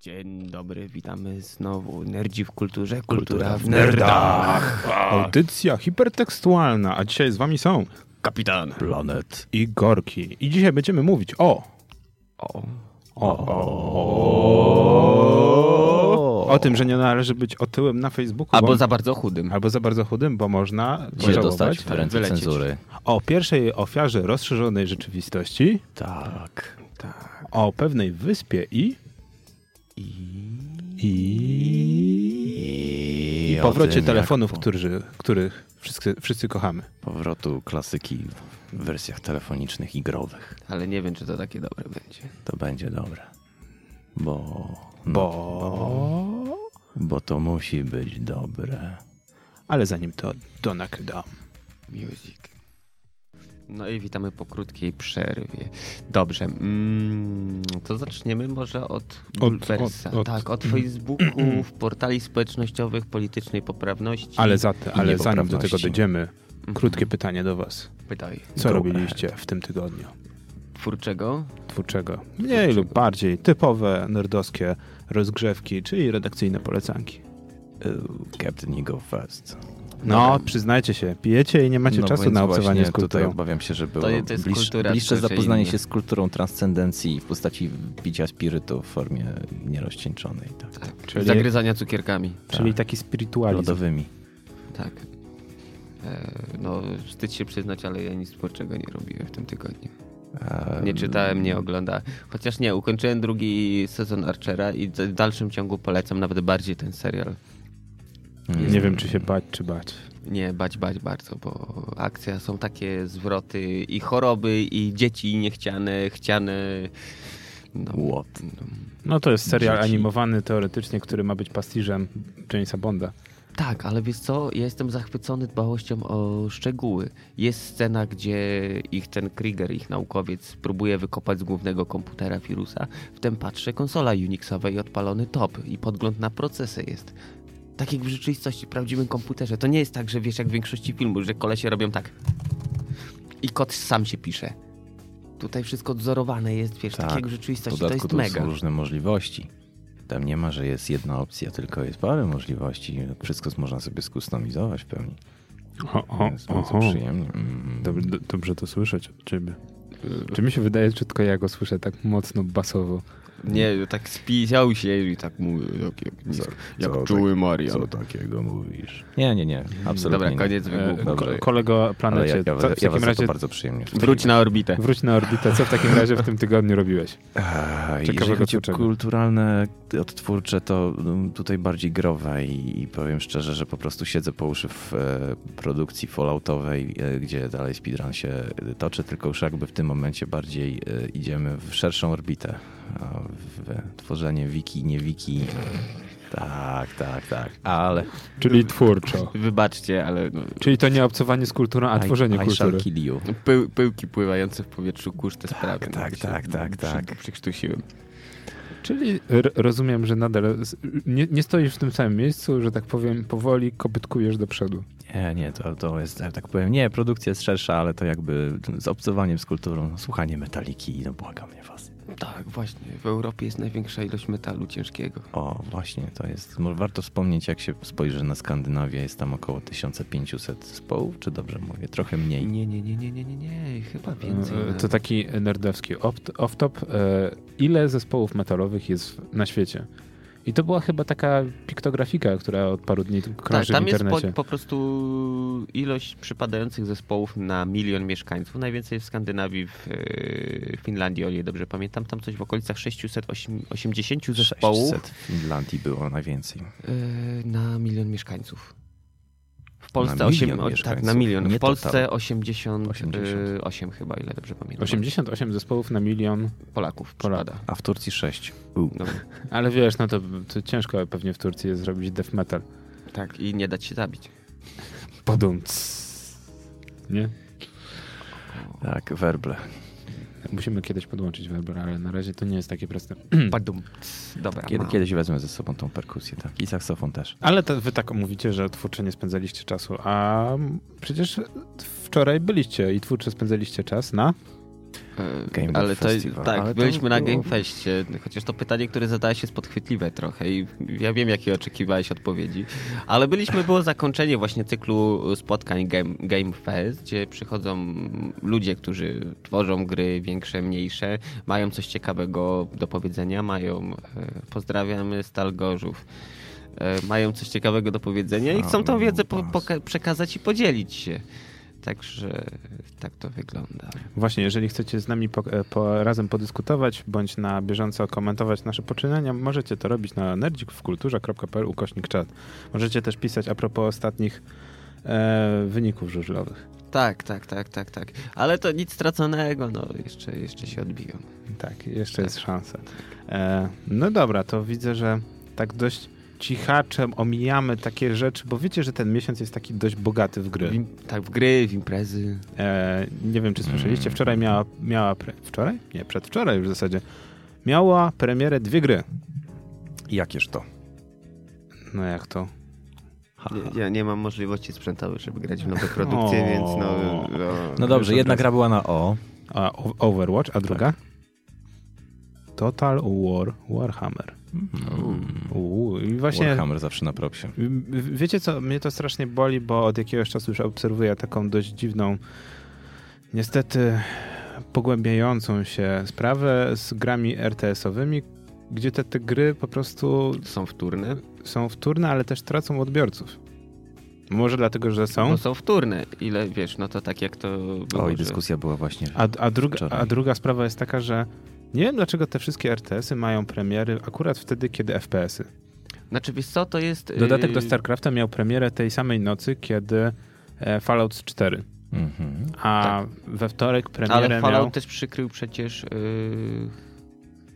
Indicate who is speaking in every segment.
Speaker 1: Dzień dobry, witamy znowu. Nerdzi w kulturze, kultura,
Speaker 2: Kultura
Speaker 1: w
Speaker 2: w
Speaker 1: nerdach.
Speaker 2: Audycja hipertekstualna, a dzisiaj z wami są
Speaker 1: Kapitan.
Speaker 3: Planet.
Speaker 2: i Gorki. I dzisiaj będziemy mówić o,
Speaker 1: O,
Speaker 2: o tym, że nie należy być otyłym na Facebooku.
Speaker 3: Albo
Speaker 2: bo-
Speaker 3: za bardzo chudym.
Speaker 2: albo za bardzo chudym, bo można
Speaker 3: Się
Speaker 2: pożałować.
Speaker 3: dostać w ręce
Speaker 1: wylecieć.
Speaker 3: cenzury.
Speaker 2: O pierwszej ofiarze rozszerzonej rzeczywistości,
Speaker 1: tak, tak.
Speaker 2: o pewnej wyspie i... I...
Speaker 3: I, o
Speaker 2: powrocie
Speaker 3: tym,
Speaker 2: telefonów,
Speaker 3: jak po
Speaker 2: którzy, których wszyscy, wszyscy kochamy.
Speaker 3: Tak, Powrotu klasyki w wersjach telefonicznych i growych.
Speaker 1: Ale nie wiem, czy to takie dobre będzie.
Speaker 3: To będzie dobre. Bo,
Speaker 2: Bo...
Speaker 3: bo to musi być dobre.
Speaker 2: Ale zanim to do Nakeda.
Speaker 1: Music. No i witamy po krótkiej przerwie. Dobrze, mm, to zaczniemy może od Bulwersa.
Speaker 2: od- od-
Speaker 1: tak, od Facebooków, portali społecznościowych, politycznej poprawności.
Speaker 2: Ale, za te,
Speaker 3: I
Speaker 2: ale zanim do
Speaker 3: niepoprawności.
Speaker 2: tego dojdziemy, krótkie pytanie do was.
Speaker 1: Pytaj.
Speaker 2: Co
Speaker 3: Dobra.
Speaker 2: robiliście w tym tygodniu
Speaker 1: Twórczego?
Speaker 2: twórczego? Mniej lub bardziej typowe nerdowskie rozgrzewki, czyli redakcyjne polecanki.
Speaker 3: Ew, Captain Ego Fest.
Speaker 2: No,
Speaker 1: Dobra.
Speaker 2: przyznajcie się, pijecie i nie macie czasu
Speaker 3: No więc
Speaker 2: na obcowanie
Speaker 3: właśnie
Speaker 2: z
Speaker 3: Tutaj
Speaker 2: kulturą.
Speaker 3: obawiam się, że było
Speaker 1: je- to jest
Speaker 3: bliż,
Speaker 1: kultura,
Speaker 3: bliższe
Speaker 1: to raczej
Speaker 3: zapoznanie
Speaker 1: inny.
Speaker 3: się z kulturą transcendencji w postaci picia spirytu w formie nierozcieńczonej. Tak.
Speaker 1: Tak.
Speaker 2: Czyli-
Speaker 1: Zagryzania cukierkami.
Speaker 2: Czyli taki spiritualizm.
Speaker 3: Lodowymi.
Speaker 1: Tak. E, No, wstyd się przyznać, ale ja nic twórczego nie robiłem w tym tygodniu.
Speaker 3: Eee,
Speaker 1: Nie czytałem, nie oglądałem. Chociaż nie, ukończyłem drugi sezon Archera i w dalszym ciągu polecam nawet bardziej ten serial.
Speaker 3: mm.
Speaker 2: Nie wiem, czy się bać, czy bać.
Speaker 1: Nie, bać, bać bardzo, bo akcja są takie zwroty i choroby, i dzieci niechciane, chciane. No,
Speaker 3: What?
Speaker 2: No to jest serial
Speaker 3: Dzieci.
Speaker 2: animowany teoretycznie, który ma być pastiżem Jamesa Bonda.
Speaker 1: Tak, ale wiesz co, ja jestem zachwycony dbałością o szczegóły. Jest scena, gdzie ich ten Krieger, ich naukowiec, próbuje wykopać z głównego komputera wirusa. Wtem patrzę, konsola Unixowa i odpalony top i podgląd na procesy jest. Tak jak w rzeczywistości, w prawdziwym komputerze. To nie jest tak, że wiesz jak w większości filmów, że kolesie robią tak i kod sam się pisze. Tutaj wszystko odzorowane jest, wiesz, tak,
Speaker 3: Tak,
Speaker 1: jak w
Speaker 3: W
Speaker 1: rzeczywistości, to
Speaker 3: dodatku
Speaker 1: jest
Speaker 3: tu
Speaker 1: mega.
Speaker 3: są różne możliwości. Tam nie ma, że jest jedna opcja, tylko jest parę możliwości. Wszystko można sobie skustomizować w pełni.
Speaker 2: O, o,
Speaker 3: jest bardzo
Speaker 2: o,
Speaker 3: przyjemnie. Mm.
Speaker 2: Dobrze, do- dobrze to słyszeć od ciebie. Czy mi się wydaje, czy tylko ja go słyszę tak mocno basowo?
Speaker 1: Nie, tak spisał się i tak mówię, jak, jak,
Speaker 3: Co- jak co czuły Co takiego mówisz? Nie, nie, nie. Absolutnie
Speaker 1: Dobra,
Speaker 3: nie.
Speaker 1: koniec wygłupu.
Speaker 2: E, Ko-
Speaker 3: Dobrze.
Speaker 2: kolego
Speaker 3: Ale ja,
Speaker 2: planecie,
Speaker 3: ja,
Speaker 2: co,
Speaker 3: ja
Speaker 2: w takim
Speaker 3: was za
Speaker 2: razie
Speaker 3: to bardzo przyjemnie.
Speaker 1: Wróć na orbitę.
Speaker 2: Wróć na orbitę. Co w takim razie w tym tygodniu robiłeś?
Speaker 3: Eee,
Speaker 2: Ciekawego
Speaker 3: Jeżeli chodzi o
Speaker 2: twórczego.
Speaker 3: kulturalne, odtwórcze, to mm, tutaj bardziej growe i, i powiem szczerze, że po prostu siedzę po uszy w e, produkcji falloutowej, e, gdzie dalej speedrun się e, toczy, tylko już jakby w tym momencie bardziej e, idziemy w szerszą orbitę. A w tworzenie wiki, nie wiki. Tak, tak, tak. Ale
Speaker 2: Czyli twórczo.
Speaker 1: Wybaczcie, ale no,
Speaker 2: Czyli to nie obcowanie z kulturą, a tworzenie
Speaker 3: I, I shall
Speaker 2: kultury.
Speaker 3: kill you.
Speaker 1: pył, pyłki pływające w powietrzu kurz te sprawy. no,
Speaker 3: tak,
Speaker 1: się
Speaker 3: tak, tak,
Speaker 1: przy-
Speaker 3: tak.
Speaker 1: Przykrztusiłem.
Speaker 2: Czyli r- rozumiem, że nadal z- nie, nie stoisz w tym samym miejscu, że tak powiem, powoli kopytkujesz do przodu.
Speaker 3: Nie, nie, to, to jest, tak powiem, nie, produkcja jest szersza, ale to jakby z obcowaniem z kulturą, słuchanie metaliki, no błagam nie was.
Speaker 1: Tak, właśnie. W Europie jest największa ilość metalu ciężkiego.
Speaker 3: O, właśnie, to jest. mo- Warto wspomnieć, jak się spojrzy na Skandynawię, jest tam około 1500 zespołów, czy dobrze mówię? Trochę
Speaker 1: Nie,
Speaker 3: mniej.
Speaker 1: nie, nie, nie, nie, nie, nie. chyba więcej.
Speaker 2: E,
Speaker 1: nawet. Tak,
Speaker 2: To taki nerdowski opt- off-top. E, Ile zespołów metalowych jest w- na świecie? I to była chyba taka piktografika, która od paru dni tu
Speaker 1: tak,
Speaker 2: krąży
Speaker 1: tam
Speaker 2: w
Speaker 1: jest po,
Speaker 2: internecie.
Speaker 1: po prostu ilość przypadających zespołów na milion mieszkańców. Najwięcej w Skandynawii, w e, Finlandii, o ile dobrze pamiętam. Tam coś w okolicach 680 zespołów.
Speaker 3: 600 w Finlandii było najwięcej.
Speaker 1: Yy, na milion mieszkańców. W Polsce
Speaker 3: Na
Speaker 1: osiem-
Speaker 3: milion
Speaker 1: o- tak,
Speaker 3: mieszkańców,
Speaker 1: na milion. W
Speaker 3: nie total.
Speaker 1: Polsce 80,
Speaker 3: 80.
Speaker 1: 8 chyba, ile dobrze pamiętam.
Speaker 2: 88 zespołów na milion.
Speaker 1: Polaków
Speaker 2: Polak.
Speaker 1: przypada.
Speaker 3: A w Turcji 6. U.
Speaker 1: No,
Speaker 2: Ale wiesz, no to, to ciężko pewnie w Turcji jest zrobić death metal.
Speaker 1: tak, i nie dać się zabić.
Speaker 2: Podum. Nie?
Speaker 3: Tak, werble.
Speaker 2: Musimy kiedyś podłączyć Weber, ale na razie to nie jest takie proste.
Speaker 1: Badum. Dobra,
Speaker 3: Kiedy,
Speaker 1: mam.
Speaker 3: kiedyś wezmę ze sobą tą perkusję, tak? I saksofon też.
Speaker 2: Ale to wy tak mówicie, że twórcze nie spędzaliście czasu, a przecież wczoraj byliście i twórcze spędzaliście czas na...
Speaker 1: E,
Speaker 3: Game
Speaker 1: ale
Speaker 3: Dev Festival.
Speaker 1: tak,
Speaker 3: Ale to
Speaker 1: byliśmy na
Speaker 3: było-
Speaker 1: Gamefestie, chociaż to pytanie, które zadałeś jest podchwytliwe trochę i ja wiem, jakie oczekiwałeś odpowiedzi, ale byliśmy, było zakończenie właśnie cyklu spotkań Game, Game Fest, gdzie przychodzą ludzie, którzy tworzą gry większe, mniejsze, mają coś ciekawego do powiedzenia, mają, e, pozdrawiamy Stalgorzów, e, mają coś ciekawego do powiedzenia i chcą tą wiedzę po, poka- przekazać i podzielić się. Także tak to wygląda.
Speaker 2: Właśnie, jeżeli chcecie z nami po, e, po, razem podyskutować, bądź na bieżąco komentować nasze poczynania, możecie to robić na nerdzik.wkulturze.pl ukośnik czat. Możecie też pisać a propos ostatnich e, wyników żużlowych.
Speaker 1: Tak, tak, tak, tak, tak. Ale to nic straconego, no jeszcze, jeszcze się odbiją.
Speaker 2: Tak, jeszcze jest szansa. E, no dobra, to widzę, że tak dość cichaczem omijamy takie rzeczy, bo wiecie, że ten miesiąc jest taki dość bogaty w
Speaker 1: W,
Speaker 2: gry.
Speaker 1: im- tak, w gry, w imprezy.
Speaker 2: E, nie wiem, czy słyszeliście, wczoraj miała, miała pre, wczoraj? Nie, przedwczoraj już w zasadzie. Miała premierę dwie gry.
Speaker 3: Jakież to?
Speaker 2: No jak to?
Speaker 1: Ja nie mam możliwości sprzętowych, żeby grać w nowe produkcje,
Speaker 2: O.
Speaker 1: więc no...
Speaker 3: No
Speaker 1: no.
Speaker 3: dobrze,
Speaker 2: Wiesz,
Speaker 3: jedna
Speaker 2: od
Speaker 3: gra była na O.
Speaker 2: A O- Overwatch, a druga? Total War Warhammer.
Speaker 1: no,
Speaker 2: Uuu, i właśnie
Speaker 3: Warhammer zawsze na propsie.
Speaker 2: w- w- wiecie co, mnie to strasznie boli, bo od jakiegoś czasu już obserwuję taką dość dziwną, niestety pogłębiającą się sprawę z grami RTS-owymi, gdzie te, te gry po prostu
Speaker 1: Są wtórne?
Speaker 2: są wtórne, ale też tracą odbiorców. Może dlatego, że są.
Speaker 1: No są wtórne. Ile, wiesz, no to tak jak to było,
Speaker 3: O, i
Speaker 1: że-
Speaker 3: dyskusja była właśnie.
Speaker 2: A, a, druga,
Speaker 3: Wczoraj.
Speaker 2: a druga sprawa jest taka, że nie wiem dlaczego te wszystkie RTS-y mają premiery akurat wtedy, kiedy FPS-y.
Speaker 1: Znaczy, wiesz co, to jest... y,
Speaker 2: Dodatek do StarCrafta miał premierę tej samej nocy, kiedy e, Fallout 4.
Speaker 3: Mhm.
Speaker 2: A we wtorek premierę
Speaker 1: Tak. Ale Fallout
Speaker 2: miał...
Speaker 1: też przykrył przecież... y,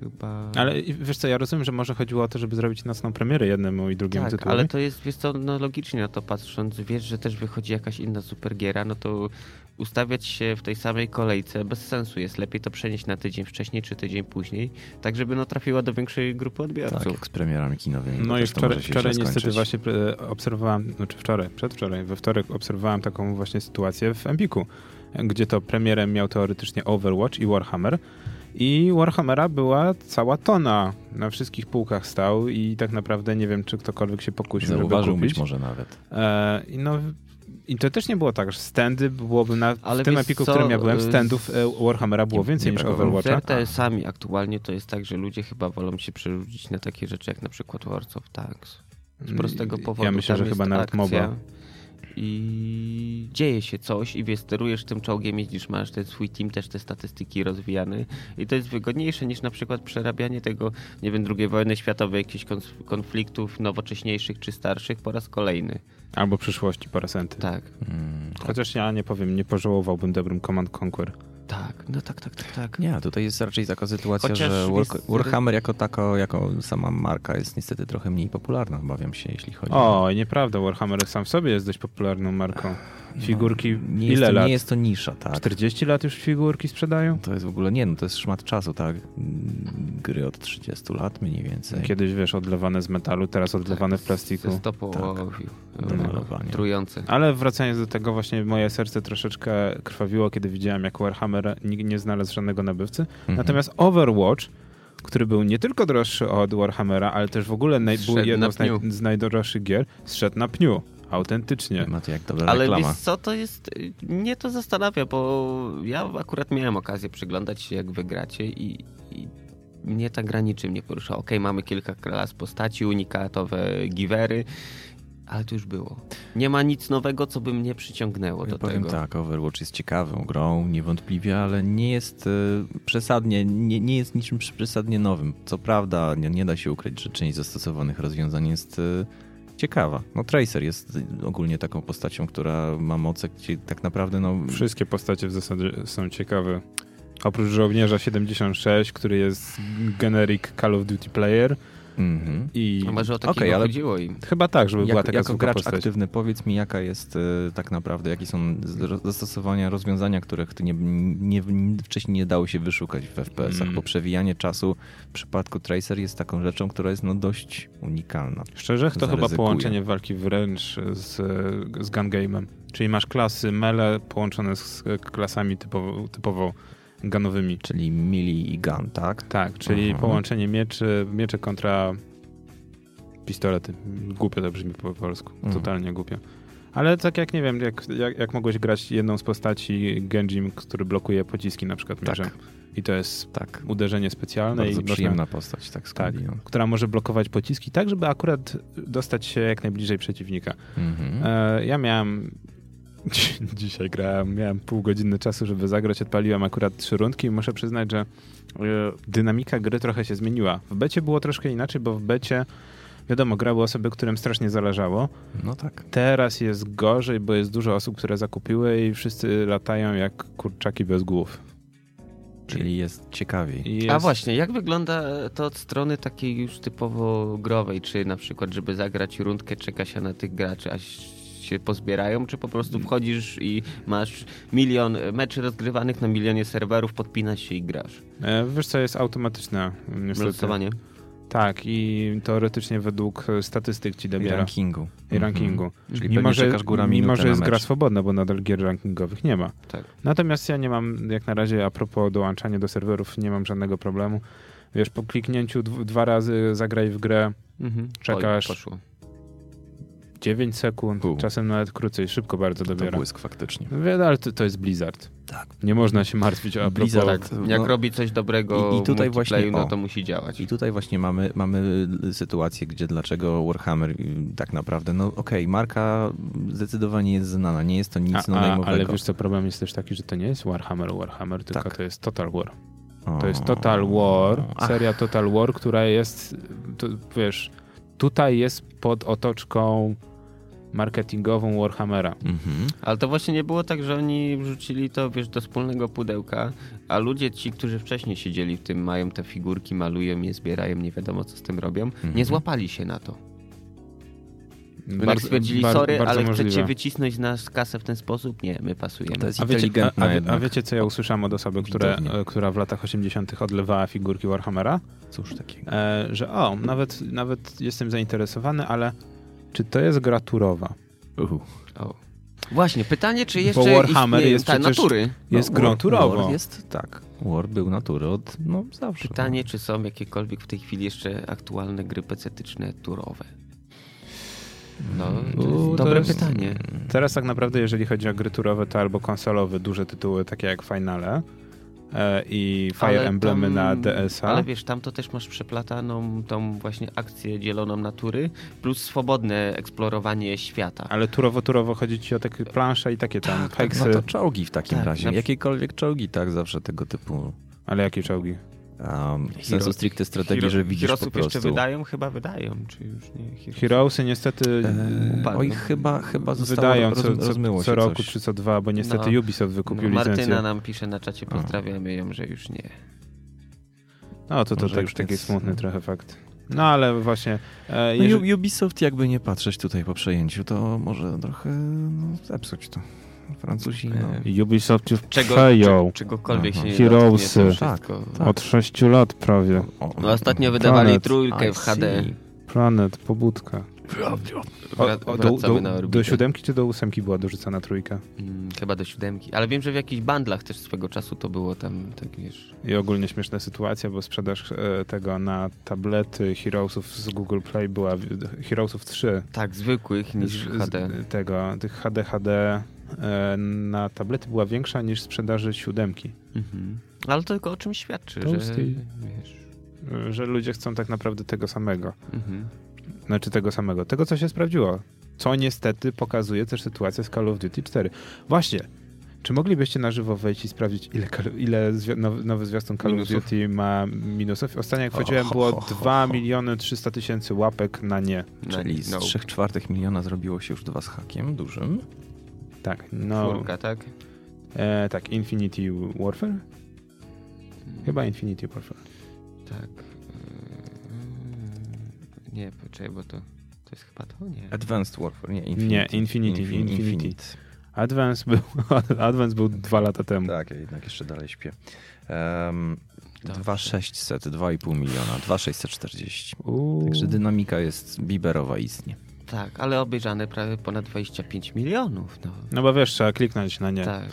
Speaker 1: chyba...
Speaker 2: Ale i- wiesz co, ja rozumiem, że może chodziło o to, żeby zrobić nocną premierę jednemu i drugiemu
Speaker 1: Tak,
Speaker 2: tytułowi.
Speaker 1: ale to jest, wiesz co, no logicznie na to patrząc, wiesz, że też wychodzi jakaś inna supergiera, no to ustawiać się w tej samej kolejce bez sensu jest. Lepiej to przenieść na tydzień wcześniej czy tydzień później, tak żeby no trafiła do większej grupy
Speaker 3: Tak,
Speaker 1: odbiorców.
Speaker 3: jak z premierami kinowymi.
Speaker 2: No
Speaker 3: to
Speaker 2: i
Speaker 3: też to
Speaker 2: wczoraj,
Speaker 3: może się
Speaker 2: wczoraj
Speaker 3: źle
Speaker 2: niestety
Speaker 3: skończyć.
Speaker 2: właśnie e, obserwowałem, znaczy wczoraj, przedwczoraj, we wtorek obserwowałem taką właśnie sytuację w Empiku, gdzie to premierem miał teoretycznie Overwatch i Warhammer. I Warhammera była cała tona. Na wszystkich półkach stał i tak naprawdę nie wiem, czy ktokolwiek się pokusił,
Speaker 3: Zauważył
Speaker 2: żeby
Speaker 3: być
Speaker 2: kupić.
Speaker 3: może nawet.
Speaker 2: E, i, no, I to też nie było tak, że standy byłoby na
Speaker 1: Ale
Speaker 2: w tym
Speaker 1: wiesz
Speaker 2: Empiku, w
Speaker 1: co,
Speaker 2: którym ja byłem,
Speaker 1: y,
Speaker 2: standów e, Warhammera było
Speaker 3: nie
Speaker 2: więcej niż
Speaker 3: brakowało.
Speaker 1: Z
Speaker 2: Overwatcha.
Speaker 1: RTS-ami aktualnie to jest tak, że ludzie chyba wolą się przerzucić na takie rzeczy jak na przykład Wars of Tanks. Z prostego powodu.
Speaker 2: Mm, Ja myślę,
Speaker 1: Tam
Speaker 2: że
Speaker 1: jest
Speaker 2: chyba nawet
Speaker 1: akcja
Speaker 2: MOBA.
Speaker 1: I dzieje się coś i wiesz, sterujesz tym czołgiem, jeździsz, masz ten swój team, też te statystyki rozwijane i to jest wygodniejsze niż na przykład przerabianie tego, nie wiem, II wojny światowej, jakichś konf- konfliktów nowocześniejszych czy starszych po raz kolejny.
Speaker 2: Albo przyszłości Parasenty.
Speaker 1: Tak,
Speaker 3: Mm.
Speaker 2: Chociaż ja nie powiem, nie pożałowałbym dobrym Command Conquer.
Speaker 1: tak, no tak, tak, tak, tak.
Speaker 3: Nie, tutaj jest raczej taka sytuacja,
Speaker 1: Chociaż
Speaker 3: że War-
Speaker 1: jest-
Speaker 3: Warhammer jako taka, jako sama marka jest niestety trochę mniej popularna, obawiam się, jeśli chodzi
Speaker 2: O, nieprawda, Warhammer sam w sobie jest dość popularną marką.
Speaker 1: No,
Speaker 2: Figurki
Speaker 3: nie jest
Speaker 2: ile
Speaker 3: to,
Speaker 2: lat?
Speaker 3: Nie jest to nisza, tak.
Speaker 2: 40 lat już figurki sprzedają?
Speaker 3: To jest w ogóle, nie no, to jest szmat czasu, tak. Gry od 30 lat mniej
Speaker 1: Tak.
Speaker 3: więcej.
Speaker 2: Kiedyś, wiesz, odlewane z metalu, teraz odlewane w plastiku.
Speaker 1: Ze stopą
Speaker 3: Tak.
Speaker 1: łowił.
Speaker 3: Do malowania.
Speaker 1: Trujące.
Speaker 2: Ale wracając do tego, właśnie moje serce troszeczkę krwawiło, kiedy widziałem, jak Warhammer nikt nie znalazł żadnego nabywcy.
Speaker 3: Mhm.
Speaker 2: Natomiast Overwatch, który był nie tylko droższy od Warhammera, ale też w ogóle naj, był
Speaker 1: Zszedł
Speaker 2: jedną
Speaker 1: na
Speaker 2: z, naj,
Speaker 1: pniu.
Speaker 2: z najdroższych gier, zszedł na pniu. Autentycznie.
Speaker 1: No.
Speaker 3: Ma to jak dobra
Speaker 1: Ale
Speaker 3: No, reklama.
Speaker 1: wiesz co, to jest, mnie to zastanawia, bo ja akurat miałem okazję przyglądać się jak wygracie i, i mnie ta gra niczym nie porusza. Okej, mamy kilka klas postaci, unikatowe givery, ale to już było. Nie ma nic nowego, co by mnie przyciągnęło
Speaker 3: Ja
Speaker 1: do
Speaker 3: powiem
Speaker 1: tego.
Speaker 3: tak, Overwatch jest ciekawą grą, niewątpliwie, ale nie jest e, przesadnie, nie, nie jest niczym przesadnie nowym. Co prawda, nie, nie da się ukryć, że część zastosowanych rozwiązań jest e, ciekawa. No Tracer jest ogólnie taką postacią, która ma moce, gdzie tak naprawdę no...
Speaker 2: Wszystkie postacie w zasadzie są ciekawe. Oprócz żołnierza 76, który jest generic Call of Duty player
Speaker 3: Mhm.
Speaker 2: i
Speaker 1: A No, może o takiego
Speaker 3: Okej, ale-
Speaker 1: chodziło im.
Speaker 2: chyba tak, żeby była
Speaker 3: Jak,
Speaker 2: taka
Speaker 3: jako
Speaker 2: zwykła
Speaker 3: gracz
Speaker 2: postać.
Speaker 3: aktywny powiedz mi, jaka jest e, tak naprawdę, jakie są z- zastosowania, rozwiązania, których ty nie, nie, wcześniej nie dało się wyszukać w FPS-ach,
Speaker 2: Mm.
Speaker 3: bo przewijanie czasu w przypadku Tracer jest taką rzeczą, która jest no dość unikalna.
Speaker 2: Szczerze, to chyba
Speaker 3: Zaryzykuję.
Speaker 2: połączenie walki wręcz z, z gun game'em. Czyli masz klasy mele połączone z klasami typowo, typowo ganowymi.
Speaker 3: Czyli mili i gun, tak?
Speaker 2: Tak, czyli
Speaker 3: Aha.
Speaker 2: połączenie mieczy, miecze kontra pistolety. Głupio to brzmi po polsku.
Speaker 3: Mhm.
Speaker 2: Totalnie głupio. Ale tak jak nie wiem, jak, jak, jak mogłeś grać jedną z postaci Genjim, który blokuje pociski na przykład
Speaker 3: Tak.
Speaker 2: mieczem. I to jest
Speaker 3: Tak.
Speaker 2: uderzenie specjalne
Speaker 3: Bardzo
Speaker 2: No i można-
Speaker 3: przyjemna postać, tak z
Speaker 2: tak,
Speaker 3: Kali, no.
Speaker 2: która może blokować pociski tak, żeby akurat dostać się jak najbliżej przeciwnika.
Speaker 1: Mm.
Speaker 3: Mhm.
Speaker 2: E, ja miałem. dzi- Dzisiaj grałem, miałem pół godziny czasu, żeby zagrać. Odpaliłem akurat trzy rundki i muszę przyznać, że e, dynamika gry trochę się zmieniła. W becie było troszkę inaczej, bo w becie. Wiadomo, grały osoby, którym strasznie zależało.
Speaker 3: No tak.
Speaker 2: Teraz jest gorzej, bo jest dużo osób, które zakupiły i wszyscy latają jak kurczaki bez głów.
Speaker 3: Czyli jest ciekawiej.
Speaker 2: I
Speaker 1: A
Speaker 2: jest-
Speaker 1: właśnie, jak wygląda e, to od strony takiej już typowo growej? Czy na przykład, żeby zagrać rundkę, czeka się na tych graczy, aż się pozbierają, czy po prostu
Speaker 2: Mm.
Speaker 1: wchodzisz i masz milion e, meczy rozgrywanych na milionie serwerów, podpinasz się i grasz?
Speaker 2: E, Wiesz co, jest automatyczne niestety.
Speaker 1: Losowanie.
Speaker 2: Tak, i teoretycznie według e, statystyk ci
Speaker 3: I
Speaker 2: dobiera.
Speaker 3: rankingu. Mhm.
Speaker 2: i rankingu.
Speaker 3: Czyli
Speaker 2: mimo,
Speaker 3: pewnie
Speaker 2: że,
Speaker 3: czekasz góra
Speaker 2: mimo,
Speaker 3: minutę
Speaker 2: że
Speaker 3: na
Speaker 2: jest gra
Speaker 3: mecz.
Speaker 2: swobodna, bo nadal gier rankingowych nie ma.
Speaker 1: Tak.
Speaker 2: Natomiast ja nie mam, jak na razie, a propos dołączania do serwerów, nie mam żadnego problemu. Wiesz, po kliknięciu dw- dwa razy zagraj w grę
Speaker 1: Mhm.
Speaker 2: Czekasz.
Speaker 1: Oj, poszło.
Speaker 2: 9 sekund,
Speaker 3: Pół.
Speaker 2: czasem nawet krócej, szybko bardzo
Speaker 3: To
Speaker 2: dobiera.
Speaker 3: błysk faktycznie.
Speaker 2: No Wiadomo, ale to, to jest Blizzard.
Speaker 3: Tak.
Speaker 2: Nie można się martwić o
Speaker 3: Blizzard,
Speaker 2: Blizzard.
Speaker 1: Tak,
Speaker 3: No.
Speaker 1: jak robi coś dobrego
Speaker 3: I- i tutaj
Speaker 1: w multiplayu,
Speaker 3: właśnie-
Speaker 1: no
Speaker 3: o.
Speaker 1: to musi działać.
Speaker 3: I tutaj właśnie mamy, mamy sytuację, gdzie dlaczego Warhammer y, tak naprawdę, no okej, marka zdecydowanie jest znana, nie jest to nic
Speaker 2: A, a,
Speaker 3: nonajmowego.
Speaker 2: ale wiesz co, problem jest też taki, że to nie jest Warhammer Warhammer, tylko
Speaker 3: Tak.
Speaker 2: to jest Total War.
Speaker 3: O.
Speaker 2: To jest Total War,
Speaker 3: Ach,
Speaker 2: seria Total War, która jest, to, wiesz, tutaj jest pod otoczką marketingową Warhammera.
Speaker 3: Mhm.
Speaker 1: Ale to właśnie nie było tak, że oni wrzucili to, wiesz, do wspólnego pudełka, a ludzie ci, którzy wcześniej siedzieli w tym, mają te figurki, malują je, zbierają, nie wiadomo co z tym robią,
Speaker 2: Mhm.
Speaker 1: nie złapali się na to. Bar- tak stwierdzili,
Speaker 2: bar-
Speaker 1: sorry,
Speaker 2: bardzo
Speaker 1: ale chcecie
Speaker 2: możliwe.
Speaker 1: wycisnąć z nas kasę w ten sposób? Nie, my pasujemy.
Speaker 3: To jest
Speaker 2: a wiecie, a,
Speaker 3: inteligentna
Speaker 2: a, wie- a
Speaker 3: jednak.
Speaker 2: wiecie, co ja usłyszałem od osoby, które,
Speaker 3: Widownia.
Speaker 2: e, która w latach 80. odlewała figurki Warhammera?
Speaker 3: Cóż takiego.
Speaker 2: E, że o, nawet, nawet jestem zainteresowany, ale czy to jest gra turowa?
Speaker 3: Uhu.
Speaker 1: O. Właśnie, pytanie, czy jeszcze
Speaker 2: Bo Warhammer
Speaker 1: istnieją
Speaker 2: jest
Speaker 1: te
Speaker 2: przecież-
Speaker 1: natury?
Speaker 2: Jest
Speaker 3: No,
Speaker 2: grą
Speaker 3: War-
Speaker 2: turową.
Speaker 3: War jest, tak. War był natury od, no zawsze.
Speaker 1: Pytanie, czy są jakiekolwiek w tej chwili jeszcze aktualne gry pecetyczne turowe? No, to jest
Speaker 2: U, to
Speaker 1: dobre
Speaker 2: jest-
Speaker 1: pytanie.
Speaker 2: Teraz tak naprawdę, jeżeli chodzi o gry turowe, to albo konsolowe duże tytuły, takie jak Finale e, i Fire
Speaker 1: Ale
Speaker 2: Emblemy
Speaker 1: tam-
Speaker 2: na DS-a.
Speaker 1: Ale wiesz, tam to też masz przeplataną tą właśnie akcję dzieloną natury, plus swobodne eksplorowanie świata.
Speaker 2: Ale turowo-turowo chodzi ci o takie plansze i takie tam
Speaker 1: Tak, tak,
Speaker 2: heksy.
Speaker 3: No to czołgi w takim
Speaker 1: Tak,
Speaker 3: razie.
Speaker 1: na przy-
Speaker 3: Jakiekolwiek czołgi, tak, zawsze tego typu
Speaker 2: Ale jakie czołgi?
Speaker 3: um, sensu stricte strategii,
Speaker 1: Hero-
Speaker 3: że widzisz po
Speaker 1: Heroesów
Speaker 3: prostu.
Speaker 1: jeszcze wydają? Chyba wydają, czy już nie? Heroes.
Speaker 2: Heroesy niestety
Speaker 3: Eee,
Speaker 1: Upadną.
Speaker 3: oj, chyba, chyba zostało,
Speaker 2: wydają
Speaker 3: roz,
Speaker 2: co, co,
Speaker 3: rozmyło
Speaker 2: co
Speaker 3: się
Speaker 2: roku
Speaker 3: coś.
Speaker 2: czy co dwa, bo niestety
Speaker 1: No.
Speaker 2: Ubisoft wykupił
Speaker 1: No, Martyna
Speaker 2: licencję.
Speaker 1: nam pisze na czacie, pozdrawiamy ją, że już nie.
Speaker 2: No to to
Speaker 3: Może
Speaker 2: tak,
Speaker 3: już
Speaker 2: taki
Speaker 3: jest-
Speaker 2: smutny
Speaker 3: no.
Speaker 2: trochę fakt. No ale właśnie, e,
Speaker 3: No,
Speaker 2: jeżeli,
Speaker 3: Ju- Ubisoft, jakby nie patrzeć tutaj po przejęciu, to może trochę no, zepsuć to. Francuzi, no.
Speaker 2: Ubisoft już
Speaker 1: Czego,
Speaker 2: przejął
Speaker 1: czy, czegokolwiek
Speaker 3: Aha.
Speaker 1: się nie
Speaker 2: Heroesy.
Speaker 1: dotknie, to
Speaker 3: Tak,
Speaker 1: wszystko.
Speaker 3: tak.
Speaker 2: od sześciu lat prawie.
Speaker 3: O,
Speaker 1: No, ostatnio wydawali
Speaker 2: Planet.
Speaker 1: trójkę
Speaker 3: I
Speaker 1: w HD.
Speaker 3: see.
Speaker 2: Planet, pobudka.
Speaker 1: Wra-
Speaker 2: do,
Speaker 1: wracamy
Speaker 2: do,
Speaker 1: na orbitę.
Speaker 2: do siódemki czy do ósemki była dorzucana trójka?
Speaker 1: Mm, chyba do siódemki. Ale wiem, że w jakichś bandlach też swego czasu to było tam, tak wiesz.
Speaker 2: I ogólnie śmieszna sytuacja, bo sprzedaż e, tego na tablety Heroesów z Google Play była w- Heroesów 3
Speaker 1: Tak, zwykłych niż
Speaker 2: z-
Speaker 1: HD.
Speaker 2: Z tego, tych HD, HD e, na tablety była większa niż sprzedaży siódemki.
Speaker 1: Mhm. Ale to tylko o czym świadczy, że
Speaker 2: Toasty.
Speaker 1: wiesz.
Speaker 2: E, Że ludzie chcą tak naprawdę tego samego.
Speaker 1: Mhm.
Speaker 2: Znaczy tego samego. Tego, co się sprawdziło. Co niestety pokazuje też sytuacja z Call of Duty 4. Właśnie. Czy moglibyście na żywo wejść i sprawdzić, ile, Call- ile zwi- now- nowy zwiastun Call of
Speaker 1: Minusów.
Speaker 2: Duty ma minusów? Ostatnio, jak
Speaker 3: Ho,
Speaker 2: wchodziłem,
Speaker 3: ho,
Speaker 2: było
Speaker 3: ho, ho,
Speaker 2: 2
Speaker 3: ho.
Speaker 2: miliony 300 tysięcy łapek na nie.
Speaker 1: No,
Speaker 3: Czyli z
Speaker 1: no.
Speaker 3: 3 czwartych miliona zrobiło się już dwa z hakiem dużym.
Speaker 2: Tak, no.
Speaker 1: Czwórka, tak?
Speaker 2: E, tak, Infinity Warfare? Chyba Infinity Warfare.
Speaker 1: Tak. Yy, Nie, poczekaj, bo to, to jest chyba to, nie.
Speaker 3: Advanced Warfare, nie Infinity.
Speaker 2: Nie, Infinity,
Speaker 3: Infi-
Speaker 2: Infinity. Advance był, Advance był 2 lata temu.
Speaker 3: Tak, ja jednak jeszcze dalej śpię. Um,
Speaker 1: Dobrze.
Speaker 3: 2600, 2,5 miliona, 2,640.
Speaker 2: Uuu.
Speaker 3: Także dynamika jest biberowa istnie.
Speaker 1: Tak, ale obejrzane prawie ponad 25 milionów. No.
Speaker 2: No bo wiesz, trzeba kliknąć na nie.
Speaker 1: Tak.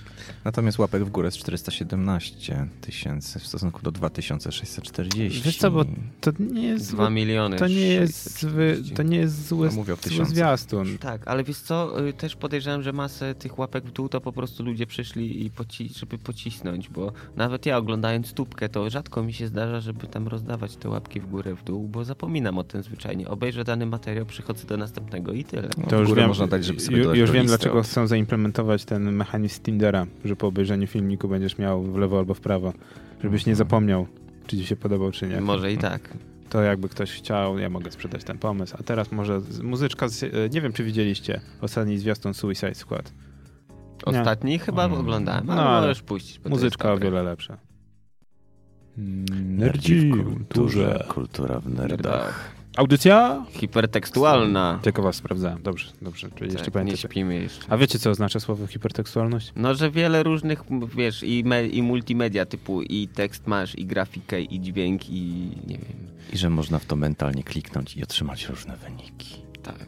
Speaker 3: Natomiast łapek w górę z 417 tysięcy w stosunku do 2640.
Speaker 2: Wiesz co, bo to nie jest...
Speaker 1: 2 miliony.
Speaker 2: To nie jest, zły,
Speaker 1: 640.
Speaker 2: to nie jest zły,
Speaker 3: No, mówię o
Speaker 2: zły
Speaker 3: tysiącach.
Speaker 2: zwiastun.
Speaker 1: Tak, ale wiesz co, y, też podejrzewam, że masę tych łapek w dół to po prostu ludzie przyszli, i poci- żeby pocisnąć, bo nawet ja oglądając tubkę, to rzadko mi się zdarza, żeby tam rozdawać te łapki w górę, w dół, bo zapominam o tym zwyczajnie. Obejrzę dany materiał, przychodzę do następnego i tyle.
Speaker 3: No,
Speaker 2: To
Speaker 3: w
Speaker 2: już
Speaker 3: górę
Speaker 2: wiem,
Speaker 3: można dać, żeby sobie
Speaker 2: ju-
Speaker 3: dodać
Speaker 2: już
Speaker 3: do
Speaker 2: wiem
Speaker 3: listy
Speaker 2: dlaczego
Speaker 3: od-
Speaker 2: chcą zaimplementować ten mechanizm Tindera, że po obejrzeniu filmiku będziesz miał w lewo albo w prawo, żebyś nie
Speaker 3: Mhm.
Speaker 2: zapomniał, czy ci się podobał, czy nie.
Speaker 1: Może i tak.
Speaker 2: To jakby ktoś chciał, ja mogę sprzedać ten pomysł. A teraz może z- muzyczka, z, e, nie wiem czy widzieliście ostatni zwiastun Suicide Squad. Nie.
Speaker 1: Ostatni chyba
Speaker 3: Mm.
Speaker 1: oglądałem,
Speaker 2: No,
Speaker 1: ale
Speaker 2: ale
Speaker 1: możesz puścić. bo to jest
Speaker 2: Muzyczka o
Speaker 1: dobre.
Speaker 2: wiele lepsza.
Speaker 3: Nerdzi w kulturze. Kultura w nerdach.
Speaker 2: Audycja?
Speaker 1: Hipertekstualna.
Speaker 2: Tylko was sprawdzałem. Dobrze, dobrze. Czyli jeszcze
Speaker 1: tak, nie
Speaker 2: pamiętacie.
Speaker 1: śpimy jeszcze.
Speaker 2: A wiecie co oznacza słowo hipertekstualność?
Speaker 1: No, że wiele różnych, m, wiesz, i, me, i multimedia typu i tekst masz, i grafikę, i dźwięk, i nie wiem,
Speaker 3: I że można w to mentalnie kliknąć i otrzymać różne wyniki.
Speaker 1: tak.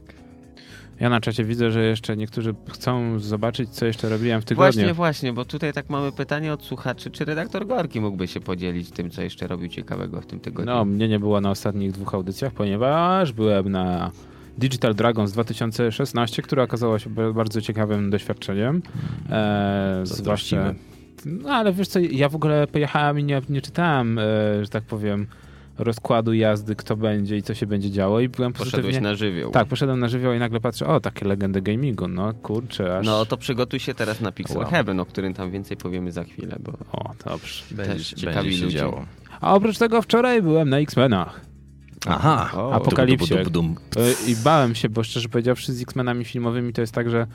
Speaker 2: Ja na czacie widzę, że jeszcze niektórzy chcą zobaczyć, co jeszcze robiłem w tygodniu.
Speaker 1: Właśnie, właśnie, bo tutaj tak mamy pytanie od słuchaczy, czy redaktor Gorki mógłby się podzielić tym, co jeszcze robił ciekawego w tym tygodniu?
Speaker 2: No, mnie nie było na ostatnich dwóch audycjach, ponieważ byłem na Digital Dragons 2016, która okazała się ba- bardzo ciekawym doświadczeniem. E, zwłaszcza.
Speaker 3: Zazdrościmy.
Speaker 2: No, ale wiesz co, ja w ogóle pojechałem i nie, nie czytałem, e, że tak powiem, rozkładu jazdy, kto będzie i co się będzie działo i byłem
Speaker 1: Poszedłeś
Speaker 2: pozytywnie...
Speaker 1: na żywioł.
Speaker 2: Tak, poszedłem na żywioł i nagle patrzę, o, takie legendy gamingu, no kurczę, aż...
Speaker 1: No to przygotuj się teraz na Pixel
Speaker 3: Wow.
Speaker 1: Heaven, o którym tam więcej powiemy za chwilę, bo
Speaker 2: O, dobrze.
Speaker 1: też
Speaker 3: Będzie,
Speaker 1: ciekawi
Speaker 3: będzie się
Speaker 1: ludzi.
Speaker 3: działo.
Speaker 2: A oprócz tego wczoraj byłem na X-Menach.
Speaker 3: Aha,
Speaker 1: O.
Speaker 2: Apokalipsie.
Speaker 3: Dum, dum, dum, dum.
Speaker 2: Y, I bałem się, bo szczerze powiedziawszy, z X-Menami filmowymi to jest tak, że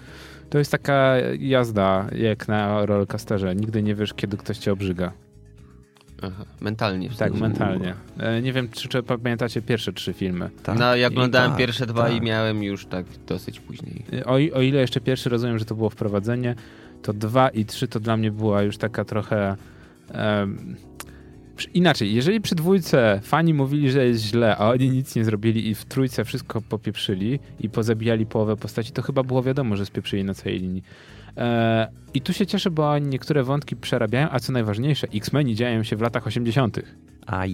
Speaker 2: to jest taka jazda jak na rollercoasterze. Nigdy nie wiesz, kiedy ktoś cię obrzyga.
Speaker 1: Aha, mentalnie. w
Speaker 2: Tak,
Speaker 1: sensie.
Speaker 2: mentalnie. Y, Nie wiem, czy, czy pamiętacie pierwsze trzy filmy.
Speaker 3: Tak.
Speaker 1: No, ja oglądałem
Speaker 3: I tak,
Speaker 1: pierwsze dwa i
Speaker 3: tak.
Speaker 1: miałem już tak dosyć później.
Speaker 2: Y, O, i- o ile jeszcze pierwszy rozumiem, że to było wprowadzenie, to dwa i trzy to dla mnie była już taka trochę. em, przy- Inaczej, jeżeli przy dwójce fani mówili, że jest źle, a oni nic nie zrobili i w trójce wszystko popieprzyli i pozabijali połowę postaci, to chyba było wiadomo, że spieprzyli na całej linii. E, I tu się cieszę, bo oni niektóre wątki przerabiają, a co najważniejsze, X-Meni dzieją się w latach 80.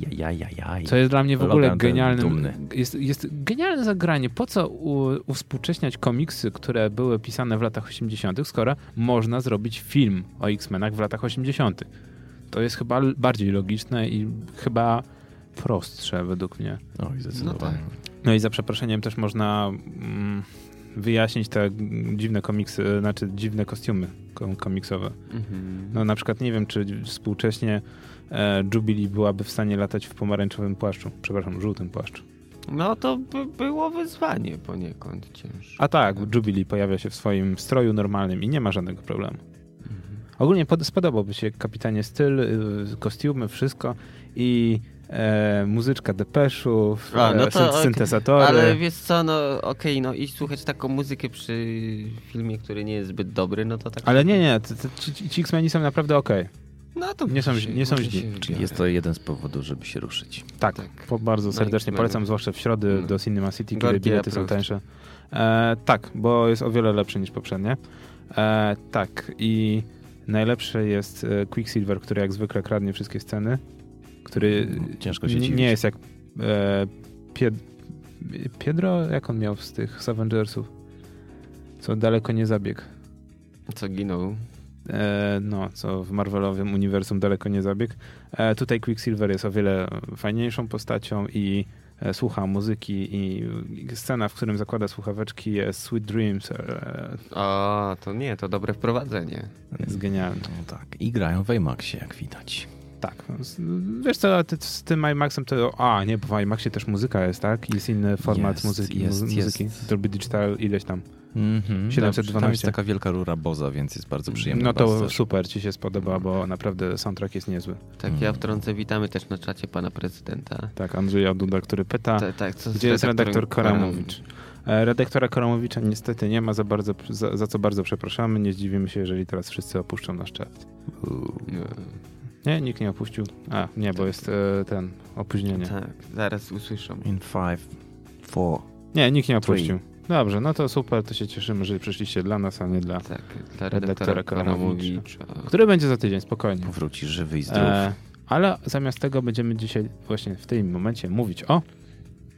Speaker 3: Ajajajajaj.
Speaker 2: Co jest dla mnie w
Speaker 3: Logan
Speaker 2: ogóle
Speaker 3: ten
Speaker 2: genialnym.
Speaker 3: dumny.
Speaker 2: Jest, jest genialne zagranie. Po co u, uwspółcześniać komiksy, które były pisane w latach 80., skoro można zrobić film o X-Menach w latach 80. To jest chyba l- bardziej logiczne i chyba prostsze według mnie.
Speaker 3: Oj, zdecydowanie.
Speaker 2: No i za przeproszeniem też można mm, wyjaśnić te mm, dziwne komiksy, znaczy dziwne kostiumy kom- komiksowe.
Speaker 1: Mhm.
Speaker 2: No na przykład nie wiem, czy współcześnie e, Jubilee byłaby w stanie latać w pomarańczowym płaszczu. Przepraszam, żółtym płaszczu.
Speaker 1: No to by było wyzwanie poniekąd cięższe.
Speaker 2: A tak, Jubilee pojawia się w swoim stroju normalnym i nie ma żadnego problemu.
Speaker 1: Mhm.
Speaker 2: Ogólnie pod- spodobałby się kapitanie styl, y, kostiumy, wszystko i e, muzyczka depeszów,
Speaker 1: A, no
Speaker 2: e,
Speaker 1: to
Speaker 2: syn-
Speaker 1: okej.
Speaker 2: syntezatory.
Speaker 1: Ale wiesz co, no okej, no i słuchać taką muzykę przy filmie, który nie jest zbyt dobry, no to tak...
Speaker 2: Ale nie, nie, t- t- ci, ci X-Meni są naprawdę okej.
Speaker 1: No to
Speaker 2: nie są-
Speaker 1: może się-
Speaker 2: nie są
Speaker 1: może
Speaker 2: źli.
Speaker 1: się
Speaker 3: Czyli
Speaker 1: wybiorę.
Speaker 3: jest to jeden z powodów, żeby się ruszyć.
Speaker 2: Tak,
Speaker 1: Tak.
Speaker 2: Po, bardzo
Speaker 1: No,
Speaker 2: serdecznie
Speaker 1: X-Meni.
Speaker 2: polecam, zwłaszcza w środę
Speaker 1: Mm.
Speaker 2: do Cinema City, kiedy
Speaker 1: Gorki
Speaker 2: bilety są
Speaker 1: approach.
Speaker 2: tańsze. E, tak, bo jest o wiele lepszy niż poprzednie. E, tak, i najlepszy jest e, Quicksilver, który jak zwykle kradnie wszystkie sceny, który
Speaker 3: Ciężko się
Speaker 2: nie,
Speaker 3: dziwić.
Speaker 2: nie jest jak e, Pied, Piedro, jak on miał z tych z Avengersów, co daleko nie zabiegł.
Speaker 1: Co ginął?
Speaker 2: E, no, co w Marvelowym uniwersum daleko nie zabiegł. E, tutaj Quicksilver jest o wiele fajniejszą postacią i e, słucha muzyki i scena, w którym zakłada słuchaweczki jest Sweet Dreams. E,
Speaker 1: O, to nie, to dobre wprowadzenie.
Speaker 2: jest genialna.
Speaker 3: No tak. I grają w IMAXie, jak widać.
Speaker 2: Tak. Z- Wiesz co, ty, z tym IMAXem to... A, nie, bo w IMAXie też muzyka jest, tak? Jest inny format
Speaker 3: Jest,
Speaker 2: muzyki.
Speaker 3: jest,
Speaker 2: mu-
Speaker 3: jest.
Speaker 2: muzyki. Dolby Digital ileś tam.
Speaker 3: Mhm.
Speaker 2: 712.
Speaker 3: Tam jest taka wielka rura Boza, więc jest bardzo przyjemna.
Speaker 2: No to
Speaker 3: bardzo też.
Speaker 2: super, ci się spodoba, bo naprawdę soundtrack jest niezły.
Speaker 1: Tak, ja
Speaker 3: Hmm.
Speaker 1: wtrącę, witamy też na czacie pana prezydenta.
Speaker 2: Tak, Andrzeja Duda, który pyta,
Speaker 1: Ta- tak, co z
Speaker 2: gdzie jest
Speaker 1: redaktorem
Speaker 2: redaktor Koramowicz? E, Redaktora Koramowicza niestety nie ma, za, bardzo, za, za co bardzo przepraszamy. Nie zdziwimy się, jeżeli teraz wszyscy opuszczą nasz czat.
Speaker 1: Nie,
Speaker 2: Nie, nikt nie opuścił. A, nie, bo jest e, ten, opóźnienie.
Speaker 1: Tak, zaraz usłyszą.
Speaker 3: In 5, 4,
Speaker 2: Nie, nikt nie opuścił. Dobrze, no to super, to się cieszymy, że przyszliście dla nas, a nie dla...
Speaker 1: Tak, dla
Speaker 2: Redaktora
Speaker 1: redaktora
Speaker 2: Kononowicza.
Speaker 1: Kononowicza.
Speaker 2: Który będzie za tydzień, spokojnie.
Speaker 3: Powróci żywy i zdrów.
Speaker 2: E, ale zamiast tego będziemy dzisiaj właśnie w tym momencie mówić o...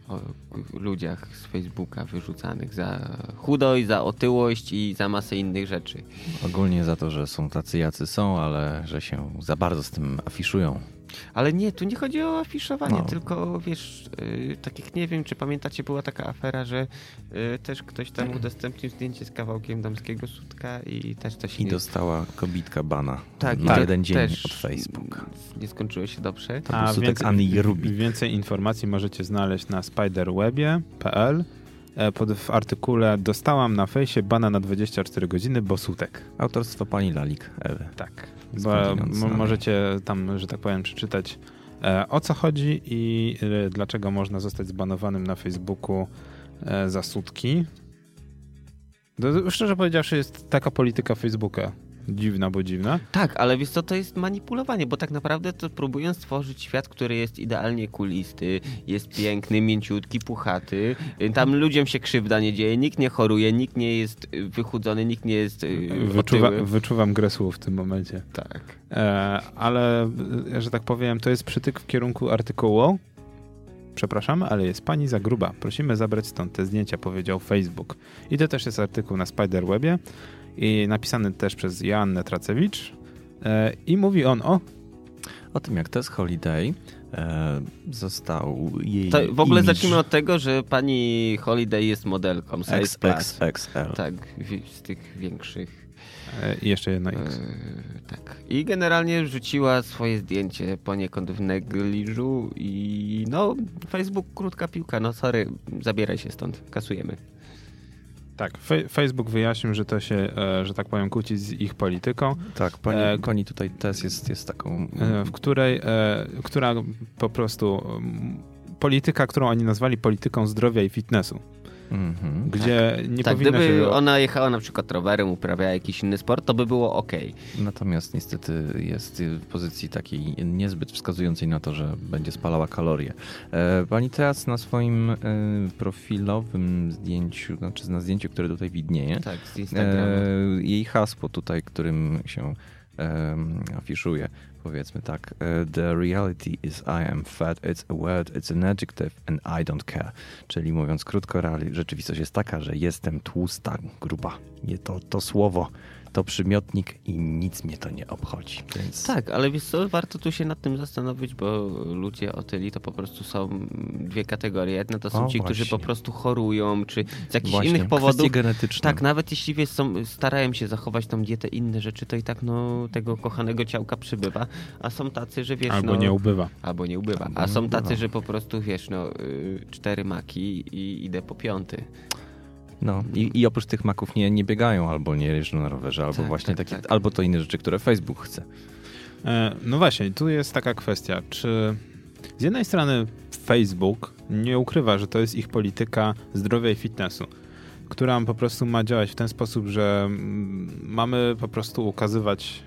Speaker 1: O ludziach z Facebooka wyrzucanych za chudość, za otyłość i za masę innych rzeczy.
Speaker 3: Ogólnie za to, że są tacy jacy są, ale że się za bardzo z tym afiszują.
Speaker 1: Ale nie, tu nie chodzi o afiszowanie,
Speaker 3: No.
Speaker 1: tylko wiesz, yy, tak jak nie wiem, czy pamiętacie, była taka afera, że yy, też ktoś tam
Speaker 2: Tak.
Speaker 1: udostępnił zdjęcie z kawałkiem damskiego sutka i też to się
Speaker 3: I
Speaker 1: nie...
Speaker 3: dostała kobitka bana
Speaker 1: Tak, i
Speaker 3: na
Speaker 1: to
Speaker 3: jeden dzień
Speaker 1: też
Speaker 3: od Facebooka.
Speaker 1: Nie skończyło się dobrze.
Speaker 2: Tak.
Speaker 3: To był sutek Ani Rubik.
Speaker 2: Więcej informacji możecie znaleźć na spiderwebie.pl e, pod, w artykule Dostałam na fejsie bana na 24 godziny, bo sutek.
Speaker 3: Autorstwo pani Lalik Ewy.
Speaker 2: Tak. Bo
Speaker 3: Skądinąd
Speaker 2: m-
Speaker 3: znane.
Speaker 2: możecie tam, że tak powiem, przeczytać e, o co chodzi i e, dlaczego można zostać zbanowanym na Facebooku e, za sutki. To, szczerze powiedziawszy, jest taka polityka Facebooka. Dziwna, bo dziwna.
Speaker 1: Tak, ale wiesz co, to jest manipulowanie, bo tak naprawdę to próbują stworzyć świat, który jest idealnie kulisty, jest piękny, mięciutki, puchaty. Y,
Speaker 2: Mhm.
Speaker 1: Tam ludziom się krzywda nie dzieje, nikt nie choruje, nikt nie jest y, wychudzony, nikt nie jest y,
Speaker 2: Wyczuwa,
Speaker 1: otyły.
Speaker 2: wyczuwam grę słów w tym momencie.
Speaker 1: Tak.
Speaker 2: E, ale, e, że tak powiem, to jest przytyk w kierunku artykułu. Przepraszam, ale jest pani za gruba. Prosimy zabrać stąd te zdjęcia, powiedział Facebook. I to też jest artykuł na Spiderwebie i napisany też przez Joannę Tracewicz. E, I mówi on o...
Speaker 3: O tym, jak Tess Holiday e, został jej
Speaker 1: To w ogóle
Speaker 3: imidż
Speaker 1: zacznijmy od tego, że pani Holiday jest modelką. size plus.
Speaker 3: XXXL.
Speaker 1: Tak, wi- z tych większych.
Speaker 2: E, i jeszcze jedno
Speaker 1: e,
Speaker 2: X.
Speaker 1: tak. I generalnie rzuciła swoje zdjęcie poniekąd w negliżu i no, Facebook krótka piłka, no sorry, zabieraj się stąd, kasujemy.
Speaker 2: Tak, fe, Facebook wyjaśnił, że to się, e, że tak powiem, kłóci z ich polityką.
Speaker 3: Tak, pani,
Speaker 2: E,
Speaker 3: pani tutaj Tess jest, jest taką...
Speaker 2: e, w której, e, która po prostu mm, polityka, którą oni nazwali polityką zdrowia i fitnessu,
Speaker 3: Mhm.
Speaker 2: gdzie nie
Speaker 1: tak,
Speaker 2: powinno
Speaker 1: gdyby
Speaker 2: się...
Speaker 1: ona jechała na przykład rowerem, uprawiała jakiś inny sport, to by było ok.
Speaker 3: Natomiast niestety jest w pozycji takiej niezbyt wskazującej na to, że będzie spalała kalorie. E, Pani teraz na swoim e, profilowym zdjęciu, znaczy na zdjęciu, które tutaj widnieje,
Speaker 1: Tak, z Instagrama.
Speaker 3: e, jej hasło tutaj, którym się e, afiszuje, powiedzmy tak, e, The reality is I am fat, it's a word, it's an adjective and I don't care. Czyli mówiąc krótko, reali- rzeczywistość jest taka, że jestem tłusta, gruba. Nie to, to słowo, to przymiotnik i nic mnie to nie obchodzi. Więc
Speaker 1: Tak, ale wiesz co, warto tu się nad tym zastanowić, bo ludzie otyli to po prostu są dwie kategorie. Jedna to są
Speaker 3: O,
Speaker 1: ci, którzy
Speaker 3: właśnie.
Speaker 1: po prostu chorują, czy z jakichś
Speaker 3: Właśnie,
Speaker 1: innych powodów.
Speaker 3: kwestie genetyczne.
Speaker 1: Tak, nawet jeśli wiesz, są, starają się zachować tą dietę, inne rzeczy, to i tak no, tego kochanego ciałka przybywa, a są tacy, że wiesz,
Speaker 2: Albo
Speaker 1: no,
Speaker 2: nie ubywa.
Speaker 1: albo nie ubywa.
Speaker 3: Albo
Speaker 1: A
Speaker 3: nie
Speaker 1: są
Speaker 3: ubywa.
Speaker 1: tacy, że po prostu wiesz, no, y, cztery maki i idę po piąty.
Speaker 3: No i, i oprócz tych maków nie, nie biegają, albo nie jeżdżą na rowerze, albo
Speaker 1: Tak,
Speaker 3: właśnie
Speaker 1: tak,
Speaker 3: takie,
Speaker 1: tak.
Speaker 3: albo to inne rzeczy, które Facebook chce.
Speaker 2: E, No właśnie, tu jest taka kwestia, czy z jednej strony Facebook nie ukrywa, że to jest ich polityka zdrowia i fitnessu, która po prostu ma działać w ten sposób, że mm, mamy po prostu ukazywać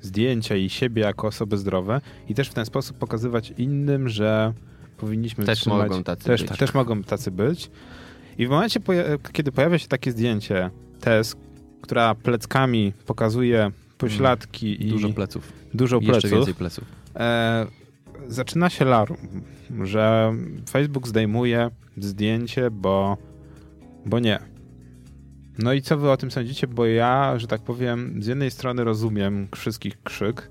Speaker 2: zdjęcia i siebie jako osoby zdrowe i też w ten sposób pokazywać innym, że powinniśmy
Speaker 1: Też
Speaker 2: trzymać...
Speaker 1: mogą tacy
Speaker 2: też,
Speaker 1: być.
Speaker 2: Też mogą tacy być. I w momencie, poja- kiedy pojawia się takie zdjęcie Tess, która pleckami
Speaker 1: Mm.
Speaker 2: pokazuje pośladki i
Speaker 3: Dużo pleców.
Speaker 2: dużo
Speaker 3: Jeszcze
Speaker 2: pleców,
Speaker 3: więcej pleców.
Speaker 2: E, zaczyna się larum, że Facebook zdejmuje zdjęcie, bo, bo nie. No i co wy o tym sądzicie? Bo ja, że tak powiem, z jednej strony rozumiem wszystkich krzyk,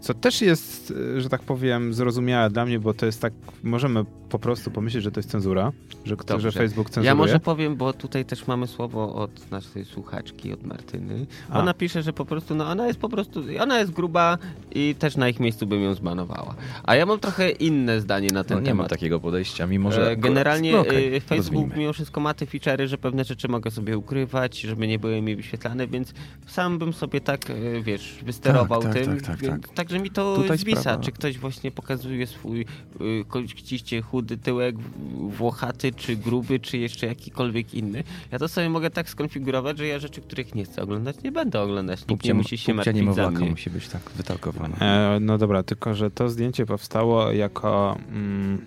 Speaker 2: co też jest, e, że tak powiem, zrozumiałe dla mnie, bo to jest tak, możemy po prostu pomyśleć, że to jest cenzura, że, kto, że
Speaker 1: Dobrze.
Speaker 2: Facebook cenzuruje.
Speaker 1: Ja może powiem, bo tutaj też mamy słowo od naszej słuchaczki, od Martyny.
Speaker 2: A.
Speaker 1: Ona pisze, że po prostu, no ona jest po prostu, ona jest gruba i też na ich miejscu bym ją zbanowała. A ja mam trochę inne zdanie na ten
Speaker 3: No, nie
Speaker 1: temat.
Speaker 3: mam takiego podejścia, mimo że...
Speaker 1: E, Generalnie
Speaker 3: No okej,
Speaker 1: e, Facebook
Speaker 3: rozumiem.
Speaker 1: mimo wszystko ma te featurey, że pewne rzeczy mogę sobie ukrywać, żeby nie były mi wyświetlane, więc sam bym sobie tak, e, wiesz, wysterował
Speaker 3: Tak, tak,
Speaker 1: tym.
Speaker 3: tak, tak,
Speaker 1: więc-
Speaker 3: tak.
Speaker 1: Także mi to
Speaker 3: Tutaj
Speaker 1: zwisa,
Speaker 3: sprawa.
Speaker 1: czy ktoś właśnie pokazuje swój y, kościście chudy tyłek, w- włochaty, czy gruby, czy jeszcze jakikolwiek inny. Ja to sobie mogę tak skonfigurować, że ja rzeczy, których nie chcę oglądać, nie będę oglądać. Nikt nie
Speaker 3: Pupcie-
Speaker 1: musi się
Speaker 3: pupcia
Speaker 1: martwić za
Speaker 3: niemowlaka
Speaker 1: mnie.
Speaker 3: musi być tak wytalkowana.
Speaker 2: E, no dobra, tylko że to zdjęcie powstało jako mm,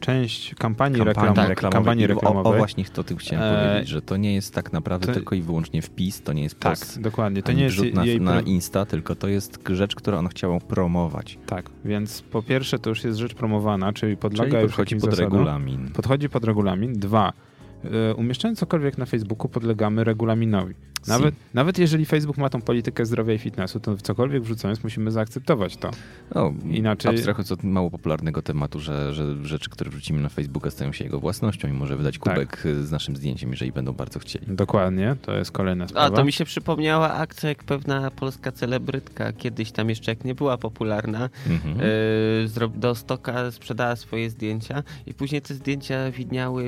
Speaker 2: część kampanii,
Speaker 3: Kampanii
Speaker 2: reklamowej,
Speaker 3: reklamowej.
Speaker 2: kampanii
Speaker 3: I
Speaker 2: reklamowej.
Speaker 3: O, o właśnie to tym chciałem
Speaker 2: E,
Speaker 3: powiedzieć, że to nie jest tak naprawdę
Speaker 2: to-
Speaker 3: tylko i wyłącznie wpis, to nie jest
Speaker 2: tak,
Speaker 3: post,
Speaker 2: dokładnie. To
Speaker 3: ani
Speaker 2: nie jest
Speaker 3: wrzut na,
Speaker 2: jej
Speaker 3: na
Speaker 2: pro-
Speaker 3: Insta, tylko to jest rzecz, którą ona chciała promować.
Speaker 2: Tak, więc po pierwsze to już jest rzecz promowana, czyli podlega
Speaker 3: Czyli
Speaker 2: już
Speaker 3: podchodzi
Speaker 2: jakimś
Speaker 3: pod
Speaker 2: zasadom.
Speaker 3: regulamin.
Speaker 2: Podchodzi pod regulamin. Dwa, e, umieszczając cokolwiek na Facebooku podlegamy regulaminowi.
Speaker 3: Si.
Speaker 2: Nawet, nawet jeżeli Facebook ma tą politykę zdrowia i fitnessu, to cokolwiek wrzucając musimy zaakceptować to.
Speaker 3: No,
Speaker 2: Inaczej-
Speaker 3: Abstrahując od mało popularnego tematu, że, że rzeczy, które wrzucimy na Facebooka stają się jego własnością i może wydać
Speaker 2: Tak.
Speaker 3: kubek y, z naszym zdjęciem, jeżeli będą bardzo chcieli.
Speaker 2: Dokładnie, to jest kolejna
Speaker 1: A
Speaker 2: sprawa.
Speaker 1: to mi się przypomniała akcja, jak pewna polska celebrytka kiedyś tam jeszcze jak nie była popularna,
Speaker 3: Mhm.
Speaker 1: e, zro- do stoka sprzedała swoje zdjęcia i później te zdjęcia widniały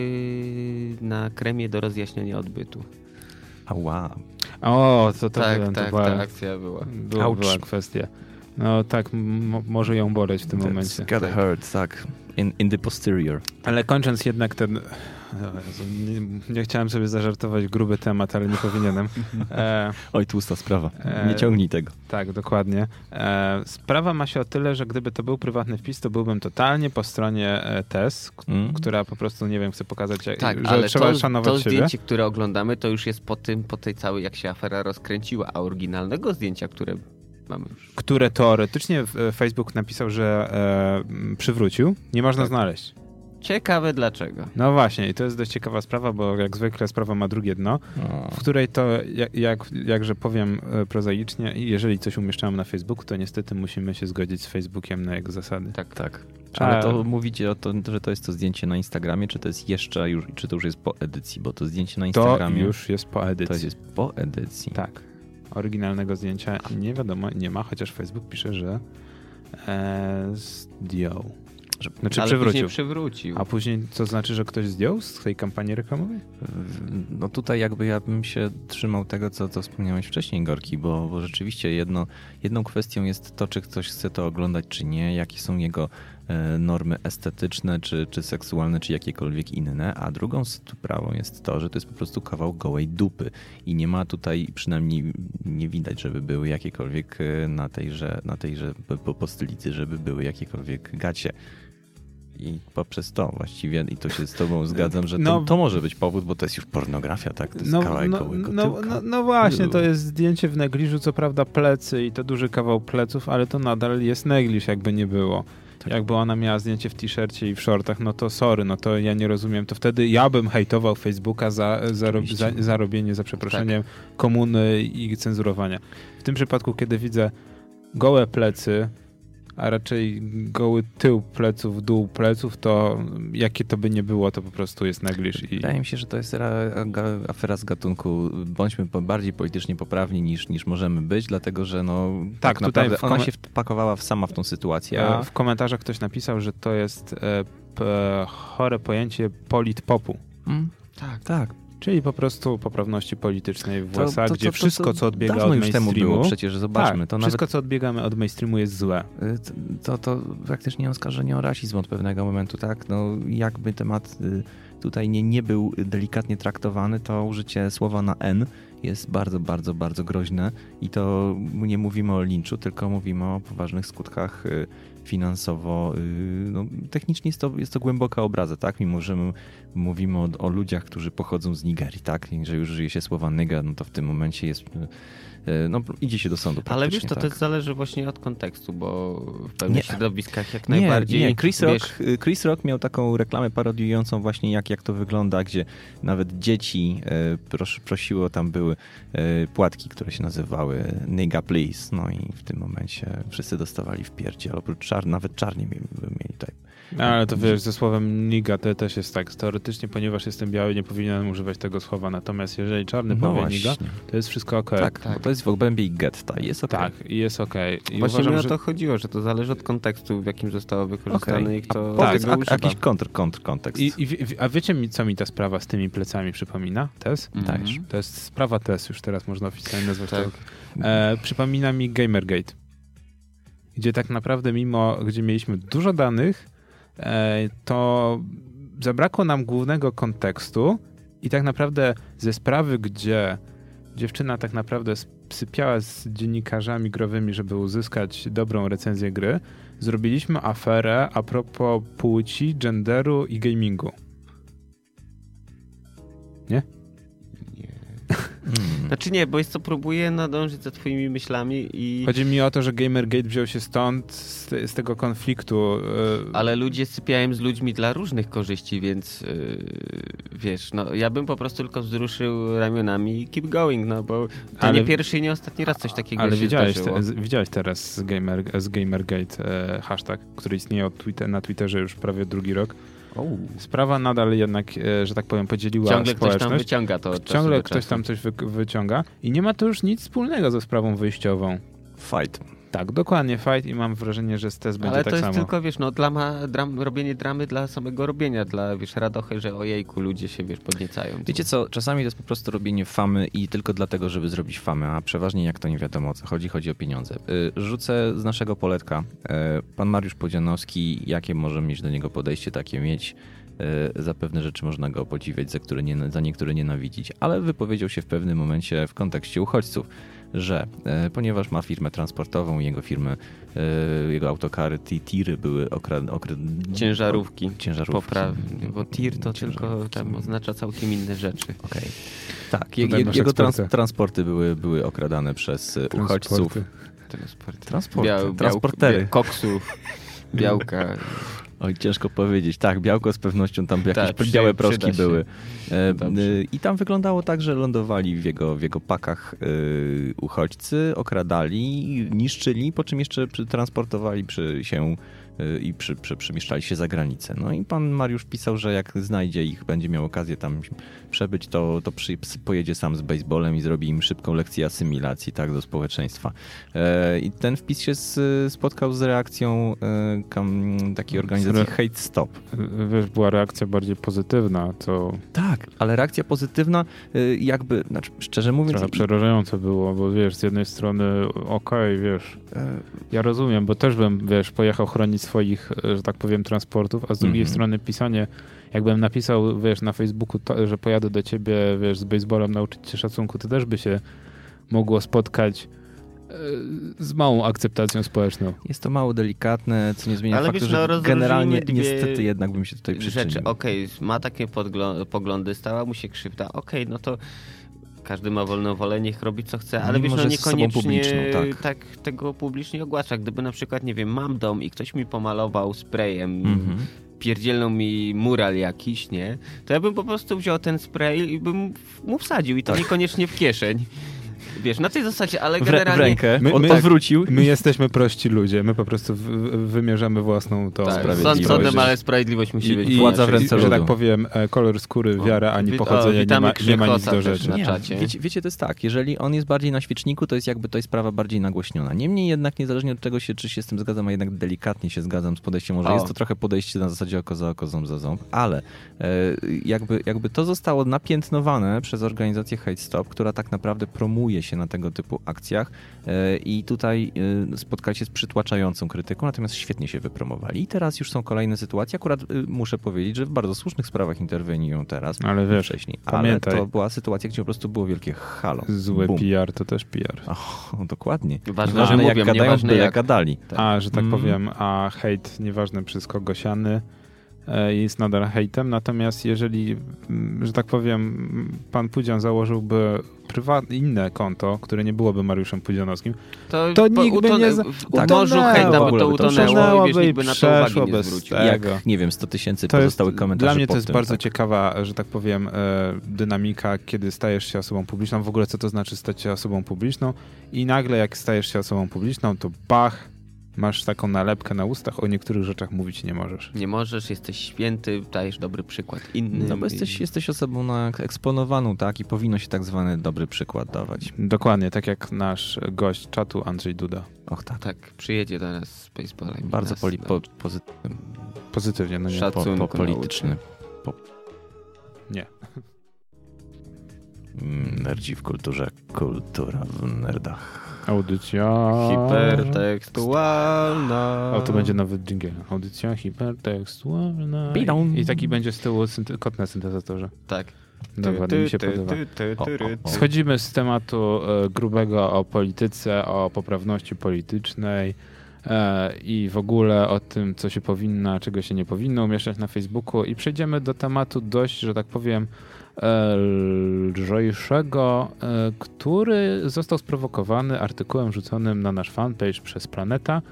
Speaker 1: na kremie do rozjaśnienia odbytu.
Speaker 3: Ała.
Speaker 2: O, to, to,
Speaker 1: tak,
Speaker 2: to,
Speaker 1: tak,
Speaker 2: była,
Speaker 1: ta akcja była.
Speaker 2: była,
Speaker 3: Ouch.
Speaker 2: była kwestia. No tak, m- może ją boleć w tym momencie.
Speaker 3: Got hurt, tak. In, in the posterior.
Speaker 2: Ale kończąc jednak ten. O Jezu, Nie, nie chciałem sobie zażartować gruby temat, ale nie powinienem. E,
Speaker 3: Oj, tłusta sprawa.
Speaker 2: E,
Speaker 3: Nie ciągnij tego.
Speaker 2: tak, dokładnie. E, sprawa ma się o tyle, że gdyby to był prywatny wpis, to byłbym totalnie po stronie e, TES, k-
Speaker 3: Mm.
Speaker 2: która po prostu nie wiem, chce pokazać, jak,
Speaker 1: Tak,
Speaker 2: że
Speaker 1: ale
Speaker 2: trzeba
Speaker 1: to,
Speaker 2: szanować
Speaker 1: to
Speaker 2: siebie.
Speaker 1: zdjęcie, które oglądamy, to już jest po tym, po tej całej, jak się afera rozkręciła, a oryginalnego zdjęcia, które mamy już.
Speaker 2: Które teoretycznie e, Facebook napisał, że e, m, przywrócił, nie można
Speaker 1: Tak.
Speaker 2: znaleźć.
Speaker 1: Ciekawe dlaczego.
Speaker 2: No właśnie, i to jest dość ciekawa sprawa, bo jak zwykle sprawa ma drugie dno. w której to, jak, jak, jakże powiem e, prozaicznie, jeżeli coś umieszczałem na Facebooku, to niestety musimy się zgodzić z Facebookiem na jego zasady.
Speaker 1: Tak.
Speaker 3: Tak.
Speaker 2: A-
Speaker 3: Ale to mówicie o to, że to jest to zdjęcie na Instagramie, czy to jest jeszcze już, czy to już jest po edycji, bo to zdjęcie na
Speaker 2: To
Speaker 3: Instagramie
Speaker 2: już jest po
Speaker 3: to
Speaker 2: edycji.
Speaker 3: jest po edycji.
Speaker 2: Tak. Oryginalnego zdjęcia nie wiadomo, nie ma, chociaż Facebook pisze, że e, zdjął.
Speaker 3: Że-
Speaker 2: Znaczy
Speaker 1: ale
Speaker 2: przywrócił.
Speaker 1: później przywrócił.
Speaker 2: A później to znaczy, że ktoś zdjął z tej kampanii reklamowej?
Speaker 3: No tutaj jakby ja bym się trzymał tego, co, co wspomniałeś wcześniej, Gorki, bo, bo rzeczywiście jedno, jedną kwestią jest to, czy ktoś chce to oglądać, czy nie, jakie są jego e, normy estetyczne, czy, czy seksualne, czy jakiekolwiek inne, a drugą sprawą jest to, że to jest po prostu kawał gołej dupy i nie ma tutaj, przynajmniej nie widać, żeby były jakiekolwiek e, na tejże, na tejże po- po- postylicy, żeby były jakiekolwiek gacie. I poprzez to właściwie, i to się z tobą zgadzam, że to,
Speaker 2: No,
Speaker 3: to może być powód, bo to jest już pornografia, tak? To jest kawałek
Speaker 2: no,
Speaker 3: gołego
Speaker 2: no,
Speaker 3: tyłka.
Speaker 2: no, no właśnie, to jest zdjęcie w negliżu, co prawda plecy i to duży kawał pleców, ale to nadal jest negliż, jakby nie było.
Speaker 3: Tak.
Speaker 2: Jakby ona miała zdjęcie w t-shircie i w shortach, no to sorry, no to ja nie rozumiem. To wtedy ja bym hejtował Facebooka za, za, rob, za,
Speaker 3: Oczywiście. Tak.
Speaker 2: za robienie, za przeproszeniem, komuny i cenzurowania. W tym przypadku, kiedy widzę gołe plecy, a raczej goły tył pleców, dół pleców, to jakie to by nie było, to po prostu jest negliż. I...
Speaker 3: Wydaje mi się, że to jest ra- ga- afera z gatunku bądźmy po- bardziej politycznie poprawni niż, niż możemy być, dlatego że no
Speaker 2: Tak,
Speaker 3: tak
Speaker 2: tutaj
Speaker 3: naprawdę
Speaker 2: w
Speaker 3: ona
Speaker 2: kom-
Speaker 3: się wpakowała w- sama w tą sytuację.
Speaker 2: E,
Speaker 3: A,
Speaker 2: W komentarzach ktoś napisał, że to jest e, p, chore pojęcie politpopu,
Speaker 3: mm,
Speaker 1: tak.
Speaker 3: tak,
Speaker 2: czyli po prostu poprawności politycznej w
Speaker 3: To-
Speaker 2: USA,
Speaker 3: to-
Speaker 2: gdzie
Speaker 3: to- to-
Speaker 2: wszystko,
Speaker 3: to
Speaker 2: co odbiega
Speaker 3: dawno
Speaker 2: od
Speaker 3: już temu
Speaker 2: mainstreamu,
Speaker 3: było, przecież
Speaker 2: tak,
Speaker 3: zobaczmy, to nawet
Speaker 2: wszystko, co odbiegamy od mainstreamu jest złe.
Speaker 3: Y, t- to, to praktycznie oskarżenie o rasizm od pewnego momentu, tak? No, jakby temat y, tutaj nie, nie był delikatnie traktowany, to użycie słowa na N jest bardzo, bardzo, bardzo groźne i to nie mówimy o linczu, tylko mówimy o poważnych skutkach y, finansowo. y, No, technicznie jest to, jest to głęboka obraza, tak? Mimo, że my mówimy o, o ludziach, którzy pochodzą z Nigerii, tak? I Że już żyje się słowa nyga, no to w tym momencie jest... y, y, No, idzie się do sądu
Speaker 1: Ale wiesz,
Speaker 3: praktycznie,
Speaker 1: to
Speaker 3: tak?
Speaker 1: też zależy właśnie od kontekstu, bo w pewnych
Speaker 3: Nie.
Speaker 1: środowiskach jak
Speaker 3: Nie,
Speaker 1: najbardziej.
Speaker 3: Nie, Chris,
Speaker 1: wiesz,
Speaker 3: Rock, y, Chris Rock miał taką reklamę parodiującą właśnie jak, jak to wygląda, gdzie nawet dzieci e, pros, prosiło, tam były e, płatki, które się nazywały Nigga Please, no i w tym momencie wszyscy dostawali w pierdzie, oprócz czar, nawet czarni mi- mieli tutaj.
Speaker 2: No, Ale to wiesz, ze słowem niga to też jest tak. Teoretycznie, ponieważ jestem biały, nie powinienem używać tego słowa, natomiast jeżeli czarny
Speaker 3: No
Speaker 2: powie
Speaker 3: właśnie.
Speaker 2: niga, to jest wszystko okej.
Speaker 3: Tak,
Speaker 1: tak.
Speaker 3: bo to jest w obrębie i getta, jest okej.
Speaker 2: Tak, i jest okej. I
Speaker 1: Właśnie
Speaker 2: uważam,
Speaker 1: mi o
Speaker 2: że-
Speaker 1: to chodziło, że to zależy od kontekstu, w jakim zostało wykorzystane
Speaker 3: Okej.
Speaker 1: i kto
Speaker 2: A
Speaker 3: Powiedz,
Speaker 1: tego
Speaker 3: a,
Speaker 1: używa.
Speaker 3: jakiś kontr, kontr, kontekst.
Speaker 2: I, i, wi- a wiecie, mi, co mi ta sprawa z tymi plecami przypomina? Tez?
Speaker 1: Mhm.
Speaker 3: dajesz.
Speaker 2: To jest sprawa TES, już teraz można oficjalnie nazwać
Speaker 1: Tak.
Speaker 2: to. E, przypomina mi Gamergate, gdzie tak naprawdę mimo, gdzie mieliśmy dużo danych, e, to zabrakło nam głównego kontekstu i tak naprawdę ze sprawy, gdzie dziewczyna tak naprawdę z sypiała z dziennikarzami growymi, żeby uzyskać dobrą recenzję gry, zrobiliśmy aferę a propos płci, genderu i gamingu.
Speaker 3: Mm.
Speaker 1: Znaczy nie, bo jest to próbuję nadążyć za twoimi myślami i...
Speaker 2: Chodzi mi o to, że Gamergate wziął się stąd, z, te, z tego konfliktu. e,
Speaker 1: Ale ludzie sypiają z ludźmi dla różnych korzyści, więc yy, wiesz, no ja bym po prostu tylko wzruszył ramionami i keep going, no bo to
Speaker 2: Ale-
Speaker 1: nie pierwszy i nie ostatni raz coś takiego
Speaker 2: Ale
Speaker 1: się
Speaker 2: widziałeś,
Speaker 1: zdarzyło.
Speaker 2: te, z, widziałeś teraz z, gamer, z Gamergate e, hashtag, który istnieje od Twitter, na Twitterze już prawie drugi rok. Sprawa nadal jednak, e, że tak powiem, podzieliła
Speaker 1: Ciągle ktoś tam
Speaker 2: społeczność.
Speaker 1: wyciąga to od czasu
Speaker 2: Ciągle
Speaker 1: do
Speaker 2: ktoś
Speaker 1: czasu.
Speaker 2: tam coś wy, wyciąga i nie ma to już nic wspólnego ze sprawą wyjściową.
Speaker 3: Fight.
Speaker 2: Tak, dokładnie, fight i mam wrażenie, że z test będzie
Speaker 1: Ale
Speaker 2: tak
Speaker 1: to jest
Speaker 2: samo.
Speaker 1: tylko, wiesz, no drama, dram, robienie dramy dla samego robienia, dla, wiesz, radochy, że ojejku, ludzie się, wiesz, podniecają.
Speaker 3: Wiecie co, czasami to jest po prostu robienie famy i tylko dlatego, żeby zrobić famę, a przeważnie jak to nie wiadomo o co chodzi, chodzi o pieniądze. Y, Rzucę z naszego poletka. Y, Pan Mariusz Podzianowski, jakie może mieć do niego podejście, takie mieć. Y, Za pewne rzeczy można go podziwiać, za, które nie, za niektóre nienawidzić, ale wypowiedział się w pewnym momencie w kontekście uchodźców, że y, ponieważ ma firmę transportową, jego firmy, y, jego autokary, ti- tiry były okradane. Okra
Speaker 1: Ciężarówki.
Speaker 3: Mhm. Ciężarówki. Mhm.
Speaker 1: Poprawnie, bo tir to tylko
Speaker 3: Ciężarówki.
Speaker 1: tam oznacza całkiem inne rzeczy.
Speaker 3: Okej. Tak, je,
Speaker 2: Tutaj
Speaker 3: je,
Speaker 2: masz
Speaker 3: jego trans,
Speaker 2: ekspertę.
Speaker 3: transporty były, były okradane przez y, uchodźców.
Speaker 2: Transporty.
Speaker 1: Transport.
Speaker 3: Transporty,
Speaker 1: Biał-
Speaker 3: transportery.
Speaker 1: biał- koksów, białka.
Speaker 3: Oj, ciężko powiedzieć. Tak, białko z pewnością tam jakieś
Speaker 1: Tak, przy-
Speaker 3: białe
Speaker 1: przyda
Speaker 3: proszki
Speaker 1: się.
Speaker 3: były. E,
Speaker 1: Dobrze.
Speaker 3: y, I tam wyglądało tak, że lądowali w jego, w jego pakach y, uchodźcy, okradali, niszczyli, po czym jeszcze przy- transportowali przy się y, i przy, przy, przemieszczali się za granicę. No i pan Mariusz pisał, że jak znajdzie ich, będzie miał okazję tam przebyć, to, to przy, ps- pojedzie sam z baseballem i zrobi im szybką lekcję asymilacji tak, do społeczeństwa. E, I ten wpis się z, spotkał z reakcją e, kam, takiej organizacji
Speaker 2: Zre-
Speaker 3: Hate Stop.
Speaker 2: Wiesz, była reakcja bardziej pozytywna, co
Speaker 3: Tak, ale reakcja pozytywna, y, jakby, znaczy, szczerze mówiąc,
Speaker 2: trochę
Speaker 3: i-
Speaker 2: przerażające było, bo wiesz, z jednej strony okej, wiesz,
Speaker 3: e,
Speaker 2: ja rozumiem, bo też bym, wiesz, pojechał chronić swoich, e, że tak powiem, transportów, a z drugiej
Speaker 3: Mhm.
Speaker 2: strony pisanie, jakbym napisał, wiesz, na Facebooku, to, że pojadę do ciebie, wiesz, z baseballem nauczyć cię szacunku, to też by się mogło spotkać e, z małą akceptacją społeczną.
Speaker 3: jest to mało delikatne, co nie zmienia
Speaker 1: Ale
Speaker 3: faktu,
Speaker 1: wiesz,
Speaker 3: że
Speaker 1: no, rozróżnijmy
Speaker 3: generalnie
Speaker 1: dwie
Speaker 3: niestety jednak bym się tutaj przyczynił.
Speaker 1: Rzeczy, okej, ma takie podglą- poglądy, stała mu się krzywda, okej, no to każdy ma wolną wolę, niech robi co chce, ale
Speaker 3: Mimo,
Speaker 1: wiesz, no
Speaker 3: że z osobą
Speaker 1: niekoniecznie
Speaker 3: publiczną, tak.
Speaker 1: tak. tego publicznie ogłasza. Gdyby na przykład, nie wiem, mam dom i ktoś mi pomalował sprayem,
Speaker 3: Mhm.
Speaker 1: pierdzielnął mi mural jakiś, nie, to ja bym po prostu wziął ten spray i bym mu wsadził i to niekoniecznie w kieszeń. Wiesz, na tej zasadzie, ale
Speaker 3: Tak. W, re- w
Speaker 1: generalnie...
Speaker 3: rękę,
Speaker 2: My-
Speaker 3: on tak-
Speaker 2: my-
Speaker 3: odwrócił.
Speaker 2: My jesteśmy prości ludzie, my po prostu w, w, wymierzamy własną to
Speaker 1: Tak, sąd
Speaker 3: sprawiedliwość.
Speaker 1: sądem, ale sprawiedliwość musi być
Speaker 2: I, i,
Speaker 3: władza w
Speaker 1: inaczej.
Speaker 3: ręce
Speaker 2: i, że
Speaker 3: ludu.
Speaker 2: tak powiem, e, kolor skóry,
Speaker 1: O,
Speaker 2: wiara ani
Speaker 1: wit- o,
Speaker 2: pochodzenie nie
Speaker 1: witamy
Speaker 2: ma, nie ma nic
Speaker 1: Krzychosa
Speaker 2: do
Speaker 1: też
Speaker 2: rzeczy.
Speaker 1: na czacie.
Speaker 3: Wiecie, wiecie, to jest tak, jeżeli on jest bardziej na świeczniku, to jest jakby to jest sprawa bardziej nagłośniona. Niemniej jednak, niezależnie od tego, się, czy się z tym zgadzam, a jednak delikatnie się zgadzam z podejściem, może
Speaker 1: O.
Speaker 3: jest to trochę podejście na zasadzie oko za oko, ząb za ząb, ale e, jakby, jakby to zostało napiętnowane przez organizację Hate Stop, która tak naprawdę promuje się na tego typu akcjach e, i tutaj e, spotkali się z przytłaczającą krytyką, natomiast świetnie się wypromowali. I teraz już są kolejne sytuacje, akurat e, muszę powiedzieć, że w bardzo słusznych sprawach interweniują teraz.
Speaker 2: Ale
Speaker 3: Wiesz,
Speaker 2: wiesz,
Speaker 3: wcześniej.
Speaker 2: pamiętaj.
Speaker 3: Ale to była sytuacja, gdzie po prostu było wielkie halo.
Speaker 2: zły
Speaker 3: Bum.
Speaker 2: PR to też PR.
Speaker 3: Och, dokładnie.
Speaker 1: Ważne,
Speaker 3: Nieważne
Speaker 1: że
Speaker 3: jak
Speaker 1: mówią,
Speaker 3: gadają,
Speaker 1: nieważne
Speaker 3: byle
Speaker 1: jak.
Speaker 3: jak gadali.
Speaker 2: A, że tak
Speaker 3: Mm.
Speaker 2: powiem, a hejt, nieważne przez kogo siany, e, jest nadal hejtem. Natomiast jeżeli, mm, że tak powiem, mm, pan Pudzian założyłby prywatne, inne konto, które nie byłoby Mariuszem Pudzianowskim,
Speaker 1: To,
Speaker 2: To
Speaker 1: po-
Speaker 2: nikt by
Speaker 1: utone-
Speaker 2: nie za-
Speaker 1: W
Speaker 2: utonęło.
Speaker 1: tak, morzu hejta, bo to
Speaker 3: Utonęło,
Speaker 1: utonęło i
Speaker 2: utonęłoby
Speaker 1: wiesz, nikt by na to
Speaker 2: przeszło
Speaker 1: uwagi nie
Speaker 2: bez
Speaker 1: zwrócił.
Speaker 2: tego.
Speaker 3: Jak,
Speaker 2: Tego.
Speaker 3: nie wiem, 100 tysięcy
Speaker 2: To jest,
Speaker 3: pozostały komentarzy
Speaker 2: Dla mnie
Speaker 3: pod
Speaker 2: to jest
Speaker 3: tym,
Speaker 2: bardzo
Speaker 3: tak.
Speaker 2: ciekawa, że tak powiem, e, dynamika, kiedy stajesz się osobą publiczną. W ogóle co to znaczy stać się osobą publiczną? I nagle jak stajesz się osobą publiczną, to bach, masz taką nalepkę na ustach, o niektórych rzeczach mówić nie możesz.
Speaker 1: Nie możesz, jesteś święty, dajesz dobry przykład innym.
Speaker 3: No bo jesteś, jesteś osobą na eksponowaną, tak? I powinno się tak zwany dobry przykład dawać.
Speaker 2: Dokładnie, tak jak nasz gość czatu Andrzej Duda.
Speaker 3: Och tak.
Speaker 1: Tak, przyjedzie do nas z baseballem. i
Speaker 3: Bardzo
Speaker 1: nas
Speaker 3: poli,
Speaker 1: na-
Speaker 3: po, pozy,
Speaker 2: Pozytywnie, no nie.
Speaker 1: Szat-
Speaker 3: po, po
Speaker 1: Szacunku
Speaker 3: polityczny. Po...
Speaker 2: Nie.
Speaker 3: Mm, Nerdzi w kulturze, kultura w nerdach.
Speaker 2: Audycja.
Speaker 1: Hipertekstualna.
Speaker 2: O, to będzie nowy dżingiel. Audycja hipertekstualna.
Speaker 1: Bidon.
Speaker 2: I taki będzie z tyłu synty- kot na syntezatorze.
Speaker 1: Tak.
Speaker 2: Dobra,
Speaker 1: Ty,
Speaker 2: mi się
Speaker 1: ty,
Speaker 2: podoba.
Speaker 1: ty, ty,
Speaker 3: O,
Speaker 1: ty,
Speaker 3: o, o.
Speaker 1: ty.
Speaker 2: Schodzimy z tematu e, grubego o polityce, o poprawności politycznej e, i w ogóle o tym, co się powinno, a czego się nie powinno umieszczać na Facebooku i przejdziemy do tematu dość, że tak powiem, e, lżejszego, e, który został sprowokowany artykułem rzuconym na nasz fanpage przez Planeta,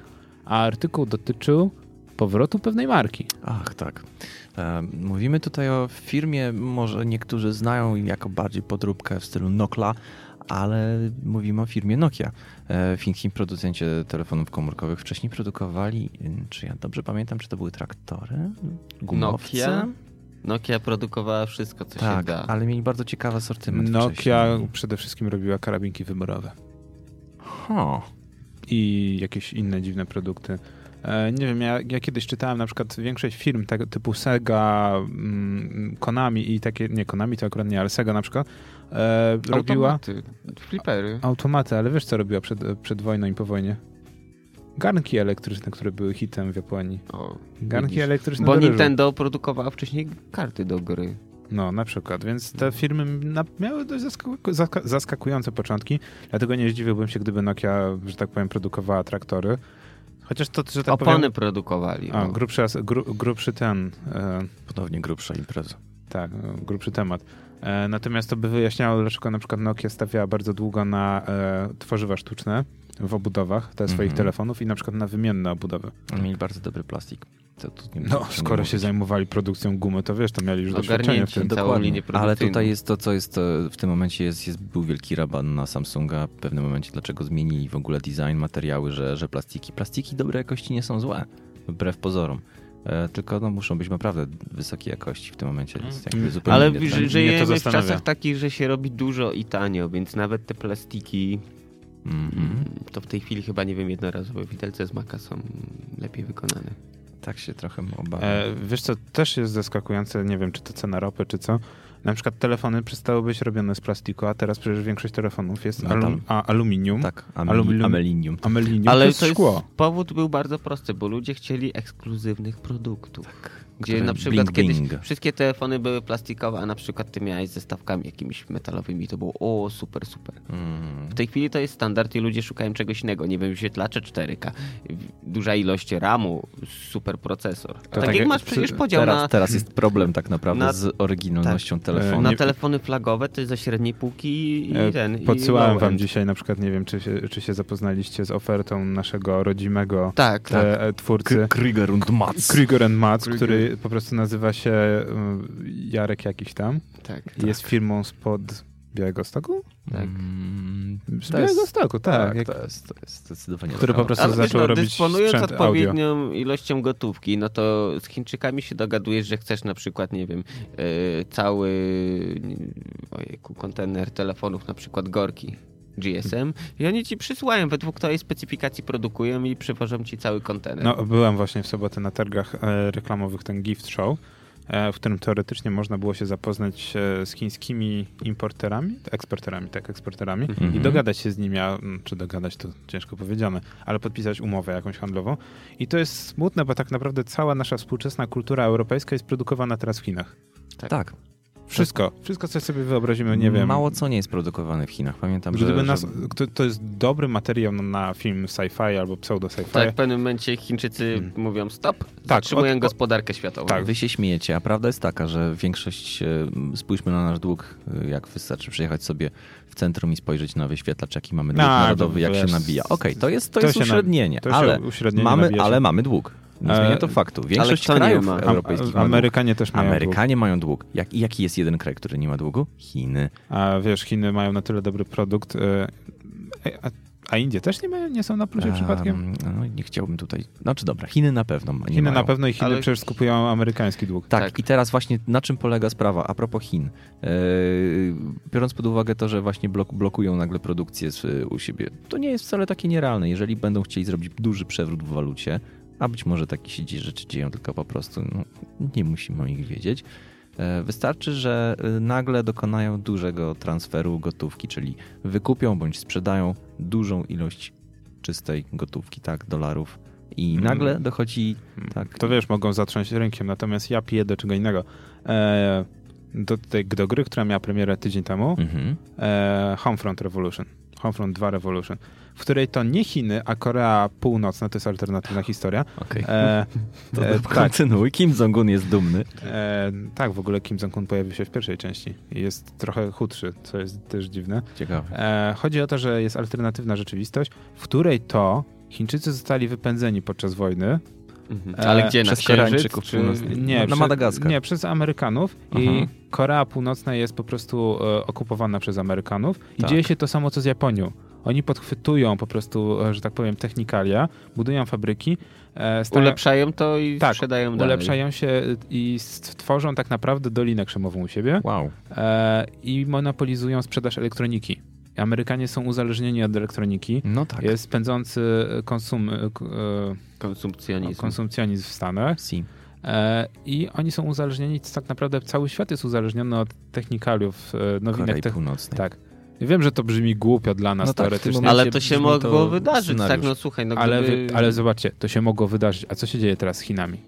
Speaker 2: a artykuł dotyczył powrotu pewnej marki.
Speaker 3: Ach, tak. E, Mówimy tutaj o firmie, może niektórzy znają jako bardziej podróbkę w stylu Nokla, ale mówimy o firmie Nokia. E, Fińskim producencie telefonów komórkowych wcześniej produkowali, y, czy ja dobrze pamiętam, czy to były traktory? Gumowce?
Speaker 1: Nokia? Nokia produkowała wszystko, co się
Speaker 3: Tak,
Speaker 1: da.
Speaker 3: ale mieli bardzo ciekawy asortyment
Speaker 2: Nokia
Speaker 3: wcześniej.
Speaker 2: przede wszystkim robiła karabinki wyborowe. hmm.
Speaker 3: Ho.
Speaker 2: i jakieś inne dziwne produkty. E, Nie wiem, ja, ja kiedyś czytałem na przykład większość firm tak, typu Sega, mm, Konami i takie, nie Konami to akurat nie, ale Sega na przykład e, robiła
Speaker 1: Automaty, flipery.
Speaker 2: automaty, ale wiesz co robiła przed, przed wojną i po wojnie? Garnki elektryczne, które były hitem w Japonii.
Speaker 1: O,
Speaker 2: Garnki
Speaker 1: widzisz.
Speaker 2: elektryczne
Speaker 1: Bo
Speaker 2: do ryżu.
Speaker 1: Nintendo produkowała wcześniej karty do gry.
Speaker 2: No, na przykład. Więc te firmy na, miały dość zaskaku, zaska- zaskakujące początki, dlatego nie zdziwiłbym się, gdyby Nokia, że tak powiem, produkowała traktory. Chociaż to, że tak
Speaker 1: Opony
Speaker 2: powiem...
Speaker 1: produkowali.
Speaker 2: A,
Speaker 1: no.
Speaker 2: grubszy, as- gru, grubszy ten, e,
Speaker 3: Ponownie grubsza impreza.
Speaker 2: tak, e, grubszy temat. E, natomiast to by wyjaśniało, dlaczego na przykład Nokia stawiała bardzo długo na e, tworzywa sztuczne w obudowach te swoich
Speaker 3: Mhm.
Speaker 2: telefonów i na przykład na wymienne obudowy.
Speaker 3: Mieli bardzo dobry plastik. To tu nie
Speaker 2: No,
Speaker 3: nie
Speaker 2: skoro
Speaker 3: mówię.
Speaker 2: się zajmowali produkcją gumy, to wiesz, to mieli już doświadczenie w
Speaker 1: Ogarnięci
Speaker 2: tym.
Speaker 1: całą linię
Speaker 3: Ale
Speaker 1: produkcyjną.
Speaker 3: tutaj jest to, co jest e, w tym momencie, jest, jest, był wielki raban na Samsunga w pewnym momencie, dlaczego zmienili w ogóle design, materiały, że, że plastiki. Plastiki dobrej jakości nie są złe, wbrew pozorom. E, tylko no, muszą być naprawdę wysokiej jakości w tym momencie. Jest jakby
Speaker 2: Mm.
Speaker 3: zupełnie tak.
Speaker 1: Ale ży-
Speaker 3: inny trend.
Speaker 2: Mnie to
Speaker 1: żyjemy w
Speaker 2: zastanawia.
Speaker 1: czasach takich, że się robi dużo i tanio, więc nawet te plastiki,
Speaker 3: Mhm.
Speaker 1: to w tej chwili chyba, nie wiem, jednorazowe widelce z maka są lepiej wykonane.
Speaker 3: Tak się trochę obawiam.
Speaker 2: E, wiesz co, też jest zaskakujące, nie wiem, czy to cena ropy, czy co. Na przykład telefony przestały być robione z plastiku, a teraz przecież większość telefonów jest
Speaker 3: Metal.
Speaker 2: alum, a, aluminium.
Speaker 3: tak,
Speaker 2: aluminium-
Speaker 3: ameli, amelinium.
Speaker 2: Amelinium
Speaker 1: Ale
Speaker 2: to jest
Speaker 1: to jest-
Speaker 2: szkło.
Speaker 1: Powód był bardzo prosty, bo ludzie chcieli ekskluzywnych produktów.
Speaker 2: Tak,
Speaker 1: Gdzie
Speaker 3: Które
Speaker 1: na przykład
Speaker 3: bling,
Speaker 1: kiedyś
Speaker 3: bling.
Speaker 1: wszystkie telefony były plastikowe, a na przykład ty miałeś ze stawkami jakimiś metalowymi. To było o, super, super.
Speaker 3: Mm.
Speaker 1: W tej chwili to jest standard i ludzie szukają czegoś innego. Nie wiem, wyświetlacze 4K, duża ilość RAMu, super procesor. tak,
Speaker 2: tak
Speaker 1: jak
Speaker 2: jak
Speaker 1: masz
Speaker 2: przy-
Speaker 1: przecież podział na,
Speaker 3: Znaczy, Teraz, teraz jest problem tak naprawdę
Speaker 1: Na- Tak. E,
Speaker 3: z oryginalnością telefonu.
Speaker 1: na
Speaker 2: nie-
Speaker 1: telefony flagowe, to jest ze średniej półki i
Speaker 2: E,
Speaker 1: ten. i
Speaker 2: Podsyłałem wam
Speaker 1: low-end.
Speaker 2: dzisiaj na przykład, nie wiem, czy się, czy się zapoznaliście z ofertą naszego rodzimego
Speaker 1: Tak, tak.
Speaker 2: e, e, twórcy
Speaker 3: Krieger und Mats.
Speaker 2: Krieger and Mats,
Speaker 1: Krieger.
Speaker 2: który po prostu nazywa się mm, Jarek jakiś tam.
Speaker 1: tak.
Speaker 2: Jest firmą spod Białego Stoku?
Speaker 1: tak.
Speaker 3: Mm,
Speaker 2: Z
Speaker 3: to jest-
Speaker 2: Białego Stoku, tak.
Speaker 3: Tak,
Speaker 2: jak,
Speaker 3: to, jest, to jest zdecydowanie
Speaker 2: Który
Speaker 3: lokal.
Speaker 2: po prostu
Speaker 1: Ale wiesz,
Speaker 2: zaczął
Speaker 1: no,
Speaker 2: robić
Speaker 1: dysponując
Speaker 2: sprzęt audio.
Speaker 1: odpowiednią ilością gotówki, no to z Chińczykami się dogadujesz, że chcesz na przykład, nie wiem, e, cały e, ojejku, kontener telefonów, na przykład Gorki. GSM i oni ci przysłają według tej specyfikacji produkują i przywożą ci cały kontener.
Speaker 2: No, byłem właśnie w sobotę na targach e, reklamowych ten gift show, e, w którym teoretycznie można było się zapoznać e, z chińskimi importerami, eksporterami, tak, eksporterami
Speaker 1: Mhm.
Speaker 2: i dogadać się z nimi, a mm, czy dogadać to ciężko powiedziane, ale podpisać umowę jakąś handlową. I to jest smutne, bo tak naprawdę cała nasza współczesna kultura europejska jest produkowana teraz w Chinach.
Speaker 3: Tak.
Speaker 2: Wszystko, wszystko co sobie wyobrazimy, No nie wiem.
Speaker 3: Mało co nie jest produkowane w Chinach. Pamiętam,
Speaker 2: Gdyby
Speaker 3: że,
Speaker 2: nas,
Speaker 3: że
Speaker 2: to, to jest dobry materiał na film sci-fi albo pseudo-sci-fi.
Speaker 1: tak, w pewnym momencie Chińczycy mówią stop, zatrzymują
Speaker 2: Hmm. Tak, od- od-
Speaker 1: gospodarkę światową.
Speaker 2: tak.
Speaker 3: wy się śmiejecie, a prawda jest taka, że większość, e, spójrzmy na nasz dług, e, jak wystarczy przyjechać sobie w centrum i spojrzeć na wyświetlacz, jaki mamy dług
Speaker 2: No,
Speaker 3: narodowy, jak
Speaker 2: wiesz,
Speaker 3: się nabija. Okej, to jest, to
Speaker 2: to
Speaker 3: jest
Speaker 2: się na-
Speaker 3: uśrednienie,
Speaker 2: to się
Speaker 3: ale,
Speaker 2: uśrednienie
Speaker 3: mamy,
Speaker 2: nabija się.
Speaker 3: ale mamy dług. Nie
Speaker 2: E,
Speaker 3: zmienia to faktu. Większość
Speaker 1: kto nie
Speaker 3: krajów
Speaker 1: ma?
Speaker 2: Am-
Speaker 3: europejskich ma dług.
Speaker 2: Amerykanie też mają dług.
Speaker 3: Amerykanie mają dług. Jak, i jaki jest jeden kraj, który nie ma długu? Chiny.
Speaker 2: A wiesz, Chiny mają na tyle dobry produkt. e, A, a Indie też nie, mają, nie są na plusie Znaczy, przypadkiem?
Speaker 3: Em, No, nie chciałbym tutaj. Znaczy dobra, Chiny na pewno. Nie
Speaker 2: Chiny
Speaker 3: mają.
Speaker 2: na pewno i Chiny
Speaker 1: Ale-
Speaker 2: przecież skupują amerykański dług.
Speaker 3: Tak,
Speaker 1: Tak.
Speaker 3: i teraz właśnie na czym polega sprawa a propos Chin. Yy, biorąc pod uwagę to, że właśnie blok, blokują nagle produkcję z, e, u siebie, to nie jest wcale takie nierealne. Jeżeli będą chcieli zrobić duży przewrót w walucie, a być może takie się dzieje, rzeczy dzieją, tylko po prostu no, nie musimy o nich wiedzieć, E, Wystarczy, że e, nagle dokonają dużego transferu gotówki, czyli wykupią bądź sprzedają dużą ilość czystej gotówki, tak, dolarów. I
Speaker 2: Mm.
Speaker 3: nagle dochodzi tak.
Speaker 2: To wiesz, mogą zatrząść rynkiem, natomiast ja piję do czego innego. E, do, tej, do gry, która miała premierę tydzień temu,
Speaker 3: Mhm.
Speaker 2: e, Homefront Revolution. Homefront 2 Revolution, w której to nie Chiny, a Korea Północna, to jest alternatywna historia.
Speaker 3: Okej.
Speaker 2: E,
Speaker 3: To
Speaker 2: e, tak,
Speaker 3: kontynuuj. Kim Jong-un jest dumny.
Speaker 2: e, tak, w ogóle Kim Jong-un pojawił się w pierwszej części i jest trochę chudszy, co jest też dziwne.
Speaker 3: Ciekawe.
Speaker 2: E, chodzi o to, że jest alternatywna rzeczywistość, w której to Chińczycy zostali wypędzeni podczas wojny. e,
Speaker 1: Mhm. Ale gdzie? Na
Speaker 3: przez
Speaker 1: Księżyc?
Speaker 3: Koreańczyków
Speaker 2: Czy,
Speaker 3: północnych.
Speaker 2: nie,
Speaker 3: Na
Speaker 2: prze-
Speaker 3: Madagaskar.
Speaker 2: Nie, przez Amerykanów
Speaker 3: Aha.
Speaker 2: i Korea Północna jest po prostu e, okupowana przez Amerykanów i
Speaker 3: Tak.
Speaker 2: dzieje się to samo co z Japonią. Oni podchwytują po prostu, e, że tak powiem, technikalia, budują fabryki, e, stają-
Speaker 1: Ulepszają to i
Speaker 2: Tak,
Speaker 1: sprzedają dalej.
Speaker 2: ulepszają się i stworzą tak naprawdę dolinę krzemową u siebie
Speaker 3: Wow.
Speaker 2: e, i monopolizują sprzedaż elektroniki. Amerykanie są uzależnieni od elektroniki.
Speaker 3: No tak.
Speaker 2: Jest pędzący konsum, e, k- e,
Speaker 1: Konsumpcjonizm.
Speaker 2: konsumpcjonizm w Stanach.
Speaker 3: Si.
Speaker 2: E, I oni są uzależnieni, tak naprawdę cały świat jest uzależniony od technikaliów, e, nowinek
Speaker 3: Korei
Speaker 2: tych.
Speaker 3: Północnej.
Speaker 2: Tak. Ja Wiem, że to brzmi głupio dla nas
Speaker 3: No tak, w tym
Speaker 2: teoretycznie,
Speaker 3: momencie-
Speaker 1: Ale to się
Speaker 3: brzmi to
Speaker 1: mogło wydarzyć, tak?
Speaker 3: scenariusz.
Speaker 1: No słuchaj, no
Speaker 2: ale,
Speaker 1: gdyby...
Speaker 2: wy- ale zobaczcie, to się mogło wydarzyć. A co się dzieje teraz z Chinami?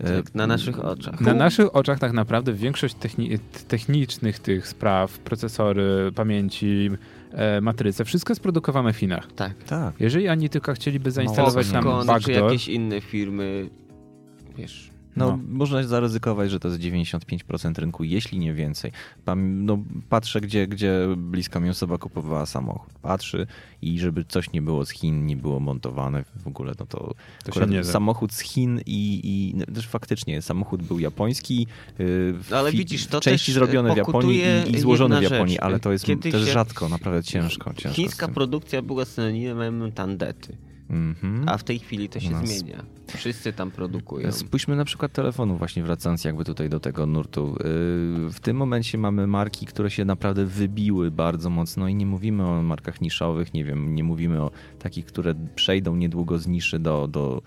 Speaker 3: E,
Speaker 1: Tak, na naszych oczach.
Speaker 2: Na naszych oczach tak naprawdę większość techni- technicznych tych spraw, procesory, pamięci, e, matryce, wszystko jest produkowane w Chinach.
Speaker 1: Tak.
Speaker 3: Tak.
Speaker 2: Jeżeli oni tylko
Speaker 1: No
Speaker 2: chcieliby zainstalować
Speaker 3: Mocno.
Speaker 2: nam
Speaker 1: Foxconn, czy
Speaker 2: backdoor,
Speaker 1: jakieś inne firmy, wiesz...
Speaker 3: No,
Speaker 2: No.
Speaker 3: można zaryzykować, że to jest 95% rynku, jeśli nie więcej. Tam, no, patrzę, gdzie, gdzie bliska mi osoba kupowała samochód. Patrzy i żeby coś nie było z Chin, nie było montowane w ogóle, no to,
Speaker 2: to się
Speaker 3: akurat
Speaker 2: nie da.
Speaker 3: samochód z Chin i, i no, też faktycznie samochód był japoński. yy, w
Speaker 1: No ale
Speaker 3: fi-
Speaker 1: widzisz, to
Speaker 3: części
Speaker 1: też,
Speaker 3: zrobione
Speaker 1: e,
Speaker 3: w Japonii i, i
Speaker 1: pokutuje
Speaker 3: złożone w
Speaker 1: jedna
Speaker 3: Japonii,
Speaker 1: rzecz.
Speaker 3: ale to jest
Speaker 1: Kiedy
Speaker 3: też
Speaker 1: się-
Speaker 3: rzadko, naprawdę ciężko. ciężko
Speaker 1: Chińska
Speaker 3: z tym.
Speaker 1: produkcja była synonimem tandety,
Speaker 3: Mhm.
Speaker 1: a w tej chwili to się
Speaker 3: Nas-
Speaker 1: zmienia. Wszyscy tam produkują.
Speaker 3: Spójrzmy na przykład telefonu, właśnie wracając jakby tutaj do tego nurtu. Yy, W tym momencie mamy marki, które się naprawdę wybiły bardzo mocno i nie mówimy o markach niszowych, nie wiem, nie mówimy o takich, które przejdą niedługo z niszy do, do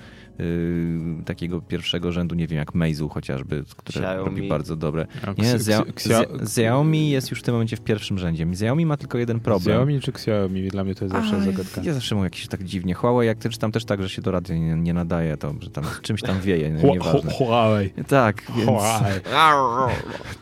Speaker 3: yy, takiego pierwszego rzędu, nie wiem, jak Meizu chociażby, które
Speaker 1: Xiaomi.
Speaker 3: robi bardzo dobre.
Speaker 2: A
Speaker 3: Nie,
Speaker 2: ks-
Speaker 3: Xia-
Speaker 2: ks- ksio-
Speaker 3: Xia- Xiaomi jest już w tym momencie w pierwszym rzędzie. Xiaomi ma tylko jeden problem.
Speaker 2: Xiaomi czy Xiaomi? Dla mnie to jest zawsze
Speaker 3: A,
Speaker 2: zagadka.
Speaker 3: Ja zawsze mówię jakieś tak dziwnie. Huawei, jak też tam też tak, że się do radia nie, nie nadaje, to że tam czymś tam wieje, no, nieważne.
Speaker 2: Huawei.
Speaker 3: Tak, więc,
Speaker 2: Huawei.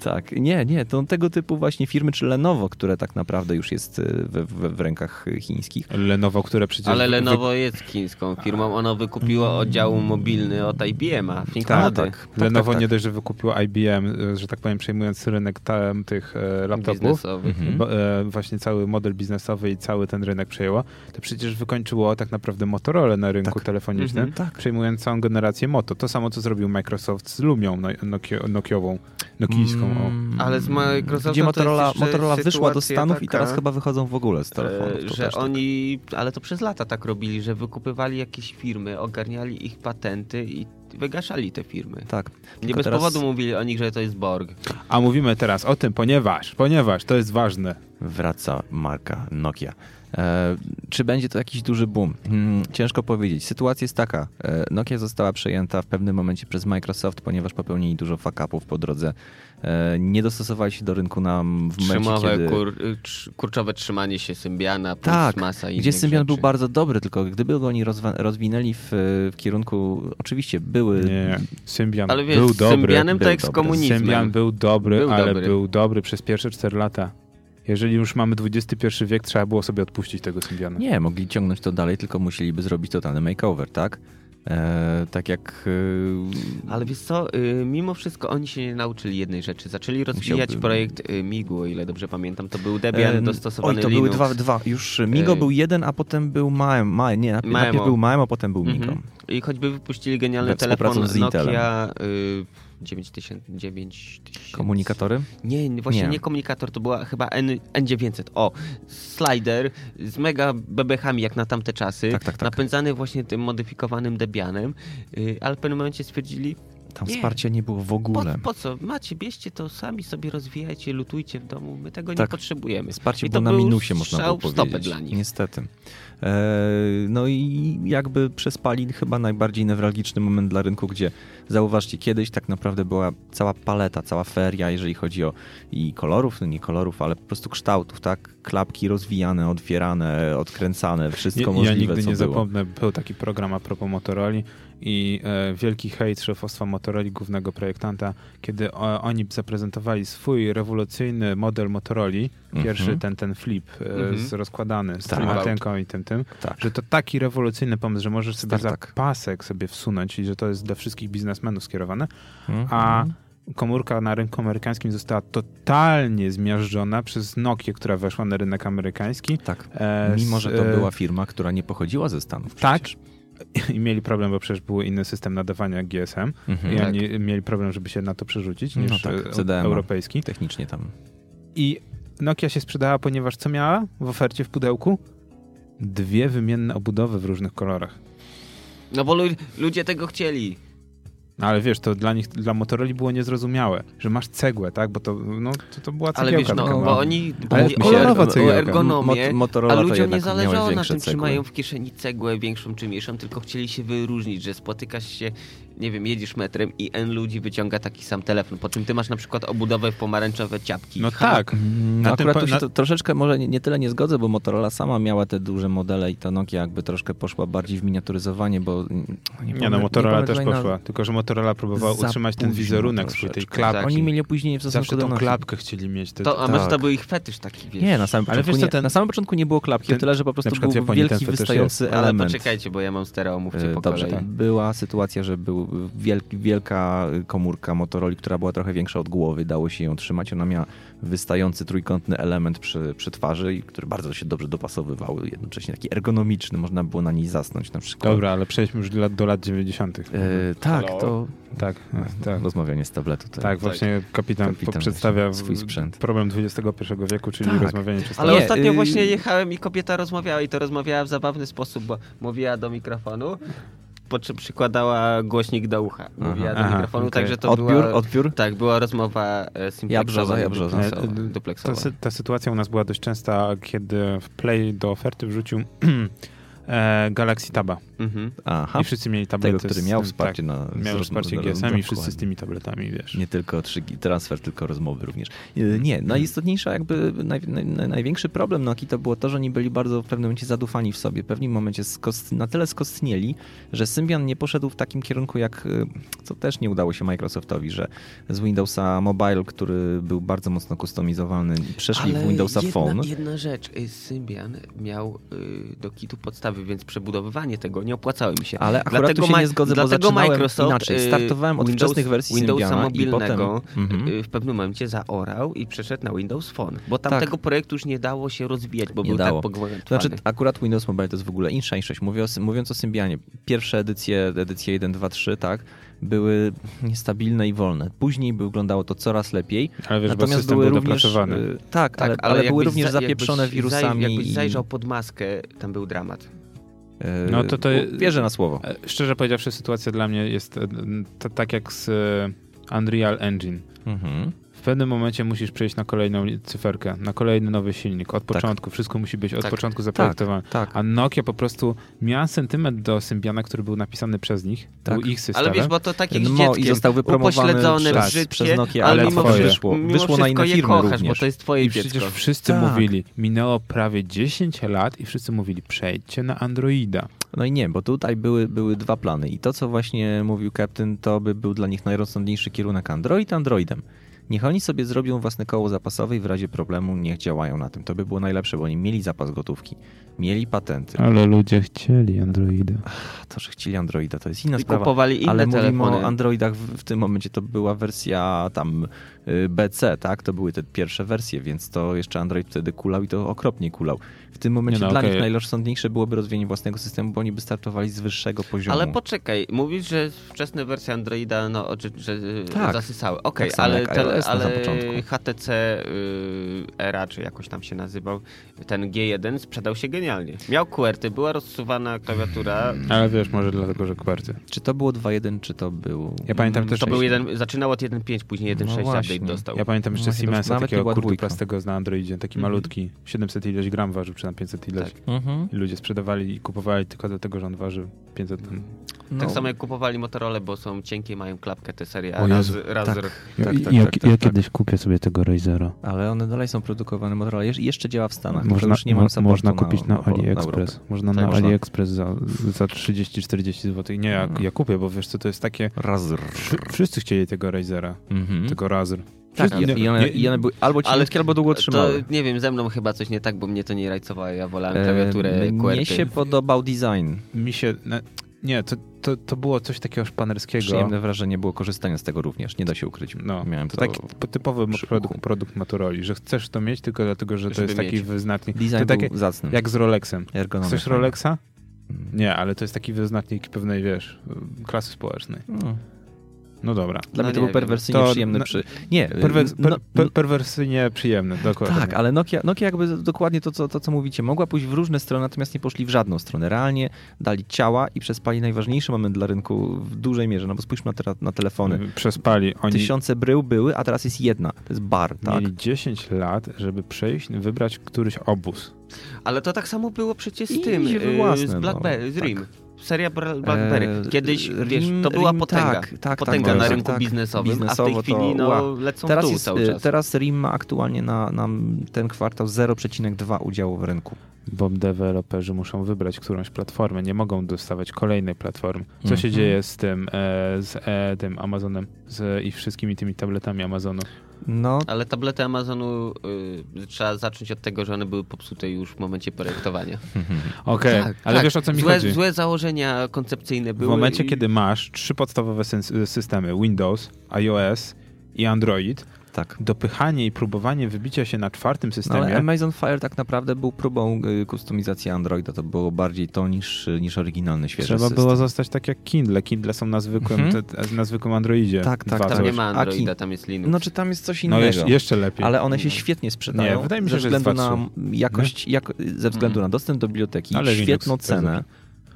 Speaker 3: tak. Nie, nie, to tego typu właśnie firmy, czy Lenovo, które tak naprawdę już jest y, we, we, w rękach y, chińskich.
Speaker 2: Tak. Lenovo, które przecież...
Speaker 1: Ale
Speaker 2: wy-
Speaker 1: Lenovo jest chińską firmą, ono
Speaker 3: Mm.
Speaker 1: wykupiło oddział mobilny od IBM-a,
Speaker 3: Tak, No
Speaker 1: ThinkPady.
Speaker 2: Lenovo nie dość, że wykupiło IBM, e, że tak powiem, przejmując rynek tam tych e, laptopów,
Speaker 1: Biznesowych.
Speaker 3: Mhm.
Speaker 2: bo, e, właśnie cały model biznesowy i cały ten rynek przejęło, to przecież wykończyło tak naprawdę Motorola na rynku
Speaker 3: Tak.
Speaker 2: telefonicznym,
Speaker 1: Mhm.
Speaker 3: Tak.
Speaker 2: przejmując całą generację Moto. To samo, co zrobił Microsoft z Lumią no, nokio, nokiową, nokijską. O.
Speaker 3: Mm,
Speaker 1: Ale z Microsoftem
Speaker 3: Gdzie
Speaker 1: to
Speaker 3: Motorola,
Speaker 1: jest jeszcze
Speaker 3: Motorola wyszła do
Speaker 1: sytuacja
Speaker 3: Stanów i
Speaker 1: taka,
Speaker 3: teraz chyba wychodzą w ogóle z telefonów.
Speaker 1: E,
Speaker 3: to
Speaker 1: że
Speaker 3: też tak.
Speaker 1: oni, ale to przez lata tak robili, że wykupywali jakieś firmy, ogarniali ich patenty i wygaszali te firmy.
Speaker 3: Tak.
Speaker 1: Nie
Speaker 3: Tylko
Speaker 1: bez
Speaker 3: teraz-
Speaker 1: powodu mówili o nich, że to jest Borg.
Speaker 2: A mówimy teraz o tym, ponieważ, ponieważ to jest ważne.
Speaker 3: wraca marka Nokia. E, czy będzie to jakiś duży boom? Hmm, ciężko powiedzieć. Sytuacja jest taka. E, Nokia została przejęta w pewnym momencie przez Microsoft, ponieważ popełnili dużo fuck-upów po drodze. E, nie dostosowali się do rynku nam w momencie,
Speaker 1: Trzymowe,
Speaker 3: kiedy...
Speaker 1: kur, y, trz- kurczowe trzymanie się Symbiana plus
Speaker 3: Tak,
Speaker 1: masa innych
Speaker 3: gdzie Symbian
Speaker 1: rzeczy.
Speaker 3: był bardzo dobry, tylko gdyby go oni rozwa- rozwinęli w, w kierunku... Oczywiście były...
Speaker 2: Nie, Symbian
Speaker 1: Ale wiesz,
Speaker 2: był
Speaker 1: z
Speaker 2: dobry.
Speaker 1: Symbianem
Speaker 3: był
Speaker 1: to jak z
Speaker 3: dobry.
Speaker 1: komunizmem.
Speaker 2: Symbian był dobry,
Speaker 1: Był
Speaker 2: ale
Speaker 1: dobry.
Speaker 2: był dobry przez pierwsze 4 lata. Jeżeli już mamy XXI wiek, trzeba było sobie odpuścić tego Symbiana.
Speaker 3: Nie, mogli ciągnąć to dalej, tylko musieliby zrobić totalny makeover, tak? E, tak jak... e,
Speaker 1: Ale wiesz co, y, mimo wszystko oni się nie nauczyli jednej rzeczy. Zaczęli rozwijać
Speaker 3: Musiałbym.
Speaker 1: projekt y, MIGU, o ile dobrze pamiętam. To był Debian
Speaker 3: Em,
Speaker 1: dostosowany
Speaker 3: e, Oj, to
Speaker 1: Linux.
Speaker 3: były dwa, dwa. Już Migo
Speaker 1: E,
Speaker 3: był jeden, a potem był Maem. Ma, nie, najpierw,
Speaker 1: Maemo.
Speaker 3: najpierw był Maem, a potem był Migo.
Speaker 1: Mhm. I choćby wypuścili
Speaker 3: We
Speaker 1: genialny telefon
Speaker 3: współpracy z Intelem.
Speaker 1: Nokia y, 9000, 9000...
Speaker 3: Komunikatory?
Speaker 1: Nie, nie, właśnie
Speaker 3: Nie.
Speaker 1: nie. komunikator, to była chyba N, N900. O, slider z mega bebechami jak na tamte czasy,
Speaker 3: Tak, tak, tak.
Speaker 1: napędzany właśnie tym modyfikowanym Debianem, y, ale w pewnym momencie stwierdzili,
Speaker 3: Tam
Speaker 1: Nie.
Speaker 3: wsparcia nie było w
Speaker 1: po,
Speaker 3: ogóle.
Speaker 1: po co, macie, bierzcie to sami sobie rozwijajcie, lutujcie w domu, my tego
Speaker 3: Tak.
Speaker 1: nie potrzebujemy.
Speaker 3: Wsparcie
Speaker 1: I
Speaker 3: było
Speaker 1: to
Speaker 3: na
Speaker 1: był
Speaker 3: minusie, można było
Speaker 1: strzał w stopę
Speaker 3: powiedzieć.
Speaker 1: dla nich.
Speaker 3: Niestety. E, no i jakby przespali chyba najbardziej newralgiczny moment dla rynku, gdzie Zauważcie, kiedyś tak naprawdę była cała paleta, cała feria, jeżeli chodzi o i kolorów, no nie kolorów, ale po prostu kształtów, tak? Klapki rozwijane, otwierane, odkręcane, wszystko
Speaker 2: ja, ja
Speaker 3: możliwe,
Speaker 2: nigdy
Speaker 3: co
Speaker 2: nie
Speaker 3: było.
Speaker 2: zapomnę, był taki program a propos Motoroli i e, wielki hejt szefostwa Motoroli, głównego projektanta, kiedy o, oni zaprezentowali swój rewolucyjny model Motoroli,
Speaker 3: Mhm.
Speaker 2: pierwszy ten, ten flip e,
Speaker 1: Mhm.
Speaker 2: z, rozkładany z
Speaker 3: Tak.
Speaker 2: tą antenką i tym, tym,
Speaker 3: Tak.
Speaker 2: że to taki rewolucyjny pomysł, że możesz sobie
Speaker 3: Startak.
Speaker 2: za pasek sobie wsunąć i że to jest dla wszystkich biznesmenów skierowane,
Speaker 3: Mhm.
Speaker 2: a komórka na rynku amerykańskim została totalnie zmiażdżona przez Nokię, która weszła na rynek amerykański.
Speaker 3: Tak.
Speaker 2: E,
Speaker 3: Mimo, że to
Speaker 2: s- e,
Speaker 3: była firma, która nie pochodziła ze Stanów.
Speaker 2: Tak.
Speaker 3: przecież.
Speaker 2: i mieli problem, bo przecież był inny system nadawania jak GSM
Speaker 3: Mhm.
Speaker 2: i
Speaker 1: Tak.
Speaker 2: oni mieli problem, żeby się na to przerzucić
Speaker 3: No
Speaker 2: niż
Speaker 3: tak,
Speaker 2: e,
Speaker 3: CDMA.
Speaker 2: europejski.
Speaker 3: Technicznie tam.
Speaker 2: I Nokia się sprzedała, ponieważ co miała w ofercie w pudełku? Dwie wymienne obudowy w różnych kolorach.
Speaker 1: No bo lu- ludzie tego chcieli.
Speaker 2: No ale wiesz, to dla nich, dla Motorola było niezrozumiałe, że masz cegłę, tak? Bo to, no, to, to była
Speaker 1: Ale
Speaker 2: cegiełka.
Speaker 1: wiesz, no,
Speaker 2: taka mała.
Speaker 1: bo oni
Speaker 2: Ale
Speaker 1: mówili
Speaker 2: kolorowa
Speaker 1: o,
Speaker 2: cegiełka.
Speaker 1: o ergonomię,
Speaker 3: Mot- Motorola
Speaker 1: a
Speaker 3: to
Speaker 1: ludziom nie
Speaker 3: jednak miały
Speaker 1: zależało na
Speaker 3: większe
Speaker 1: tym, czy
Speaker 3: cegły.
Speaker 1: mają w kieszeni cegłę większą czy mniejszą, tylko chcieli się wyróżnić, że spotykasz się, nie wiem, jedziesz metrem i N ludzi wyciąga taki sam telefon, po czym ty masz na przykład obudowę w pomarańczowe ciapki.
Speaker 2: No
Speaker 1: Ha,
Speaker 2: tak.
Speaker 3: No
Speaker 2: Na tym
Speaker 3: akurat
Speaker 2: po-
Speaker 3: tu się
Speaker 2: na-
Speaker 3: to, troszeczkę może nie, nie tyle nie zgodzę, bo Motorola sama miała te duże modele i ta Nokia jakby troszkę poszła bardziej w miniaturyzowanie, bo...
Speaker 2: Nie,
Speaker 3: pamię-
Speaker 2: no, Motorola
Speaker 3: pamiętam,
Speaker 2: też
Speaker 3: jak na-
Speaker 2: poszła, tylko że Motorola próbowała
Speaker 3: Za
Speaker 2: utrzymać ten
Speaker 3: późno
Speaker 2: wizerunek swój, tej
Speaker 3: troszeczkę.
Speaker 2: klapki.
Speaker 1: Tak.
Speaker 3: Oni mieli opóźnienie w stosunku
Speaker 2: Zawsze
Speaker 3: do
Speaker 2: tą
Speaker 3: Nokia.
Speaker 2: klapkę chcieli mieć. Te,
Speaker 1: To, a może to
Speaker 3: tak.
Speaker 1: był ich fetysz taki, wiesz.
Speaker 3: Nie, no, na samym
Speaker 2: Ale
Speaker 3: początku,
Speaker 2: wiesz co,
Speaker 3: nie,
Speaker 2: ten-
Speaker 3: na samym początku nie było klapki,
Speaker 2: ten-
Speaker 3: o tyle, że po
Speaker 2: na
Speaker 3: prostu
Speaker 2: przykład w
Speaker 3: był
Speaker 2: Japonii ten
Speaker 3: wielki
Speaker 2: fetysz
Speaker 3: wystający
Speaker 1: Ale
Speaker 3: element.
Speaker 1: poczekajcie, bo ja mam stereo, mówcie
Speaker 3: E,
Speaker 1: po
Speaker 3: Dobrze,
Speaker 1: kolei.
Speaker 3: była sytuacja, że był wielki, wielka komórka Motorola, która była trochę większa od głowy, dało się ją trzymać. Ona miała wystający trójkątny element przy, przy twarzy, i który bardzo się dobrze dopasowywał, jednocześnie taki ergonomiczny, można było na niej zasnąć na przykład.
Speaker 2: Dobra, ale przejdźmy już do lat, do lat 90.
Speaker 3: E, tak,
Speaker 1: Halo?
Speaker 3: to
Speaker 2: Tak, tak.
Speaker 3: rozmawianie z tabletu. To...
Speaker 2: Tak, właśnie kapitan,
Speaker 3: Kapitan
Speaker 2: po- przedstawia
Speaker 3: właśnie swój
Speaker 2: w-
Speaker 3: sprzęt.
Speaker 2: problem XXI wieku, czyli
Speaker 3: Tak.
Speaker 2: rozmawianie przez
Speaker 1: Ale
Speaker 3: Nie,
Speaker 2: telefon.
Speaker 1: ostatnio
Speaker 3: y-
Speaker 1: właśnie jechałem i kobieta rozmawiała i to rozmawiała w zabawny sposób, bo mówiła do mikrofonu, po czym przykładała głośnik do ucha. Mówiła
Speaker 2: Aha,
Speaker 1: do
Speaker 2: aha,
Speaker 1: mikrofonu,
Speaker 2: okej.
Speaker 1: także to
Speaker 3: odbiór,
Speaker 1: była...
Speaker 3: odbiór.
Speaker 1: Tak, była rozmowa e, simplexowa,
Speaker 3: brzoza, ja brzoza.
Speaker 1: duplexowa,
Speaker 2: E, e, Ta,
Speaker 1: duplexowa.
Speaker 2: sy- ta sytuacja u nas była dość częsta, kiedy w Play do oferty wrzucił e, Galaxy Taba
Speaker 1: Mhm.
Speaker 3: Aha,
Speaker 2: i wszyscy mieli tablety.
Speaker 3: tego, który
Speaker 2: z
Speaker 3: miał
Speaker 2: tym-
Speaker 3: wsparcie na...
Speaker 2: Tak, miał
Speaker 3: z-
Speaker 2: wsparcie
Speaker 3: z- z-
Speaker 2: GSM i wszyscy
Speaker 3: dokładnie.
Speaker 2: z tymi tabletami, wiesz.
Speaker 3: Nie tylko 3G transfer, tylko rozmowy również. Yy, Nie, najistotniejsza jakby, naj, naj, naj, największy problem Nokii to było to, że oni byli bardzo w pewnym momencie zadufani w sobie. W pewnym momencie skost, na tyle skostnieli, że Symbian nie poszedł w takim kierunku jak, yy, co też nie udało się Microsoftowi, że z Windowsa Mobile, który był bardzo mocno customizowany, przeszli w
Speaker 1: Ale
Speaker 3: Windowsa
Speaker 1: jedna,
Speaker 3: Phone.
Speaker 1: Jedna rzecz, y, Symbian miał y, do kitu podstawy, więc przebudowywanie tego nie opłacało mi się.
Speaker 3: Ale akurat tu się
Speaker 1: mi-
Speaker 3: nie zgodzę, bo
Speaker 1: dlatego
Speaker 3: zaczynałem
Speaker 1: Microsoft, y,
Speaker 3: inaczej. Startowałem od
Speaker 1: Windows,
Speaker 3: wczesnych wersji
Speaker 1: Windowsa
Speaker 3: Symbiana i
Speaker 1: mobilnego
Speaker 3: potem- Mhm.
Speaker 1: y, w pewnym momencie zaorał i przeszedł na Windows Phone, bo tam
Speaker 3: Tak.
Speaker 1: tego projektu już nie dało się rozwijać, bo
Speaker 3: Nie
Speaker 1: był
Speaker 3: dało.
Speaker 1: tak pogwałętowany.
Speaker 3: To znaczy, akurat Windows Mobile to jest w ogóle insza niż Mówię o, Sym- mówiąc o Symbianie, pierwsze edycje, edycje 1, 2, 3, tak, były niestabilne i wolne. Później by wyglądało to coraz lepiej.
Speaker 2: Ale wiesz, bo
Speaker 3: natomiast
Speaker 2: system
Speaker 3: były
Speaker 2: był
Speaker 3: również,
Speaker 2: dopracowany.
Speaker 3: y, tak, ale, ale, były
Speaker 1: jakbyś
Speaker 3: również
Speaker 1: za-
Speaker 3: zapieprzone
Speaker 1: jakbyś
Speaker 3: wirusami.
Speaker 1: Zaj, jakbyś
Speaker 3: i,
Speaker 1: zajrzał pod maskę, tam był dramat.
Speaker 3: y,
Speaker 2: No to to-
Speaker 3: Wierzę na słowo.
Speaker 2: E, Szczerze powiedziawszy, sytuacja dla mnie jest e, n- t- tak jak z e, Unreal Engine.
Speaker 3: Mhm.
Speaker 2: W pewnym momencie musisz przejść na kolejną li- cyferkę, na kolejny nowy silnik. Od
Speaker 3: Tak.
Speaker 2: początku, wszystko musi być od
Speaker 1: Tak.
Speaker 2: początku zaprojektowane.
Speaker 3: Tak.
Speaker 2: A Nokia po prostu miała sentyment do Symbiana, który był napisany przez nich,
Speaker 3: Tak.
Speaker 2: był ich systemem.
Speaker 1: Ale wiesz, bo to tak jak z
Speaker 3: No,
Speaker 1: dzieckiem,
Speaker 3: i został wypromowany
Speaker 1: upośledzone,
Speaker 3: przez-
Speaker 1: brzydkie,
Speaker 3: przez Nokię,
Speaker 2: ale
Speaker 1: ale mimo,
Speaker 2: twoje.
Speaker 1: wyszło, mimo
Speaker 3: Wyszło na
Speaker 1: wszystko
Speaker 3: inne
Speaker 1: je
Speaker 3: firmy
Speaker 1: kochasz,
Speaker 3: również.
Speaker 1: bo to jest twoje
Speaker 2: I
Speaker 1: dziecko.
Speaker 2: przecież wszyscy
Speaker 3: Tak.
Speaker 2: mówili, minęło prawie 10 lat i wszyscy mówili, przejdźcie na Androida.
Speaker 3: No i nie, bo tutaj były, były dwa plany. I to, co właśnie mówił Captain, to by był dla nich najrozsądniejszy kierunek Android Androidem. Niech oni sobie zrobią własne koło zapasowe i w razie problemu niech działają na tym. To by było najlepsze, bo oni mieli zapas gotówki, mieli patenty.
Speaker 2: Ale ludzie chcieli Androida.
Speaker 3: A to, że chcieli Androida, to jest inna
Speaker 1: I
Speaker 3: sprawa.
Speaker 1: kupowali inne
Speaker 3: Ale mówimy
Speaker 1: telefony.
Speaker 3: o Androidach w, w tym momencie, to była wersja tam y, BC, tak? To były te pierwsze wersje, więc to jeszcze Android wtedy kulał i to okropnie kulał. W tym momencie
Speaker 2: no,
Speaker 3: dla
Speaker 2: okej.
Speaker 3: nich najrozsądniejsze byłoby rozwijanie własnego systemu, bo oni by startowali z wyższego poziomu.
Speaker 1: Ale poczekaj, mówisz, że wczesne wersje Androida no, że, że y,
Speaker 3: Tak.
Speaker 1: zasysały. Okej,
Speaker 3: Tak samo
Speaker 1: ale,
Speaker 3: jak
Speaker 1: tele-
Speaker 3: iOS na
Speaker 1: ale
Speaker 3: początku.
Speaker 1: HTC y, Era, czy jakoś tam się nazywał, ten G1 sprzedał się genialnie. Miał QWERTY, była rozsuwana klawiatura.
Speaker 3: Mm.
Speaker 2: Ale wiesz, może dlatego, że kwarty.
Speaker 3: Czy to było 2.1, czy to był...
Speaker 2: Ja pamiętam
Speaker 3: Mm,
Speaker 2: też-
Speaker 1: To był
Speaker 2: Wcześniej.
Speaker 1: jeden, zaczynało od 1.5, później 1.6
Speaker 3: No właśnie.
Speaker 1: update dostał.
Speaker 2: Ja pamiętam jeszcze
Speaker 3: No, chyba już
Speaker 2: Siemensa,
Speaker 3: nawet nie
Speaker 2: takiego
Speaker 3: była
Speaker 2: kurdu
Speaker 3: dwójka.
Speaker 2: plastego na Androidzie, taki
Speaker 3: Mhm.
Speaker 2: malutki, 700 ileś gram ważył, czy na 500 ileś.
Speaker 1: Tak.
Speaker 3: Mhm.
Speaker 2: I ludzie sprzedawali i kupowali tylko dlatego, że on ważył 500 gram.
Speaker 1: Tak
Speaker 3: No.
Speaker 1: samo jak kupowali Motorola, bo są cienkie, mają klapkę te serie, a
Speaker 2: O
Speaker 1: raz,
Speaker 2: Jezu,
Speaker 1: raz
Speaker 3: tak.
Speaker 1: ro-
Speaker 2: Ja,
Speaker 3: Tak, tak,
Speaker 2: ja,
Speaker 3: tak,
Speaker 2: ja
Speaker 3: tak,
Speaker 2: kiedyś kupię sobie tego Razera.
Speaker 3: Ale one dalej są produkowane. Motorola jeż- jeszcze działa w Stanach.
Speaker 2: Można,
Speaker 3: już nie mam
Speaker 2: mo-
Speaker 3: supportu
Speaker 2: można kupić na,
Speaker 3: na Europę.
Speaker 2: AliExpress. można
Speaker 3: Tak,
Speaker 2: na
Speaker 3: można. No.
Speaker 2: AliExpress za, za 30-40 zł. Nie, ja, ja kupię, bo wiesz co, to jest takie...
Speaker 3: Razr.
Speaker 2: Wszy, wszyscy chcieli tego Razera,
Speaker 3: Mhm.
Speaker 2: tego Razer.
Speaker 3: Tak,
Speaker 2: Wszyscy-
Speaker 3: i one,
Speaker 2: nie-
Speaker 3: i one były albo cieniutkie, albo długo
Speaker 1: To
Speaker 3: trzymały.
Speaker 1: nie wiem, ze mną chyba coś nie tak, bo mnie to nie rajcowało, ja wolałem
Speaker 3: E,
Speaker 1: klawiaturę QWERTY.
Speaker 3: Mnie się podobał design.
Speaker 2: Mi się... ne- Nie, to, to, to było coś takiego szpanerskiego.
Speaker 3: Przyjemne wrażenie było korzystanie z tego również, nie da się ukryć.
Speaker 2: No,
Speaker 3: Miałem
Speaker 2: to,
Speaker 3: to-
Speaker 2: taki p- typowy
Speaker 3: przy
Speaker 2: produkt,
Speaker 3: uchu.
Speaker 2: produkt Maturoli, że chcesz to mieć tylko dlatego, że to
Speaker 1: Żeby
Speaker 2: jest taki
Speaker 1: mieć.
Speaker 2: wyznacznik.
Speaker 3: Design
Speaker 2: to takie
Speaker 3: był tak. zacny.
Speaker 2: jak z Rolexem.
Speaker 3: Ergonomia
Speaker 2: Chcesz
Speaker 3: fajna.
Speaker 2: Rolexa?
Speaker 3: Mm.
Speaker 2: Nie, ale to jest taki wyznacznik pewnej, wiesz, y, klasy społecznej.
Speaker 3: No.
Speaker 2: No dobra.
Speaker 1: No
Speaker 3: Dla mnie to
Speaker 1: nie
Speaker 3: był
Speaker 1: wiem.
Speaker 3: perwersyjnie
Speaker 2: To
Speaker 3: przyjemny
Speaker 2: na-
Speaker 3: przy... Nie,
Speaker 2: Perwers,
Speaker 3: no-
Speaker 2: per, per, perwersyjnie przyjemny, dokładnie.
Speaker 3: Tak, ale Nokia, Nokia jakby dokładnie to co, to, co mówicie, mogła pójść w różne strony, natomiast nie poszli w żadną stronę. Realnie dali ciała i przespali najważniejszy moment dla rynku w dużej mierze, no bo spójrzmy na, teraz na telefony.
Speaker 2: Y, Przespali. Oni
Speaker 3: Tysiące brył były, a teraz jest jedna. To jest bar, tak?
Speaker 2: mieli 10 lat, żeby przejść, wybrać któryś obóz.
Speaker 1: Ale to tak samo było przecież z
Speaker 3: I
Speaker 1: tym,
Speaker 3: się
Speaker 1: y,
Speaker 3: wyłasne,
Speaker 1: z Blackberry,
Speaker 3: no,
Speaker 1: z
Speaker 3: tak.
Speaker 1: RIM. Seria Bra- Blackberry.
Speaker 3: Eee,
Speaker 1: Kiedyś,
Speaker 3: Rim-
Speaker 1: wiesz, to była
Speaker 3: Rim-
Speaker 1: potęga.
Speaker 3: tak, tak,
Speaker 1: potęga
Speaker 2: tak,
Speaker 1: na
Speaker 2: tak,
Speaker 1: rynku
Speaker 3: tak.
Speaker 1: biznesowym, a
Speaker 3: Biznesowo
Speaker 1: w
Speaker 3: to-
Speaker 1: tej chwili no,
Speaker 3: ła.
Speaker 1: lecą w
Speaker 3: Teraz,
Speaker 1: dół
Speaker 3: jest,
Speaker 1: cały
Speaker 3: y,
Speaker 1: czas.
Speaker 3: teraz RIM ma aktualnie na, na ten kwartał 0,2 udziału w rynku.
Speaker 2: Bo deweloperzy muszą wybrać którąś platformę, nie mogą dostawać kolejnej platformy. Co się
Speaker 3: Mhm.
Speaker 2: dzieje z tym, e, z e, tym Amazonem z, i wszystkimi tymi tabletami Amazonu?
Speaker 3: No,
Speaker 1: Ale tablety Amazonu y, trzeba zacząć od tego, że one były popsute już w momencie projektowania.
Speaker 2: Okej,
Speaker 1: Tak,
Speaker 2: ale
Speaker 1: tak.
Speaker 2: wiesz o co mi
Speaker 1: złe,
Speaker 2: chodzi?
Speaker 1: Złe założenia koncepcyjne
Speaker 2: W
Speaker 1: były.
Speaker 2: momencie,
Speaker 1: i-
Speaker 2: kiedy masz trzy podstawowe syn- systemy Windows, iOS i Android,
Speaker 3: tak.
Speaker 2: dopychanie i próbowanie wybicia się na czwartym
Speaker 3: No, ale
Speaker 2: systemie.
Speaker 3: Amazon Fire tak naprawdę był próbą y, kustomizacji Androida. To było bardziej to niż, y, niż oryginalny świeży
Speaker 2: Trzeba
Speaker 3: system.
Speaker 2: było zostać tak jak Kindle. Kindle są na zwykłym,
Speaker 3: Mhm.
Speaker 2: te- te- na zwykłym Androidzie.
Speaker 3: Tak, tak,
Speaker 2: Dwa
Speaker 1: Tam
Speaker 2: coś.
Speaker 1: nie ma
Speaker 3: Aki.
Speaker 1: Androida, tam jest Linux.
Speaker 3: No czy tam jest coś
Speaker 2: No
Speaker 3: innego?
Speaker 2: jeszcze, jeszcze lepiej.
Speaker 3: Ale one się
Speaker 1: Nie.
Speaker 3: świetnie sprzedają.
Speaker 2: Nie, wydaje mi się,
Speaker 3: ze
Speaker 2: że jest
Speaker 3: względu
Speaker 2: dwa,
Speaker 3: na jakość, jak, ze względu na dostęp do biblioteki,
Speaker 2: Ale Linux
Speaker 3: świetną
Speaker 2: jest
Speaker 3: cenę.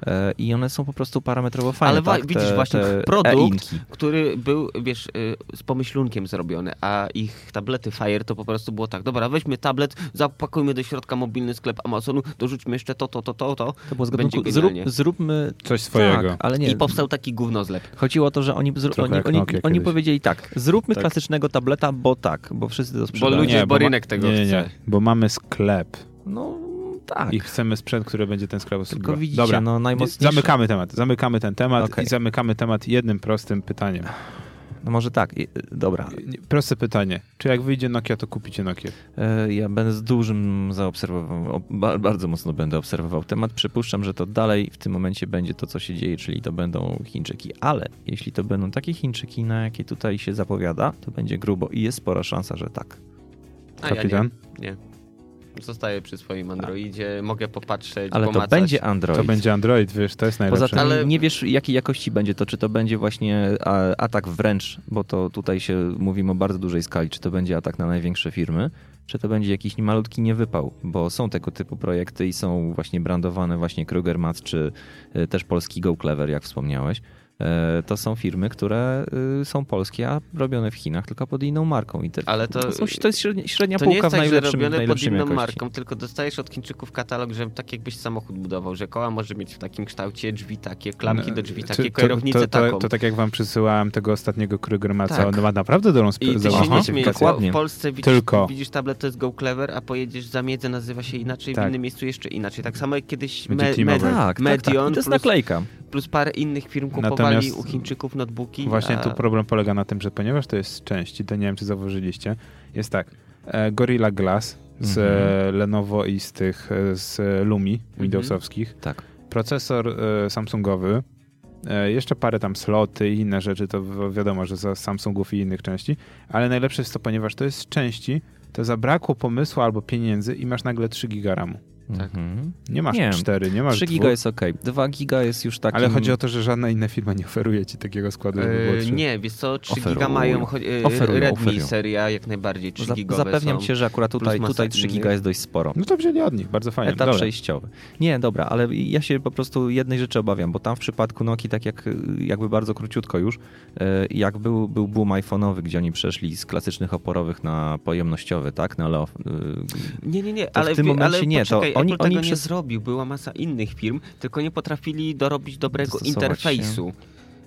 Speaker 3: E, I one są po prostu parametrowo fajne.
Speaker 1: Ale wa-
Speaker 3: tak?
Speaker 1: widzisz właśnie produkt,
Speaker 3: e-inki.
Speaker 1: który był, wiesz, y, z pomyślunkiem zrobiony, a ich tablety Fire to po prostu było tak, dobra, weźmy tablet, zapakujmy do środka mobilny sklep Amazonu, dorzućmy jeszcze to, to, to, to, to
Speaker 3: To było z
Speaker 1: Będzie
Speaker 3: gatunku, zrób,
Speaker 1: genialnie.
Speaker 3: zróbmy
Speaker 2: Coś swojego.
Speaker 3: Tak, ale nie.
Speaker 1: i powstał taki gównozlep.
Speaker 3: Chodziło o to, że oni, zro-
Speaker 2: Trochę
Speaker 3: oni,
Speaker 2: jak
Speaker 3: oni,
Speaker 2: Nokia
Speaker 3: oni
Speaker 2: kiedyś.
Speaker 3: powiedzieli tak, zróbmy
Speaker 1: Tak.
Speaker 3: klasycznego tableta, bo tak, bo wszyscy to
Speaker 1: Bo
Speaker 3: sprzedają.
Speaker 1: ludzie,
Speaker 2: Nie,
Speaker 1: bo,
Speaker 2: bo ma-
Speaker 1: rynek tego
Speaker 2: nie, nie,
Speaker 1: chce.
Speaker 2: nie, bo mamy sklep
Speaker 3: No tak.
Speaker 2: i chcemy sprzęt, który będzie ten sklep obsługiwał.
Speaker 3: Tylko widzicie,
Speaker 2: Dobra.
Speaker 3: no najmocniejsze.
Speaker 2: Zamykamy temat, zamykamy ten temat
Speaker 3: Okej.
Speaker 2: i zamykamy temat jednym prostym pytaniem.
Speaker 3: No może tak, i- dobra.
Speaker 2: Nie, Proste pytanie. Czy jak wyjdzie Nokia, to kupicie Nokia?
Speaker 3: E, Ja będę z dużym zaobserwował, o- ba- bardzo mocno będę obserwował temat. Przypuszczam, że to dalej w tym momencie będzie to, co się dzieje, czyli to będą Chińczyki. Ale jeśli to będą takie Chińczyki, na jakie tutaj się zapowiada, to będzie grubo i jest spora szansa, że tak.
Speaker 1: A ja nie,
Speaker 2: Kapitan?
Speaker 1: nie. Zostaję przy swoim Androidzie, mogę popatrzeć,
Speaker 3: Ale to
Speaker 1: pomacać.
Speaker 3: będzie Android.
Speaker 2: To będzie Android, wiesz, to jest najlepsze.
Speaker 3: Poza tym
Speaker 1: Ale-
Speaker 3: nie wiesz, jakiej jakości będzie to, czy to będzie właśnie a, atak wręcz, bo to tutaj się mówimy o bardzo dużej skali, czy to będzie atak na największe firmy, czy to będzie jakiś malutki niewypał, bo są tego typu projekty i są właśnie brandowane właśnie Kruger Mat, czy y, też polski Go Clever, jak wspomniałeś. E, To są firmy, które y, są polskie, a robione w Chinach, tylko pod inną marką. I te,
Speaker 1: Ale to-
Speaker 3: są, to jest średnia, średnia
Speaker 1: To nie
Speaker 3: półka
Speaker 1: jest
Speaker 3: w
Speaker 1: tak, że
Speaker 3: najlepszym, w
Speaker 1: robione pod
Speaker 3: najlepszym
Speaker 1: inną
Speaker 3: jakości.
Speaker 1: marką, tylko dostajesz od Chińczyków katalog, że tak jakbyś samochód budował, że koła może mieć w takim kształcie, drzwi takie, klamki
Speaker 2: No,
Speaker 1: do drzwi
Speaker 2: czy-
Speaker 1: takie,
Speaker 2: to-
Speaker 1: kierownicę
Speaker 2: to, to,
Speaker 1: taką.
Speaker 2: to, tak jak wam przysyłałem tego ostatniego Krygermaca,
Speaker 1: Tak.
Speaker 2: on ma naprawdę dobrą sp-
Speaker 1: I ty
Speaker 2: założoną
Speaker 1: się nie
Speaker 3: Aha,
Speaker 1: śmiejesz, bo
Speaker 3: dokładnie.
Speaker 1: w Polsce widzisz,
Speaker 2: Tylko.
Speaker 1: widzisz tablet, to jest Go Clever, a pojedziesz za miedzę, nazywa się inaczej,
Speaker 2: Tak.
Speaker 1: w innym miejscu jeszcze inaczej. Tak samo jak kiedyś
Speaker 2: Będzie
Speaker 1: me,
Speaker 2: T-Mobile.
Speaker 1: Med-
Speaker 3: Tak, tak, tak. I
Speaker 1: Medion
Speaker 3: to jest
Speaker 1: plus,
Speaker 3: naklejka.
Speaker 1: plus parę innych firm kupowali
Speaker 2: Natomiast-
Speaker 1: u Chińczyków notebooki.
Speaker 2: Właśnie
Speaker 1: a...
Speaker 2: tu problem polega na tym, że ponieważ to jest z części, to nie wiem, czy zauważyliście, jest tak, e, Gorilla Glass z e, Lenovo i z tych, e, z e, Lumi Windowsowskich,
Speaker 3: Tak.
Speaker 2: procesor e, Samsungowy, e, jeszcze parę tam sloty i inne rzeczy, to wi- wiadomo, że za Samsungów i innych części, ale najlepsze jest to, ponieważ to jest z części, to zabrakło pomysłu albo pieniędzy i masz nagle 3 giga RAMu.
Speaker 1: Tak.
Speaker 3: Mhm.
Speaker 2: Nie masz
Speaker 3: Nie,
Speaker 2: 4, nie masz
Speaker 3: 3 giga
Speaker 2: dwóch.
Speaker 3: jest ok. 2 giga jest już takim...
Speaker 2: Ale chodzi o to, że żadna inna firma nie oferuje ci takiego składu, żeby było
Speaker 1: E,
Speaker 2: 3.
Speaker 1: nie, wiesz co, 3
Speaker 3: Oferują.
Speaker 1: giga mają, cho- e,
Speaker 3: Oferują,
Speaker 1: Redmi
Speaker 3: oferują.
Speaker 1: seria jak najbardziej 3
Speaker 3: Za-
Speaker 1: gigowe
Speaker 3: Zapewniam
Speaker 1: są.
Speaker 3: cię, że akurat tutaj,
Speaker 1: masa
Speaker 3: tutaj 3 giga
Speaker 1: innych.
Speaker 3: jest dość sporo.
Speaker 2: No to wzięli od nich, bardzo fajnie.
Speaker 3: Etap
Speaker 2: Dobra.
Speaker 3: przejściowy. Nie, dobra, ale ja się po prostu jednej rzeczy obawiam, bo tam w przypadku Noki, tak jak jakby bardzo króciutko już, e, jak był, był boom iPhone'owy, gdzie oni przeszli z klasycznych oporowych na pojemnościowy, tak? Na Leo,
Speaker 1: Nie, nie, nie,
Speaker 3: to
Speaker 1: ale
Speaker 3: w tym
Speaker 1: wie-
Speaker 3: momencie
Speaker 1: ale
Speaker 3: nie,
Speaker 1: poczekaj, Oni,
Speaker 3: to Oni-
Speaker 1: Apple
Speaker 3: oni
Speaker 1: tego
Speaker 3: przez-
Speaker 1: nie zrobił, była masa innych firm, tylko nie potrafili dorobić dobrego
Speaker 3: Dostosować
Speaker 1: interfejsu.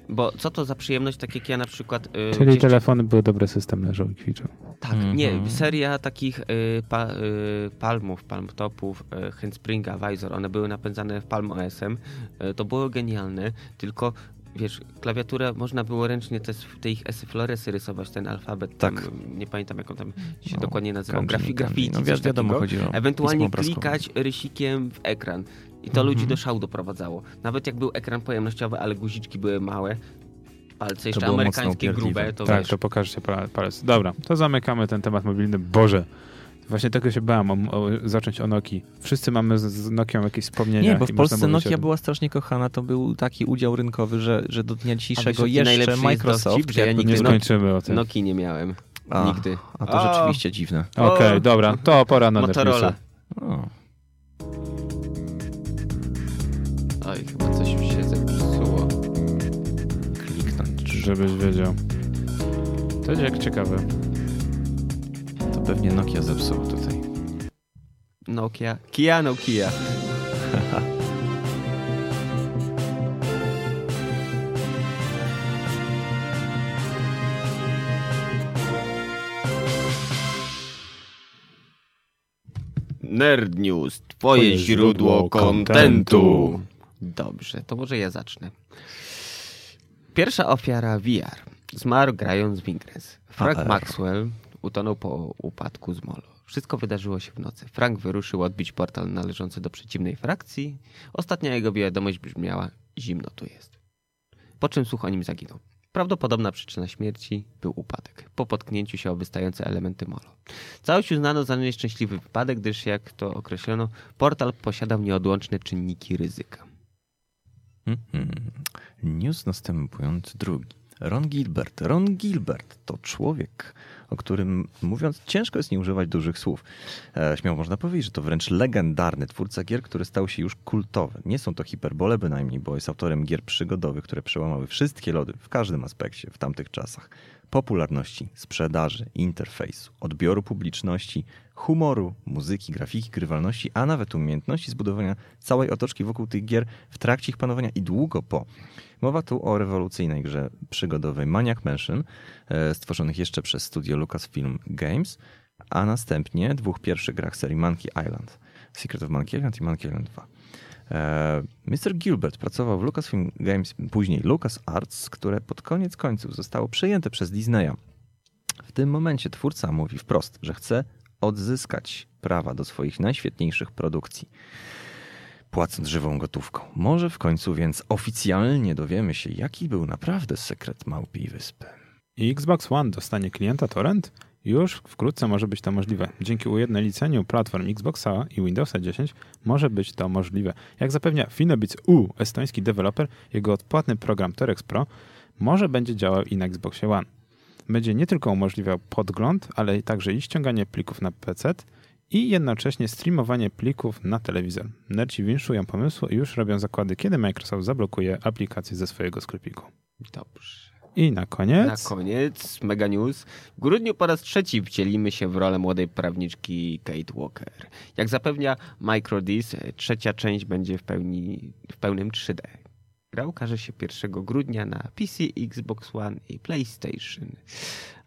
Speaker 1: Bo co to za przyjemność, tak jak ja na przykład... y,
Speaker 2: Czyli
Speaker 1: gdzieś-
Speaker 2: telefony były dobre system leżą i kwiczą.
Speaker 1: Tak,
Speaker 3: Mhm.
Speaker 1: nie, seria takich y, pa, y, palmów, palmtopów, y, handspringa, visor, one były napędzane w Palm OS-em, y, to było genialne, tylko wiesz, klawiaturę można było ręcznie te, s- te ich esfloresy rysować, ten alfabet,
Speaker 3: Tak.
Speaker 1: tam, y, nie pamiętam jak on tam się
Speaker 3: No,
Speaker 1: dokładnie nazywał,
Speaker 3: kanji,
Speaker 1: grafi,
Speaker 3: nie kanji.
Speaker 1: graffiti,
Speaker 3: No,
Speaker 1: coś
Speaker 3: wi- wiadomo,
Speaker 1: takiego.
Speaker 3: chodzi o pismo
Speaker 1: Ewentualnie
Speaker 3: obrazkowe.
Speaker 1: klikać rysikiem w ekran. I
Speaker 3: Mhm.
Speaker 1: to ludzi do szału doprowadzało. Nawet jak był ekran pojemnościowy, ale guziczki były małe, palce jeszcze
Speaker 3: było mocno
Speaker 1: amerykańskie
Speaker 3: upierdliwe.
Speaker 1: grube, to
Speaker 2: tak,
Speaker 1: wiesz,
Speaker 2: to pokażcie pa- palec. Dobra, to zamykamy ten temat mobilny. Boże. Właśnie tego się bałem, o, o, zacząć o Nokii. Wszyscy mamy z, z Nokią jakieś wspomnienia.
Speaker 4: Nie, bo
Speaker 2: i
Speaker 4: w
Speaker 2: można
Speaker 4: Polsce
Speaker 2: mówić o
Speaker 4: Nokia
Speaker 2: tym.
Speaker 4: była strasznie kochana, to był taki udział rynkowy, że, że do dnia dzisiejszego
Speaker 1: jaki najlepszy
Speaker 4: jeszcze
Speaker 1: jest dowcip,
Speaker 4: Microsoft...
Speaker 1: że ja
Speaker 4: jak-
Speaker 1: nigdy
Speaker 2: Nie
Speaker 1: Nokia-
Speaker 2: skończymy o tym.
Speaker 4: No.
Speaker 1: Noki nie miałem.
Speaker 3: A,
Speaker 1: Nigdy.
Speaker 3: A to
Speaker 1: O.
Speaker 3: rzeczywiście dziwne.
Speaker 2: Okej,
Speaker 1: O.
Speaker 2: dobra, to pora na
Speaker 1: Motorola.
Speaker 2: Netflixy.
Speaker 3: O,
Speaker 1: Oj, chyba coś mi się zepsuło.
Speaker 3: kliknąć.
Speaker 2: Żebyś wiedział. To jest jak ciekawe.
Speaker 3: To pewnie Nokia zepsuł tutaj.
Speaker 1: Nokia. Kia, Nokia. Nerd News, twoje
Speaker 2: Twoje źródło
Speaker 1: źródło
Speaker 2: kontentu.
Speaker 1: kontentu. Dobrze, to może ja zacznę. Pierwsza ofiara VR. Zmarł grając w Ingress. Frank
Speaker 3: AR.
Speaker 1: Maxwell utonął po upadku z molo. Wszystko wydarzyło się w nocy. Frank wyruszył odbić portal należący do przeciwnej frakcji. Ostatnia jego wiadomość brzmiała: zimno tu jest. Po czym słuch o nim zaginął. Prawdopodobna przyczyna śmierci był upadek po potknięciu się o wystające elementy molo. Całość uznano za nieszczęśliwy wypadek, gdyż, jak to określono, portal posiadał nieodłączne czynniki ryzyka.
Speaker 3: Mhm. News następujący drugi. Ron Gilbert. Ron Gilbert to człowiek, o którym mówiąc ciężko jest nie używać dużych słów. E, śmiało można powiedzieć, że to wręcz legendarny twórca gier, który stał się już kultowy. Nie są to hiperbole bynajmniej, bo jest autorem gier przygodowych, które przełamały wszystkie lody w każdym aspekcie w tamtych czasach. Popularności, sprzedaży, interfejsu, odbioru publiczności, humoru, muzyki, grafiki, grywalności, a nawet umiejętności zbudowania całej otoczki wokół tych gier w trakcie ich panowania i długo po. Mowa tu o rewolucyjnej grze przygodowej Maniac Mansion, e, stworzonych jeszcze przez studio Lucasfilm Games, a następnie dwóch pierwszych grach serii Monkey Island, Secret of Monkey Island i Monkey Island 2. E, Mr. Gilbert pracował w Lucasfilm Games, później LucasArts, które pod koniec końców zostało przejęte przez Disneya. W tym momencie twórca mówi wprost, że chce odzyskać prawa do swoich najświetniejszych produkcji płacąc żywą gotówką. Może w końcu więc oficjalnie dowiemy się, jaki był naprawdę sekret Małpiej Wyspy.
Speaker 2: I Xbox One dostanie klienta torrent? Już wkrótce może być to możliwe. Dzięki ujednoliceniu platform Xboxa i Windowsa 10 może być to możliwe. Jak zapewnia Finobits U, estoński deweloper, jego odpłatny program Torex Pro może będzie działał i na Xboxie One. Będzie nie tylko umożliwiał podgląd, ale także i ściąganie plików na PC i jednocześnie streamowanie plików na telewizor. Nerci winszują pomysłu i już robią zakłady, kiedy Microsoft zablokuje aplikację ze swojego sklepiku.
Speaker 1: Dobrze.
Speaker 2: I na koniec...
Speaker 1: Na koniec Mega News. W grudniu po raz trzeci wcielimy się w rolę młodej prawniczki Kate Walker. Jak zapewnia MicroDis, trzecia część będzie w, pełni, w pełnym 3D. Gra ukaże się 1 grudnia na PC, Xbox One i PlayStation.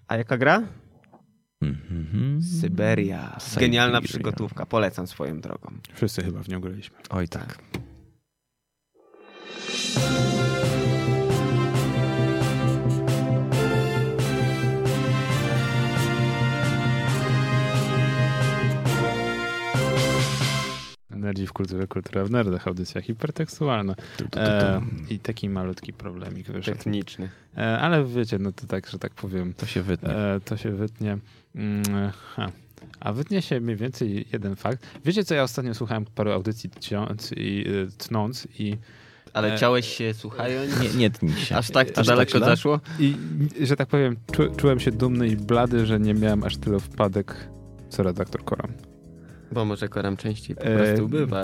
Speaker 1: A jaka gra?
Speaker 3: Mhm.
Speaker 1: Syberia.
Speaker 3: Syberia.
Speaker 1: Genialna przygotówka. Polecam swoją drogą.
Speaker 2: Wszyscy chyba w nią graliśmy.
Speaker 3: Oj tak.
Speaker 2: Energii w kulturze, kultura w nerdach, audycja hipertekstualna.
Speaker 3: Tu, tu, tu, tu.
Speaker 2: E, I taki malutki problemik wyszedł.
Speaker 1: Techniczny.
Speaker 2: E, ale wiecie, no to tak, że tak powiem,
Speaker 3: To się wytnie.
Speaker 2: e, to się wytnie. Mm, ha. A wytnie się mniej więcej jeden fakt. Wiecie, co ja ostatnio słuchałem paru audycji tciąc i, e, tnąc i,
Speaker 1: Ale
Speaker 2: E,
Speaker 1: ciałeś się słuchając?
Speaker 3: Nie, nie tnij się.
Speaker 1: Aż tak to
Speaker 3: Aż tak
Speaker 1: daleko
Speaker 3: źle?
Speaker 1: zaszło?
Speaker 2: i, że tak powiem, czu, czułem się dumny i blady, że nie miałem aż tylu wpadek co redaktor Koram.
Speaker 1: Bo może koram częściej po
Speaker 2: E,
Speaker 1: prostu bywa.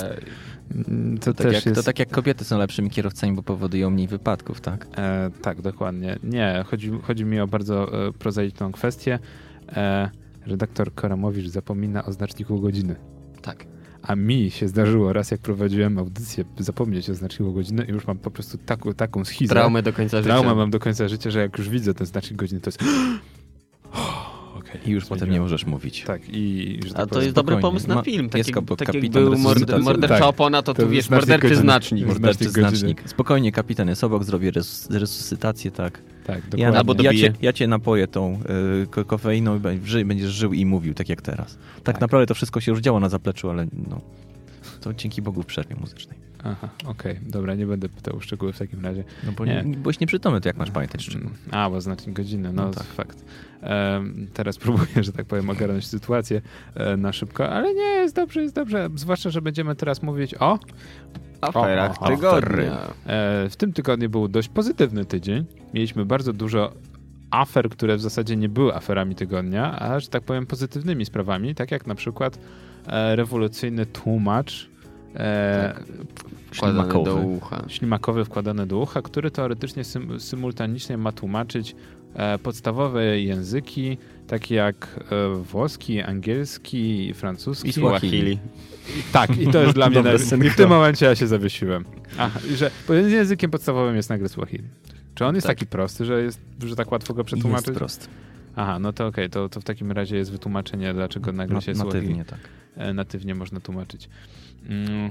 Speaker 2: Mm, To
Speaker 4: Tak
Speaker 2: też
Speaker 4: jak,
Speaker 2: jest...
Speaker 4: To tak jak kobiety są lepszymi kierowcami, bo powodują mniej wypadków, tak?
Speaker 2: E, tak, dokładnie. Nie, chodzi, chodzi mi o bardzo e, prozaiczną kwestię. E, redaktor Koramowicz zapomina o znaczniku godziny.
Speaker 1: Tak.
Speaker 2: A mi się zdarzyło raz, jak prowadziłem audycję, zapomnieć oznaczniku godziny i już mam po prostu taką, taką schizę.
Speaker 1: Traumę do końca życia.
Speaker 2: Traumę mam do końca życia, że jak już widzę ten znacznik godziny, to jest... Okej,
Speaker 5: I już potem nie
Speaker 2: zmieniłem.
Speaker 5: możesz mówić.
Speaker 2: Tak, i... Że tak
Speaker 1: A to
Speaker 2: powiem,
Speaker 1: jest dobry
Speaker 2: spokojnie.
Speaker 1: pomysł na
Speaker 5: Ma-
Speaker 1: film. Tak
Speaker 5: jest
Speaker 1: jak,
Speaker 5: kap-
Speaker 1: tak jak
Speaker 5: kapitan
Speaker 1: był mord-
Speaker 5: resuscytacji.
Speaker 1: mordercza
Speaker 2: Tak.
Speaker 1: opona, to,
Speaker 2: To
Speaker 1: tu
Speaker 2: jest
Speaker 1: wiesz,
Speaker 2: znacznik
Speaker 1: morderczy
Speaker 2: godziny.
Speaker 1: znacznik.
Speaker 2: Znacznik
Speaker 3: Morderczy
Speaker 2: godziny.
Speaker 3: znacznik. Spokojnie, kapitan jest obok, zrobię res- resuscytację, tak.
Speaker 2: Tak, dokładnie.
Speaker 3: Ja,
Speaker 1: Albo
Speaker 3: ja,
Speaker 1: dobiję.
Speaker 3: cię, ja cię napoję tą y, ko- kofeiną i be- ży- będziesz żył i mówił, tak jak teraz. Tak,
Speaker 2: Tak.
Speaker 3: naprawdę to wszystko się już działo na zapleczu, ale no, to dzięki Bogu w przerwie muzycznej.
Speaker 2: Aha, okej, dobra, nie będę pytał o szczegóły w takim razie.
Speaker 3: No bo
Speaker 2: Nie.
Speaker 3: nie. byłeś nieprzytomny, to jak masz pamiętać szczegóły?
Speaker 2: Mm, A, bo znaczy godzinę, no,
Speaker 3: No
Speaker 2: tak.
Speaker 3: tak.
Speaker 2: fakt. Em, teraz próbuję, że tak powiem, ogarnąć sytuację e, na szybko, ale nie, jest dobrze, jest dobrze. Zwłaszcza, że będziemy teraz mówić o...
Speaker 1: Aferach
Speaker 2: O, o,
Speaker 1: tygodnia.
Speaker 2: E, W tym tygodniu był dość pozytywny tydzień. Mieliśmy bardzo dużo afer, które w zasadzie nie były aferami tygodnia, a że tak powiem pozytywnymi sprawami, tak jak na przykład e, rewolucyjny tłumacz e,
Speaker 1: Wkładane do
Speaker 5: Ślimakowy.
Speaker 1: ucha.
Speaker 2: ślimakowy wkładany do ucha, który teoretycznie sym- symultanicznie ma tłumaczyć e, podstawowe języki, takie jak e, włoski, angielski, francuski.
Speaker 3: I Swahili.
Speaker 2: Tak, i to jest dla mnie
Speaker 5: Dobre
Speaker 2: naj... I w
Speaker 5: synchro.
Speaker 2: tym momencie ja się zawiesiłem. Aha, i że bo językiem podstawowym jest nagle Swahili. Czy on jest taki prosty, że, jest, że tak łatwo go
Speaker 3: Jest
Speaker 2: przetłumaczyć?
Speaker 3: prost.
Speaker 2: Aha, no to okej, to, to w takim razie jest wytłumaczenie, dlaczego nagle
Speaker 3: Na,
Speaker 2: się Swahili
Speaker 3: natywnie, tak.
Speaker 2: e, natywnie można tłumaczyć. Mm.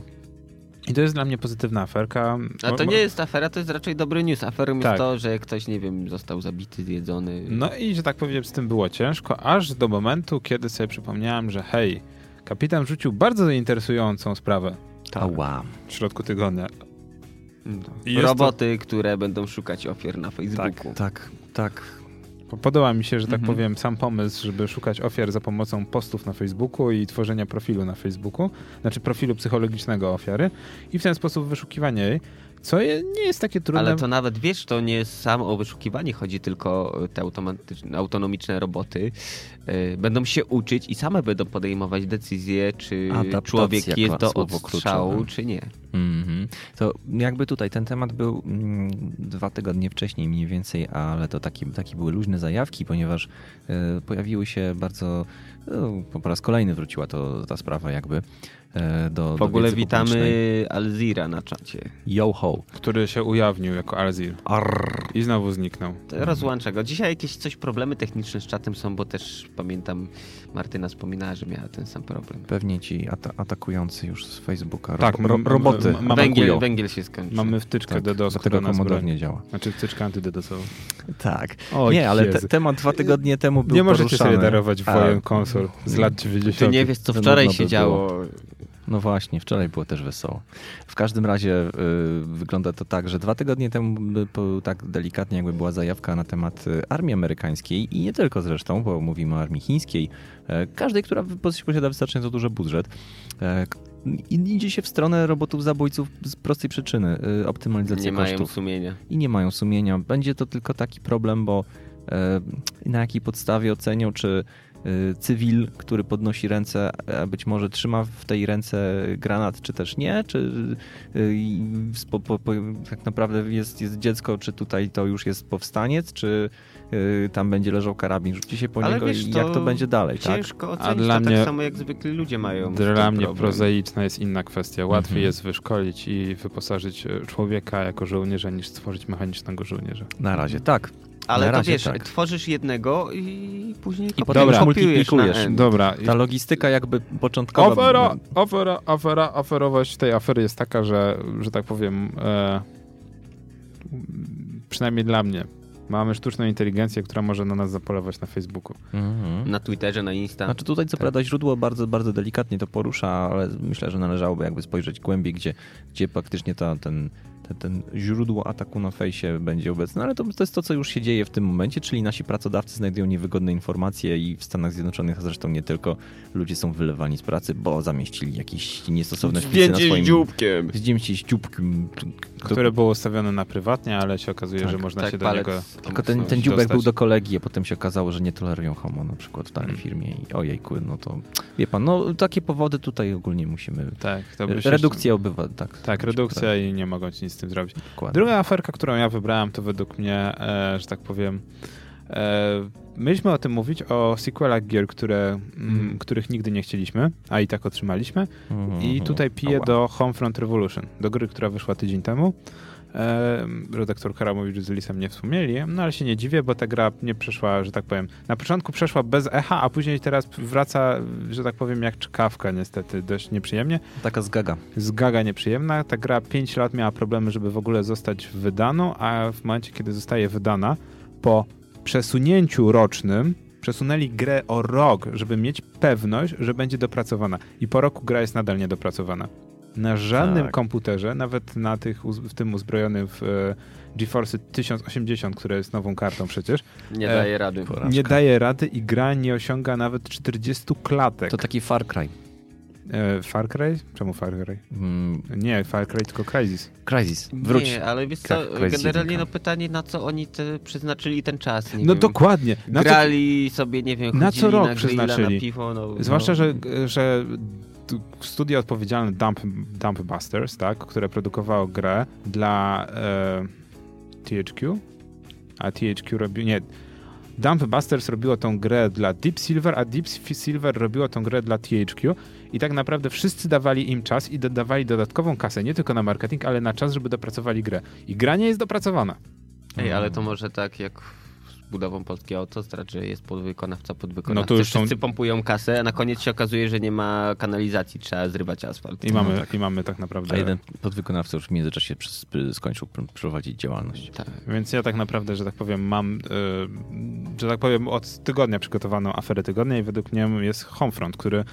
Speaker 2: I to jest dla mnie pozytywna aferka.
Speaker 1: A
Speaker 2: Mo-
Speaker 1: to
Speaker 2: mo-
Speaker 1: nie jest afera, to jest raczej dobry news. Aferą
Speaker 2: Tak.
Speaker 1: jest to, że ktoś, nie wiem, został zabity, zjedzony.
Speaker 2: No i że tak powiem, z tym było ciężko, aż do momentu, kiedy sobie przypomniałem, że hej, kapitan rzucił bardzo interesującą sprawę
Speaker 3: Ała.
Speaker 2: w środku tygodnia. I jest
Speaker 1: Mm, Roboty, które będą szukać ofiar na
Speaker 3: Tak,
Speaker 1: Facebooku.
Speaker 3: tak, tak.
Speaker 2: Po- Podoba mi się, że tak
Speaker 3: Mhm.
Speaker 2: powiem, sam pomysł, żeby szukać ofiar za pomocą postów na Facebooku i tworzenia profilu na Facebooku, znaczy profilu psychologicznego ofiary i w ten sposób wyszukiwanie jej, co je, nie jest takie trudne.
Speaker 1: Ale to nawet wiesz, to nie samo o wyszukiwanie chodzi, tylko te automatyczne, autonomiczne roboty y, będą się uczyć i same będą podejmować decyzje, czy
Speaker 3: Adaptacja,
Speaker 1: człowiek jest do
Speaker 3: słowo
Speaker 1: odstrzału,
Speaker 3: kluczowe.
Speaker 1: czy nie.
Speaker 3: Mhm. To jakby tutaj ten temat był mm, dwa tygodnie wcześniej mniej więcej, ale to takie taki były luźne zajawki, ponieważ e, pojawiły się bardzo, e, po raz kolejny wróciła to ta sprawa jakby e, do
Speaker 1: W
Speaker 3: do
Speaker 1: ogóle
Speaker 3: wiedzy publicznej.
Speaker 1: witamy Alzira na czacie.
Speaker 3: Yo ho.
Speaker 2: Który się ujawnił jako Alzir
Speaker 3: Arr.
Speaker 2: i znowu zniknął.
Speaker 1: To Rozłączę go. Dzisiaj jakieś coś problemy techniczne z czatem są, bo też pamiętam Martyna wspominała, że miała ten sam problem.
Speaker 3: Pewnie ci ata- atakujący już z Facebooka.
Speaker 2: Tak,
Speaker 3: ro-
Speaker 2: m-
Speaker 3: ro- roboty.
Speaker 2: m- m- Mamy
Speaker 1: Węgiel,
Speaker 2: kujo.
Speaker 1: węgiel się skończył.
Speaker 2: Mamy wtyczkę
Speaker 3: Tak,
Speaker 2: do DOS,
Speaker 3: dlatego
Speaker 2: która nas
Speaker 3: komodor
Speaker 2: broni.
Speaker 3: nie działa.
Speaker 2: Znaczy wtyczkę antydodosową.
Speaker 3: Tak.
Speaker 2: O
Speaker 3: nie, ale te,
Speaker 2: Jezu.
Speaker 3: temat dwa tygodnie temu był
Speaker 2: Nie możecie
Speaker 3: poruszany.
Speaker 2: sobie darować
Speaker 3: A,
Speaker 2: wojen konsol z lat 90.
Speaker 1: Ty nie wiesz, co
Speaker 3: to
Speaker 1: wczoraj
Speaker 3: nudno
Speaker 1: się
Speaker 3: by
Speaker 1: działo.
Speaker 3: No właśnie, wczoraj było też wesoło. W każdym razie y, wygląda to tak, że dwa tygodnie temu by- po, tak delikatnie jakby była zajawka na temat y, armii amerykańskiej i nie tylko zresztą, bo mówimy o armii chińskiej, e, każdej, która wy- pos- posiada wystarczająco duży budżet. E, k- i- Idzie się w stronę robotów zabójców z prostej przyczyny, y, optymalizacji
Speaker 1: Nie mają
Speaker 3: kosztów
Speaker 1: sumienia.
Speaker 3: i nie mają sumienia. Będzie to tylko taki problem, bo e, na jakiej podstawie ocenią, czy e, cywil, który podnosi ręce, a być może trzyma w tej ręce granat, czy też nie, czy e, i z- po, po, po, tak naprawdę jest, jest dziecko, czy tutaj to już jest powstaniec, czy e, tam będzie leżał karabin, rzuci się po
Speaker 1: Ale
Speaker 3: niego
Speaker 1: wiesz,
Speaker 3: i
Speaker 1: to
Speaker 3: jak to będzie dalej, tak?
Speaker 1: Ciężko ocenić
Speaker 2: dla
Speaker 1: to
Speaker 2: mnie-
Speaker 1: tak samo jak zwykli ludzie mają. z tym
Speaker 2: Dla mnie
Speaker 1: problem.
Speaker 2: prozaiczna jest inna kwestia. Łatwiej
Speaker 3: Mhm.
Speaker 2: jest wyszkolić i wyposażyć e, człowieka jako żołnierza, niż stworzyć mechanicznego żołnierza.
Speaker 3: Na razie tak.
Speaker 1: Ale
Speaker 3: Na
Speaker 1: to
Speaker 3: razie
Speaker 1: wiesz,
Speaker 3: tak.
Speaker 1: tworzysz jednego i później
Speaker 3: I
Speaker 1: kopi-
Speaker 3: potem
Speaker 2: już
Speaker 1: kopiujesz na
Speaker 3: multiplikujesz.
Speaker 1: N.
Speaker 2: Dobra. i-
Speaker 3: Ta logistyka jakby początkowa...
Speaker 2: Ofera, ofera, ofera, oferowość tej afery jest taka, że, że tak powiem, e, przynajmniej dla mnie, mamy sztuczną inteligencję, która może na nas zapolować na Facebooku.
Speaker 3: Mhm.
Speaker 1: Na Twitterze, na Insta.
Speaker 3: Znaczy tutaj co prawda źródło bardzo, bardzo delikatnie to porusza, ale myślę, że należałoby jakby spojrzeć głębiej, gdzie, gdzie faktycznie ta, ten, ten, ten źródło ataku na fejsie będzie obecne, No ale to, to jest to, co już się dzieje w tym momencie, czyli nasi pracodawcy znajdują niewygodne informacje i w Stanach Zjednoczonych, a zresztą nie tylko, ludzie są wylewani z pracy, bo zamieścili jakieś niestosowne wpisy na swoim...
Speaker 1: dzióbkiem.
Speaker 3: Zdjęcie z dzióbkiem. To-
Speaker 2: Które było ustawione na prywatnie, ale się okazuje,
Speaker 3: Tak,
Speaker 2: że można
Speaker 1: Tak,
Speaker 2: się do
Speaker 1: palec
Speaker 2: niego...
Speaker 3: Tylko ten, ten
Speaker 1: obsunąć.
Speaker 3: dziubek
Speaker 2: dostać. Hmm.
Speaker 3: był do kolegi, a potem się okazało, że nie tolerują homo na przykład w danej firmie i ojejku, no to wie pan, no takie powody tutaj ogólnie musimy... e,
Speaker 2: Tak, to by się-
Speaker 3: Redukcja obywateli, tak.
Speaker 2: Tak, redukcja i nie mogą ci nic z tym zrobić.
Speaker 3: Dokładnie.
Speaker 2: Druga aferka, którą ja wybrałem, to według mnie, e, że tak powiem, E, Mieliśmy o tym mówić, o sequelach gier, które, mm,
Speaker 1: Mhm.
Speaker 2: których nigdy nie chcieliśmy, a i tak otrzymaliśmy. I
Speaker 4: Mhm.
Speaker 2: tutaj piję
Speaker 4: Ała.
Speaker 2: do Homefront Revolution, do gry, która wyszła tydzień temu. E, redaktor Karamowicz z Lisem nie wspomnieli, no ale się nie dziwię, bo ta gra nie przeszła, że tak powiem. Na początku przeszła bez echa, a później teraz wraca, że tak powiem, jak czkawka niestety, dość nieprzyjemnie.
Speaker 4: Taka zgaga.
Speaker 2: Zgaga nieprzyjemna. Ta gra 5 lat miała problemy, żeby w ogóle zostać wydaną, a w momencie, kiedy zostaje wydana, po przesunięciu rocznym przesunęli grę o rok, żeby mieć pewność, że będzie dopracowana. I po roku gra jest nadal niedopracowana. Na żadnym
Speaker 3: Tak.
Speaker 2: komputerze, nawet na tych, uz- w tym uzbrojonym w e, GeForce 1080, które jest nową kartą przecież,
Speaker 1: Nie
Speaker 2: E,
Speaker 1: daje rady.
Speaker 3: Porażka.
Speaker 2: nie daje rady i gra nie osiąga nawet 40 klatek.
Speaker 4: To taki Far Cry.
Speaker 2: E, Far Cry? Czemu Far Cry?
Speaker 4: Mm,
Speaker 2: Nie, Far Cry, tylko Crysis.
Speaker 3: Crisis, wróć.
Speaker 1: Nie, ale wiesz co,
Speaker 3: Tak, Quest
Speaker 1: generalnie
Speaker 3: jedynka.
Speaker 1: no pytanie, na co oni te przeznaczyli ten czas, nie
Speaker 2: No
Speaker 1: wiem.
Speaker 2: dokładnie. Na co,
Speaker 1: Grali sobie, nie wiem,
Speaker 2: na
Speaker 1: chodzili
Speaker 2: co rok
Speaker 1: na grilla,
Speaker 2: przeznaczyli?
Speaker 1: na piwo. No,
Speaker 2: zwłaszcza,
Speaker 1: no.
Speaker 2: że, że tu studio odpowiedzialne Dump, Dump Busters, tak, które produkowało grę dla e, THQ, a THQ robił, nie, Dump Busters robiło tą grę dla Deep Silver, a Deep Silver robiło tą grę dla THQ i tak naprawdę wszyscy dawali im czas i dodawali dodatkową kasę, nie tylko na marketing, ale na czas, żeby dopracowali grę. I gra nie jest dopracowana.
Speaker 1: Ej, ale
Speaker 2: Mm.
Speaker 1: to może tak jak z budową polskiej autostrad, że jest podwykonawca, podwykonawca.
Speaker 2: No to już są-
Speaker 1: Wszyscy pompują kasę, a na koniec się okazuje, że nie ma kanalizacji, trzeba zrywać asfalt.
Speaker 2: I mamy, i mamy tak
Speaker 4: a
Speaker 2: naprawdę...
Speaker 4: jeden podwykonawca już w międzyczasie przez- skończył pr- prowadzić działalność.
Speaker 1: Tak.
Speaker 2: Więc ja tak naprawdę, że tak powiem, mam, y, że tak powiem, od tygodnia przygotowaną aferę tygodnia i według mnie jest Homefront, który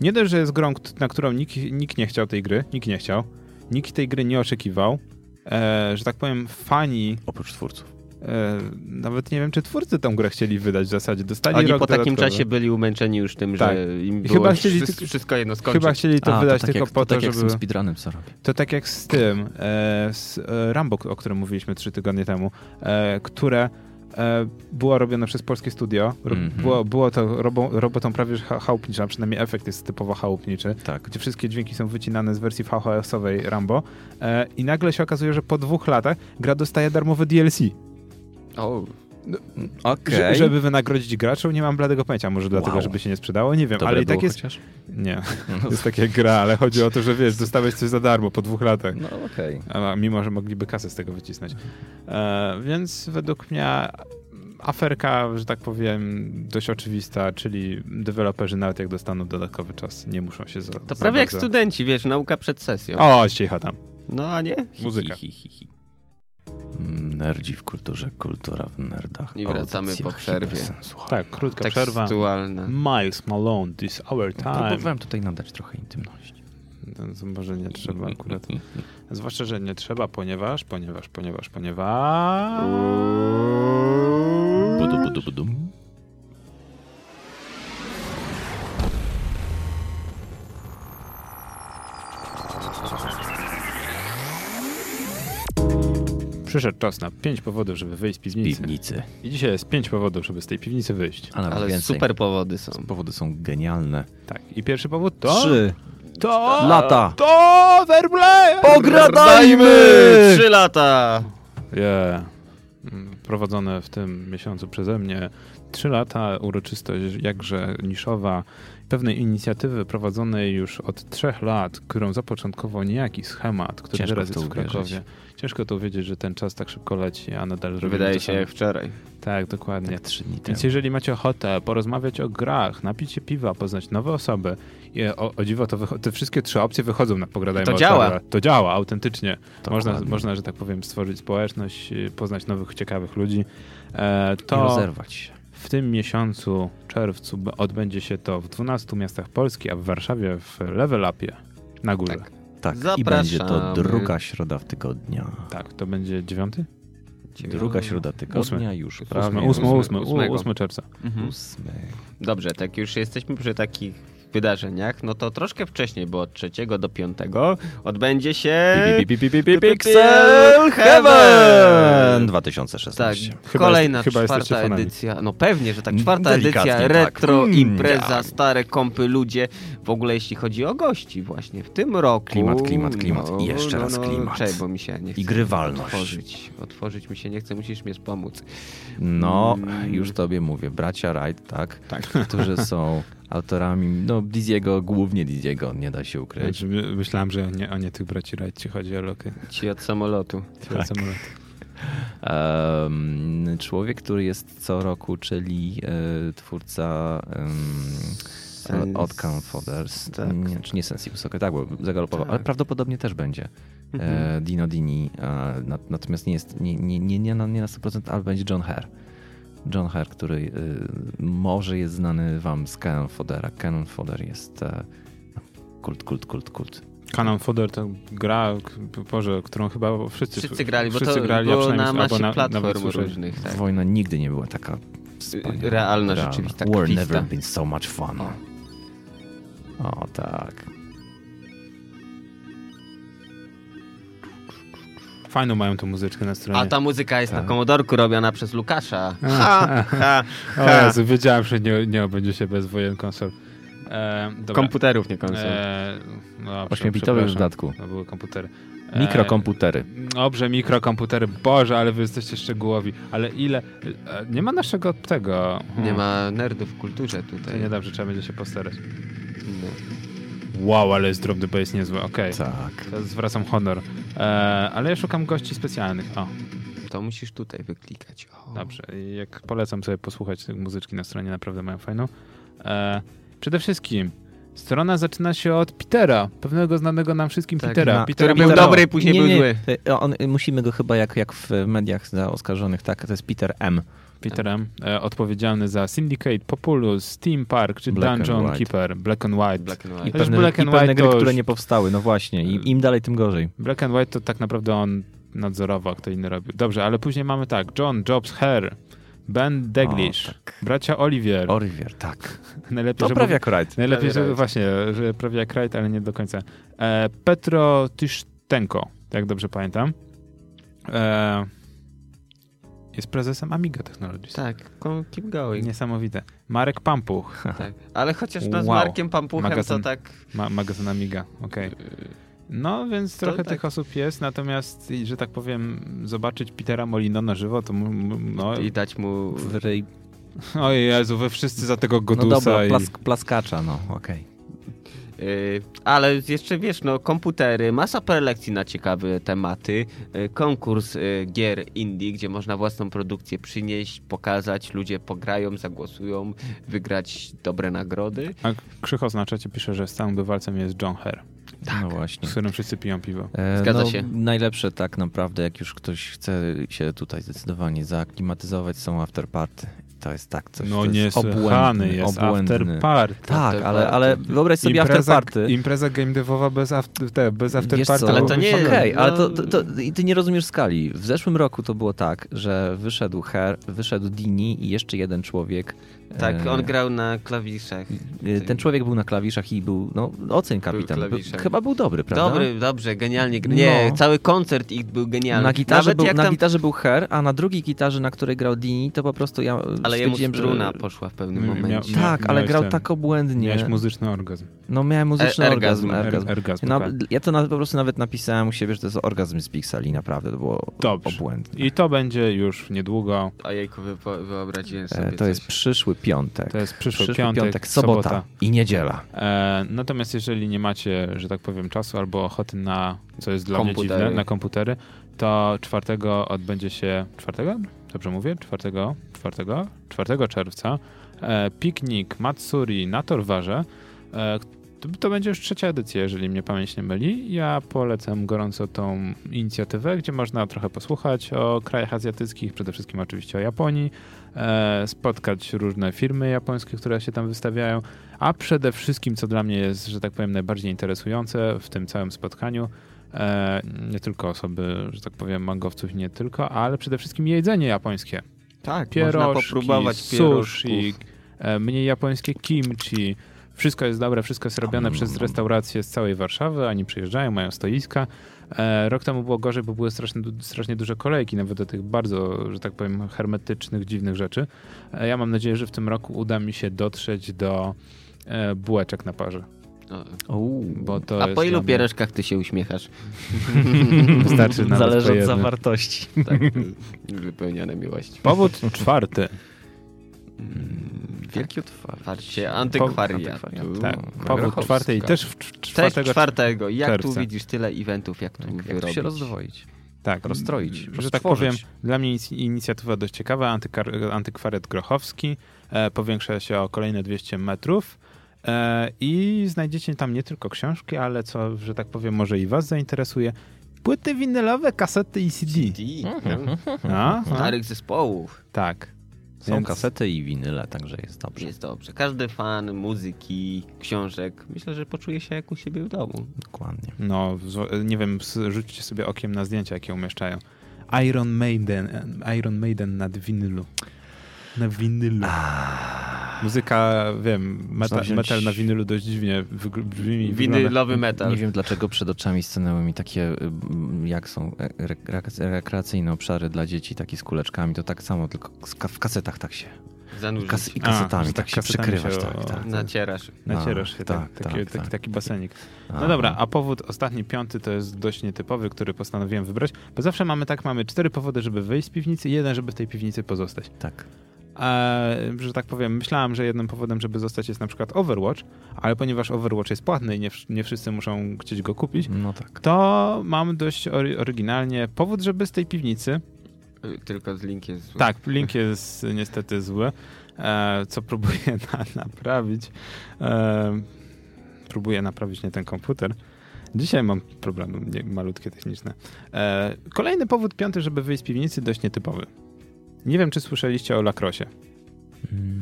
Speaker 2: nie dość, że jest grą, kt- na którą nikt, nikt nie chciał tej gry, nikt nie chciał, nikt tej gry nie oczekiwał, e, że tak powiem, fani,
Speaker 3: Oprócz twórców.
Speaker 2: e, nawet nie wiem, czy twórcy tą grę chcieli wydać w zasadzie, dostali
Speaker 1: Oni
Speaker 2: rok
Speaker 1: po takim
Speaker 2: dodatkowy.
Speaker 1: czasie byli umęczeni już tym,
Speaker 2: Tak.
Speaker 1: że im
Speaker 2: I
Speaker 1: było
Speaker 2: chyba
Speaker 1: chyba
Speaker 2: chcieli tylko-
Speaker 1: wszystko, wszystko jedno skończyć.
Speaker 2: Chyba chcieli to
Speaker 4: A,
Speaker 2: wydać
Speaker 4: tak
Speaker 2: tylko
Speaker 4: jak,
Speaker 2: po to,
Speaker 4: tak jak
Speaker 2: żeby...
Speaker 4: z tym speedrunem, co robię.
Speaker 2: To tak jak z tym, e, z e, Rambo, o którym mówiliśmy trzy tygodnie temu, e, które e, było robione przez polskie studio. Ro,
Speaker 4: Mhm.
Speaker 2: było, było to robą, robotą prawie że cha- chałupniczą, przynajmniej efekt jest typowo chałupniczy,
Speaker 3: Tak.
Speaker 2: gdzie wszystkie dźwięki są wycinane z wersji VHS-owej Rambo e, i nagle się okazuje, że po dwóch latach gra dostaje darmowe DLC.
Speaker 1: O,
Speaker 4: Okej.
Speaker 2: Że, żeby wynagrodzić graczy, nie mam bladego pojęcia, może dlatego,
Speaker 4: Wow.
Speaker 2: żeby się nie sprzedało, nie wiem,
Speaker 4: Dobre
Speaker 2: ale i
Speaker 4: było
Speaker 2: tak jest...
Speaker 4: Chociaż?
Speaker 2: Nie, to jest takie gra, ale chodzi o to, że wiesz, dostałeś coś za darmo po dwóch latach.
Speaker 4: No okej.
Speaker 2: A mimo, że mogliby kasę z tego wycisnąć. E, więc według mnie aferka, że tak powiem, dość oczywista, czyli deweloperzy nawet jak dostaną dodatkowy czas, nie muszą się za
Speaker 1: to
Speaker 2: za
Speaker 1: prawie jak
Speaker 2: No bardzo-
Speaker 1: studenci, wiesz, nauka przed sesją.
Speaker 2: O, cicha tam.
Speaker 1: No a nie?
Speaker 2: Muzyka.
Speaker 4: Hi, hi, Mm, hi, hi.
Speaker 3: Nerdzi w kulturze, kultura w nerdach.
Speaker 1: I wracamy
Speaker 3: Audycja
Speaker 1: po przerwie.
Speaker 3: hipersensu.
Speaker 2: Tak, krótka przerwa. Mm,
Speaker 1: Tekstualna.
Speaker 2: Miles Malone, this our
Speaker 3: Tak.
Speaker 2: time.
Speaker 4: Próbowałem tutaj nadać trochę intymności.
Speaker 2: No, to może nie trzeba akurat.
Speaker 3: Mhm.
Speaker 2: Zwłaszcza, że nie trzeba, ponieważ, ponieważ, ponieważ, ponieważ...
Speaker 4: Budu, budu, budu.
Speaker 2: Przyszedł czas na pięć powodów, żeby wyjść z piwnicy.
Speaker 3: Piwnicy.
Speaker 2: I dzisiaj jest pięć powodów, żeby z tej piwnicy wyjść.
Speaker 4: A nawet
Speaker 1: Ale
Speaker 4: Ale więcej.
Speaker 1: super powody są.
Speaker 4: Powody są genialne.
Speaker 2: Tak. I pierwszy powód to...
Speaker 4: Trzy
Speaker 2: To...
Speaker 4: lata.
Speaker 2: To... Werble!
Speaker 4: Pogradajmy!
Speaker 1: Trzy lata!
Speaker 2: Yeah. Mm, Prowadzone w tym miesiącu przeze mnie trzy lata uroczystość jakże niszowa pewnej inicjatywy prowadzonej już od trzech lat, którą zapoczątkował niejaki schemat, który
Speaker 4: Ciężko
Speaker 2: teraz
Speaker 4: w to
Speaker 2: jest w
Speaker 4: uwierzyć.
Speaker 2: Krakowie. Ciężko to uwiedzieć, że ten czas tak szybko leci, a nadal robimy
Speaker 1: Wydaje
Speaker 2: to
Speaker 1: się
Speaker 2: samo.
Speaker 1: jak wczoraj.
Speaker 2: Tak, dokładnie.
Speaker 4: Tak, trzy dni temu.
Speaker 2: Więc jeżeli macie ochotę porozmawiać o grach, napić się piwa, poznać nowe osoby, i o, o dziwo, to wycho- te wszystkie trzy opcje wychodzą na pogradajmy.
Speaker 1: To
Speaker 2: o
Speaker 1: działa.
Speaker 2: Czarla. To działa, autentycznie. Można,
Speaker 4: Dokładnie.
Speaker 2: można, że tak powiem, stworzyć społeczność, y, poznać nowych, ciekawych ludzi. E,
Speaker 4: I
Speaker 2: to
Speaker 4: rozerwać się.
Speaker 2: w tym miesiącu, czerwcu, b- odbędzie się to w 12 miastach Polski, a w Warszawie w Level Upie na górze. Tak,
Speaker 1: Tak.
Speaker 4: Tak, i
Speaker 1: Zapraszamy.
Speaker 4: będzie to druga środa w tygodnia.
Speaker 2: Tak, to będzie 9?
Speaker 4: Druga środa tygodnia już prawie.
Speaker 2: 8, 8, 8,
Speaker 1: ósmego.
Speaker 2: czerwca.
Speaker 1: Mhm.
Speaker 4: Ósmy.
Speaker 1: Dobrze, tak już jesteśmy przy takich wydarzeniach, no to troszkę wcześniej, bo od 3 do 5 odbędzie się...
Speaker 3: Pi, pi, pi, pi, pi, Pixel Heaven 2016.
Speaker 1: Tak,
Speaker 2: Chyba
Speaker 1: kolejna
Speaker 2: jest- chyba jesteście
Speaker 1: czwarta
Speaker 2: fanami.
Speaker 1: edycja. No pewnie, że tak. Czwarta
Speaker 3: Delikatnie
Speaker 1: edycja,
Speaker 3: tak.
Speaker 1: retro,
Speaker 3: Mm,
Speaker 1: impreza,
Speaker 3: tak.
Speaker 1: stare kąpy, ludzie. W ogóle jeśli chodzi o gości właśnie w tym roku. No,
Speaker 6: Klimat, klimat, klimat. I jeszcze raz klimat.
Speaker 1: Czekaj, bo mi się nie chce
Speaker 3: I grywalność.
Speaker 1: Otworzyć. otworzyć mi się nie chce, musisz mi pomóc.
Speaker 3: No,
Speaker 1: Mm.
Speaker 3: już tobie mówię, bracia Wright, tak,
Speaker 2: Tak.
Speaker 3: którzy są autorami, no Diziego, głównie Diziego, nie da się ukryć.
Speaker 2: Znaczy, my- Myślałem, że nie, o nie tych braci Wright ci chodzi, ale okej.
Speaker 1: Ci od samolotu.
Speaker 2: Tak.
Speaker 3: Em, człowiek, który jest co roku, czyli e, twórca
Speaker 1: Sens-
Speaker 3: um, Outcome Fodders,
Speaker 1: tak.
Speaker 3: nie, czy nie Sensi Wysoko, tak, bo zagalopował,
Speaker 1: Tak.
Speaker 3: ale prawdopodobnie też będzie. E,
Speaker 1: Mhm.
Speaker 3: Dino Dini, a, nat- natomiast nie jest, nie, nie, nie, nie, na, nie na 100%, ale będzie John Hare. John Hare, który y, może jest znany wam z Canon Foddera. Canon Fodder jest e, kult, kult, kult, kult.
Speaker 2: Canon Fodder to gra, k- Boże, którą chyba wszyscy,
Speaker 1: Wszyscy grali, bo
Speaker 2: wszyscy
Speaker 1: to
Speaker 2: grali, a
Speaker 1: było
Speaker 2: przynajmniej
Speaker 1: na
Speaker 2: albo
Speaker 1: masie
Speaker 2: na- nawet
Speaker 1: platform
Speaker 2: słyszeli.
Speaker 1: różnych. Tak.
Speaker 3: Wojna nigdy nie była taka
Speaker 1: Realna,
Speaker 3: wspaniała.
Speaker 1: rzeczywista
Speaker 3: War
Speaker 1: krwista.
Speaker 3: never been so much fun. O tak.
Speaker 2: Fajną mają tą muzyczkę na stronie.
Speaker 1: A ta muzyka jest na komodorku robiona przez Lukasza.
Speaker 2: No tak. A,
Speaker 1: Ha, ha,
Speaker 2: O
Speaker 1: ha.
Speaker 2: Jezu, wiedziałem, że nie, nie obędzie się bez wojen konsol. E, dobra.
Speaker 1: Komputerów nie konsol.
Speaker 2: E, no,
Speaker 3: Ośmiobitowy w
Speaker 2: przepraszam.
Speaker 3: dodatku.
Speaker 2: To były komputery. E,
Speaker 3: Mikrokomputery.
Speaker 2: Dobrze, mikrokomputery. Boże, ale wy jesteście szczegółowi. Ale ile... E, nie ma naszego tego...
Speaker 1: Nie
Speaker 2: Hmm,
Speaker 1: ma nerdów w kulturze
Speaker 2: To
Speaker 1: tutaj.
Speaker 2: niedobrze, trzeba będzie się postarać.
Speaker 1: No.
Speaker 2: Wow, ale jest drop the bass niezły, okej.
Speaker 3: Tak.
Speaker 2: To Zwracam honor. E, ale ja szukam gości specjalnych. O,
Speaker 1: To musisz tutaj wyklikać. O.
Speaker 2: Dobrze, i jak polecam sobie posłuchać tej muzyczki na stronie, naprawdę mają fajną. E, przede wszystkim strona zaczyna się od Petera, pewnego znanego nam wszystkim
Speaker 1: Tak,
Speaker 2: Petera.
Speaker 3: na-
Speaker 2: Petera
Speaker 1: który był
Speaker 2: Petera.
Speaker 1: dobry, później
Speaker 3: nie,
Speaker 1: był
Speaker 3: nie,
Speaker 1: zły.
Speaker 3: to On, e, musimy go chyba jak, jak w mediach za oskarżonych, tak? To jest Peter M.
Speaker 2: Peterem, e, odpowiedzialny za Syndicate, Populus, Team Park czy
Speaker 3: Black and
Speaker 2: Dungeon
Speaker 3: White.
Speaker 2: Keeper, Black and White. Black.
Speaker 1: Black and
Speaker 3: I
Speaker 1: White.
Speaker 2: Chociaż
Speaker 3: pewne,
Speaker 2: Black
Speaker 3: i
Speaker 2: and White
Speaker 3: pewne
Speaker 2: Tak. to
Speaker 3: gry,
Speaker 2: już-
Speaker 3: które nie powstały. No właśnie, im, im dalej, tym gorzej.
Speaker 2: and White to tak naprawdę on nadzorował, a kto inny robił. Dobrze, ale później mamy tak, John, Jobs, Hare, Ben Deglish,
Speaker 3: O, tak.
Speaker 2: bracia Olivier.
Speaker 3: Orivier, tak.
Speaker 2: Najlepiej,
Speaker 3: To
Speaker 2: żeby-
Speaker 3: prawie jak Wright.
Speaker 2: Najlepiej,
Speaker 1: Prawie
Speaker 2: że
Speaker 1: Wright.
Speaker 2: właśnie, że prawie jak Wright, ale nie do końca. E, Petro Tysztenko, jak dobrze pamiętam. E, jest prezesem Amiga Technologies.
Speaker 1: Tak, kom- keep going.
Speaker 2: Niesamowite. Marek Pampuch,
Speaker 1: Tak. Ale chociaż no, z
Speaker 2: Wow.
Speaker 1: Markiem Pampuchem
Speaker 2: Magazyn.
Speaker 1: to tak...
Speaker 2: ma, magazyn Amiga, okej. No, więc
Speaker 1: E, To
Speaker 2: trochę
Speaker 1: tak.
Speaker 2: tych osób jest, natomiast, i, że tak powiem, zobaczyć Petera Molino na żywo, to mu- mu- no,
Speaker 1: I dać mu...
Speaker 3: W ryj.
Speaker 2: o Jezu, wy wszyscy za tego
Speaker 3: No
Speaker 2: Godusa
Speaker 3: dobra,
Speaker 2: i...
Speaker 3: plask, plaskacza, no okej.
Speaker 1: Yy, ale jeszcze wiesz, no komputery, masa prelekcji na ciekawe tematy, yy, konkurs yy, gier indie, gdzie można własną produkcję przynieść, pokazać, ludzie pograją, zagłosują, wygrać dobre nagrody.
Speaker 2: A Krzychos na czacie pisze, że stałym bywalcem jest John Hare, Tak.
Speaker 3: No właśnie.
Speaker 2: z którym wszyscy piją piwo.
Speaker 3: E,
Speaker 1: Zgadza
Speaker 3: no,
Speaker 1: się.
Speaker 3: Najlepsze tak naprawdę, jak już ktoś chce się tutaj zdecydowanie zaaklimatyzować, są afterparty. To jest tak coś,
Speaker 2: No
Speaker 3: to jest
Speaker 2: niesłychany
Speaker 3: obłędny,
Speaker 2: jest
Speaker 3: obłędny.
Speaker 2: after party.
Speaker 3: Tak,
Speaker 1: After
Speaker 3: ale,
Speaker 1: party.
Speaker 3: ale wyobraź sobie afterparty.
Speaker 2: Impreza game devowa bez, after, te, bez after
Speaker 3: Wiesz
Speaker 2: party.
Speaker 3: co,
Speaker 1: ale to nie jest-
Speaker 3: Okej,
Speaker 1: no-
Speaker 3: ale to, to, to i ty nie rozumiesz skali. W zeszłym roku to było tak, że wyszedł Her, wyszedł Dini i jeszcze jeden człowiek.
Speaker 1: Tak,
Speaker 3: E,
Speaker 1: on grał na klawiszach.
Speaker 3: e, Ten człowiek był na klawiszach i był, no oceń kapitan. Był
Speaker 1: klawiszem.
Speaker 3: Chyba był dobry, prawda?
Speaker 1: Dobry, dobrze, genialnie. gr- Nie,
Speaker 3: No.
Speaker 1: cały koncert ich był genialny.
Speaker 3: Na gitarze,
Speaker 1: Nawet
Speaker 3: był,
Speaker 1: jak
Speaker 3: na
Speaker 1: tam...
Speaker 3: gitarze był Her, a na drugiej gitarze, na której grał Dini, to po prostu ja
Speaker 1: Ale jemu
Speaker 3: stwierdziłem, że...
Speaker 1: struna poszła w pewnym
Speaker 2: Miał-
Speaker 1: momencie.
Speaker 2: Mm, miał-
Speaker 3: Tak, ale
Speaker 2: miałeś
Speaker 3: grał
Speaker 2: ten-
Speaker 3: tak obłędnie.
Speaker 2: Miałeś muzyczny orgazm.
Speaker 3: No miałem muzyczny
Speaker 1: E-
Speaker 3: orgazm.
Speaker 1: ergazm,
Speaker 3: orgazm.
Speaker 2: Er- Orgazm.
Speaker 3: No,
Speaker 2: tak.
Speaker 3: ja to na, po prostu nawet napisałem u siebie, że to jest orgazm z Pixeli, naprawdę to było
Speaker 2: Dobrze.
Speaker 3: obłędne.
Speaker 2: I to będzie już niedługo.
Speaker 1: A jejku, wypo- wyobraziłem
Speaker 3: E,
Speaker 1: sobie
Speaker 3: To jest
Speaker 1: coś.
Speaker 3: przyszły piątek.
Speaker 2: To jest przyszły, piątek,
Speaker 3: sobota,
Speaker 2: sobota.
Speaker 3: i niedziela.
Speaker 2: E, natomiast jeżeli nie macie, że tak powiem, czasu albo ochoty na, co jest dla mnie
Speaker 1: Komputery.
Speaker 2: dziwne, na komputery, to czwartego odbędzie się... Czwartego? Dobrze mówię? Czwartego? Czwartego? Czwartego czerwca. E, piknik Matsuri na Torwarze. E, to, to będzie już trzecia edycja, jeżeli mnie pamięć nie myli. Ja polecam gorąco tą inicjatywę, gdzie można trochę posłuchać o krajach azjatyckich, przede wszystkim oczywiście o Japonii, e, spotkać różne firmy japońskie, które się tam wystawiają, a przede wszystkim, co dla mnie jest, że tak powiem, najbardziej interesujące w tym całym spotkaniu, e, nie tylko osoby, że tak powiem, mangowców, nie tylko, ale przede wszystkim jedzenie japońskie.
Speaker 1: Tak,
Speaker 2: Pierożki,
Speaker 1: można popróbować pierożków.
Speaker 2: sushi, e, mniej japońskie kimchi, Wszystko jest dobre, wszystko jest robione
Speaker 3: Om,
Speaker 2: przez
Speaker 3: om,
Speaker 2: restauracje z całej Warszawy, oni przyjeżdżają, mają stoiska. E, Rok temu było gorzej, bo były strasznie, du- strasznie duże kolejki, nawet do tych bardzo, że tak powiem, hermetycznych, dziwnych rzeczy. E, Ja mam nadzieję, że w tym roku uda mi się dotrzeć do e, bułeczek na parze. Bo to
Speaker 1: No. A
Speaker 2: jest
Speaker 1: po
Speaker 2: dla
Speaker 1: ilu
Speaker 2: mnie-
Speaker 1: piereszkach ty się uśmiechasz?
Speaker 2: Wystarczy nawet
Speaker 4: Zależy
Speaker 2: po
Speaker 4: od
Speaker 2: jednym.
Speaker 4: zawartości.
Speaker 1: Tak, wypełniane miłości.
Speaker 2: Powód czwarty.
Speaker 3: Wielkie Mm, tak. otwarcie.
Speaker 1: Patrzcie, antykwaria.
Speaker 3: Antykwariatu.
Speaker 2: Tak,
Speaker 3: Powód
Speaker 2: powód czwarty i też w cz-
Speaker 1: Cześć
Speaker 2: czwartego... Tak,
Speaker 1: czwartego. Jak tu
Speaker 2: czerwca.
Speaker 1: widzisz tyle eventów, jak
Speaker 3: Tak,
Speaker 1: tu
Speaker 4: Jak to
Speaker 1: wyrobić?
Speaker 4: się rozdwoić,
Speaker 2: tak,
Speaker 4: rozstroić,
Speaker 2: że tak powiem, dla mnie inic- inicjatywa dość ciekawa, antykar- antykwariat Grochowski, e, powiększa się o kolejne 200 metrów e, i znajdziecie tam nie tylko książki, ale co, że tak powiem, może i was zainteresuje, płyty winylowe, kasety i CD.
Speaker 1: Mhm.
Speaker 2: A, a,
Speaker 1: Starych zespołów.
Speaker 2: tak.
Speaker 3: Są
Speaker 2: Więc-
Speaker 3: kasety i winyle, także jest dobrze.
Speaker 1: Jest dobrze. Każdy fan muzyki, książek, myślę, że poczuje się jak u siebie w domu.
Speaker 3: Dokładnie.
Speaker 2: No, zwo- nie wiem, s- rzućcie sobie okiem na zdjęcia, jakie umieszczają. Iron Maiden, e, Iron Maiden na winylu. Na winylu. Muzyka, wiem,
Speaker 3: Można
Speaker 2: metal,
Speaker 3: wziąć-
Speaker 2: metal na winylu dość dziwnie wygl- brzmi. wygląda.
Speaker 1: Winylowy
Speaker 3: Nie
Speaker 1: metal.
Speaker 3: wiem dlaczego przed oczami stanęły mi takie, y, m, jak są e, rek- rekreacyjne obszary dla dzieci, takie z kuleczkami, to tak samo, tylko z ka- w kasetach tak się,
Speaker 1: Zanurzyć.
Speaker 3: kas- i
Speaker 2: A,
Speaker 3: kasetami
Speaker 2: że
Speaker 3: tak
Speaker 2: tak
Speaker 3: się
Speaker 2: kasetami
Speaker 3: przykrywać,
Speaker 2: się-
Speaker 3: tak, tak.
Speaker 1: Nacierasz.
Speaker 2: Nacierasz się,
Speaker 3: Tak,
Speaker 2: tak,
Speaker 3: tak,
Speaker 2: taki,
Speaker 3: tak.
Speaker 2: taki, taki basenik.
Speaker 3: A,
Speaker 2: No dobra, a powód ostatni, piąty, to jest dość nietypowy, który postanowiłem wybrać, bo zawsze mamy tak, mamy cztery powody, żeby wyjść z piwnicy i jeden, żeby w tej piwnicy pozostać.
Speaker 3: Tak.
Speaker 2: A, że tak powiem, myślałem, że jednym powodem, żeby zostać jest na przykład Overwatch, ale ponieważ Overwatch jest płatny i nie, wsz- nie wszyscy muszą chcieć go kupić,
Speaker 3: No tak.
Speaker 2: to mam dość ory- oryginalnie powód, żeby z tej piwnicy
Speaker 1: Y, Tylko z linkiem z...
Speaker 2: tak, link jest niestety zły, e, co próbuję na, naprawić. E, próbuję naprawić nie ten komputer. Dzisiaj mam problemy nie, malutkie techniczne. E, kolejny powód, piąty, żeby wyjść z piwnicy, dość nietypowy. Nie wiem, czy słyszeliście o lakrosie. Mhm.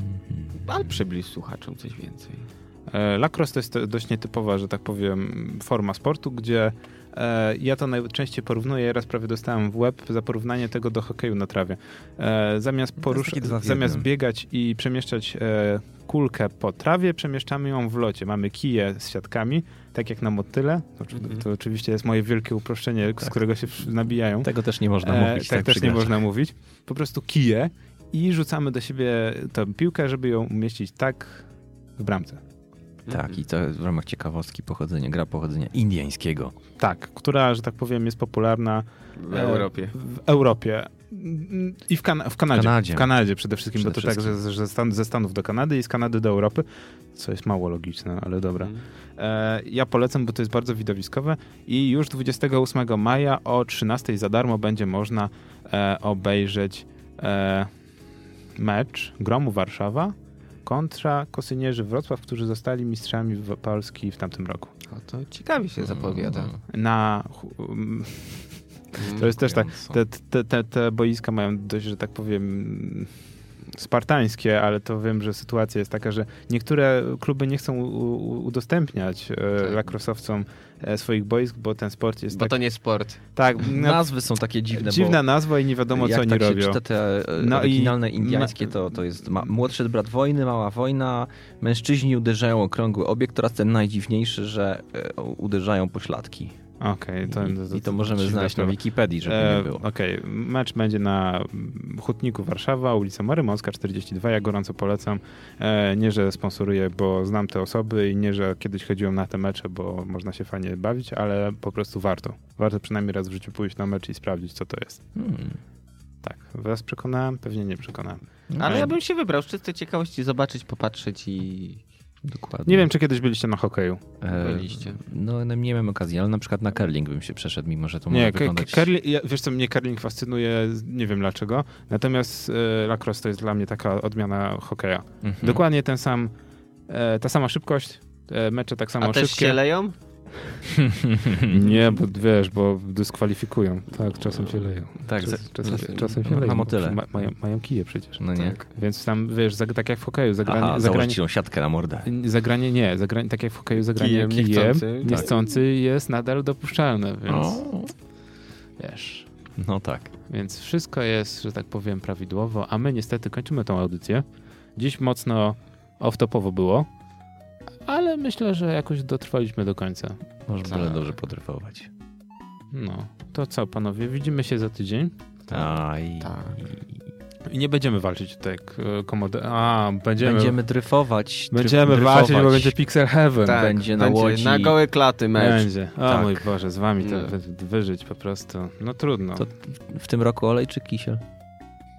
Speaker 1: Ale przybliż słuchaczom coś więcej.
Speaker 2: E, Lacrosse to jest e, dość nietypowa, że tak powiem, forma sportu, gdzie e, ja to najczęściej porównuję, raz prawie dostałem w łeb za porównanie tego do hokeju na trawie. E, Zamiast, porusz...
Speaker 3: takie dwa w
Speaker 2: zamiast
Speaker 3: jednym.
Speaker 2: biegać i przemieszczać e, kulkę po trawie, przemieszczamy ją w locie. Mamy kije z siatkami, tak jak na motyle. To, oczy-
Speaker 1: Mhm.
Speaker 2: to oczywiście jest moje wielkie uproszczenie, z
Speaker 4: Tak.
Speaker 2: którego się przy-
Speaker 3: Tak
Speaker 2: nabijają.
Speaker 4: Tego też nie można
Speaker 2: E,
Speaker 4: mówić.
Speaker 2: tak, też
Speaker 4: przy
Speaker 2: nie
Speaker 4: grach.
Speaker 2: można mówić. Po prostu kije i rzucamy do siebie tę piłkę, żeby ją umieścić tak w bramce.
Speaker 3: Tak, i to w ramach ciekawostki pochodzenia, gra pochodzenia indyjskiego.
Speaker 2: Tak, która, że tak powiem, jest popularna
Speaker 1: W Europie.
Speaker 2: w Europie Mm, i w, kan- w Kanadzie. W Kanadzie,
Speaker 3: Kanadzie.
Speaker 2: przede wszystkim,
Speaker 3: Przede
Speaker 2: bo to tak,
Speaker 3: wszystkim.
Speaker 2: że, że stan- ze Stanów do Kanady i z Kanady do Europy, co jest mało logiczne, ale dobra.
Speaker 1: Mhm.
Speaker 2: E, ja polecam, bo to jest bardzo widowiskowe i już 28 maja o 13 za darmo będzie można e, obejrzeć e, mecz Gromu Warszawa kontra Kosynierzy Wrocław, którzy zostali mistrzami w- Polski w tamtym roku.
Speaker 1: O, to ciekawie
Speaker 3: No.
Speaker 1: się zapowiada.
Speaker 3: Mm.
Speaker 1: Mhm.
Speaker 2: Na... hu-
Speaker 4: Mm,
Speaker 2: To jest też tak, te, te, te, te boiska mają dość, że tak powiem, spartańskie, ale to wiem, że sytuacja jest taka, że niektóre kluby nie chcą u- u- udostępniać e,
Speaker 1: Tak.
Speaker 2: lakrosowcom e, swoich boisk, bo ten sport jest
Speaker 1: Bo
Speaker 2: tak,
Speaker 1: to nie sport.
Speaker 2: tak no,
Speaker 4: Nazwy są takie dziwne,
Speaker 2: dziwna
Speaker 4: bo
Speaker 2: nazwa i nie wiadomo,
Speaker 4: jak
Speaker 2: No, co oni
Speaker 4: tak się
Speaker 2: robią.
Speaker 4: czyta te e,
Speaker 2: No i
Speaker 4: oryginalne
Speaker 2: ma-
Speaker 4: indiańskie, to, to jest ma, młodszy brat wojny, mała wojna, mężczyźni uderzają okrągły obiekt oraz ten najdziwniejszy, że e, uderzają pośladki.
Speaker 2: Okej,
Speaker 4: I, I to możemy
Speaker 2: dziwna
Speaker 4: znaleźć na
Speaker 2: sprawa.
Speaker 4: Wikipedii, żeby nie
Speaker 2: E,
Speaker 4: było.
Speaker 2: Okej, mecz będzie na mm, Hutniku Warszawa, ulica Marymącka 42. Ja gorąco polecam. E, nie, że sponsoruję, bo znam te osoby i nie, że kiedyś chodziłem na te mecze, bo można się fajnie bawić, ale po prostu warto. Warto przynajmniej raz w życiu pójść na mecz i sprawdzić, co to jest.
Speaker 4: Hmm.
Speaker 2: Tak, was przekonałem? Pewnie nie przekonałem.
Speaker 1: Ale ja bym się wybrał z czystej ciekawości zobaczyć, popatrzeć i...
Speaker 4: Dokładnie.
Speaker 2: Nie wiem, czy kiedyś byliście na hokeju.
Speaker 4: E,
Speaker 1: byliście.
Speaker 4: No, no, nie miałem okazji, ale na przykład na curling bym się przeszedł, mimo że to może
Speaker 2: Nie,
Speaker 4: wyglądać...
Speaker 2: curling, ja, wiesz co, mnie curling fascynuje, nie wiem dlaczego. Natomiast e, lacrosse to jest dla mnie taka odmiana hokeja.
Speaker 4: Mhm.
Speaker 2: Dokładnie ten sam, e, ta sama szybkość, e, mecze tak samo
Speaker 1: A też
Speaker 2: szybkie.
Speaker 1: się leją?
Speaker 2: Hmm, Nie, bo wiesz, bo dyskwalifikują. Tak, czasem się leją.
Speaker 4: Tak, za-
Speaker 2: Czas, czasem,
Speaker 1: za-
Speaker 2: czasem się
Speaker 4: na
Speaker 2: leją. bo
Speaker 4: motyle.
Speaker 2: Ma, mają, Tak, mają kije przecież.
Speaker 4: no nie.
Speaker 2: Więc tam, wiesz, zag, tak jak w hokeju, zagranie,
Speaker 4: Aha,
Speaker 2: zagranie,
Speaker 4: założyć tą siatkę na mordę.
Speaker 2: zagranie nie, zagranie, tak jak w hokeju, zagranie kijem,
Speaker 1: Kijem, niechcący, tak.
Speaker 2: niechcący jest nadal dopuszczalne, więc wiesz.
Speaker 4: No tak.
Speaker 2: Więc wszystko jest, że tak powiem, prawidłowo, a my niestety kończymy tą audycję. Dziś mocno off-topowo było, ale myślę, że jakoś dotrwaliśmy do końca.
Speaker 3: Może
Speaker 1: Tak.
Speaker 3: byle dobrze potrwować.
Speaker 2: No, to co, panowie, widzimy się za tydzień.
Speaker 3: Aj.
Speaker 1: Tak.
Speaker 2: I nie będziemy walczyć tutaj e, komody. A, będziemy. Będziemy,
Speaker 4: Będziemy dryfować. dryf-
Speaker 2: walczyć, bo
Speaker 4: dryfować.
Speaker 2: będzie Pixel Heaven.
Speaker 4: Tak. będzie na łodzi.
Speaker 1: Na gołe klaty mecz.
Speaker 2: Będzie. O
Speaker 1: Tak.
Speaker 2: mój Boże, z wami to
Speaker 1: Nie.
Speaker 2: wy- wyżyć po prostu. No trudno.
Speaker 4: To- W tym roku olej czy kisiel?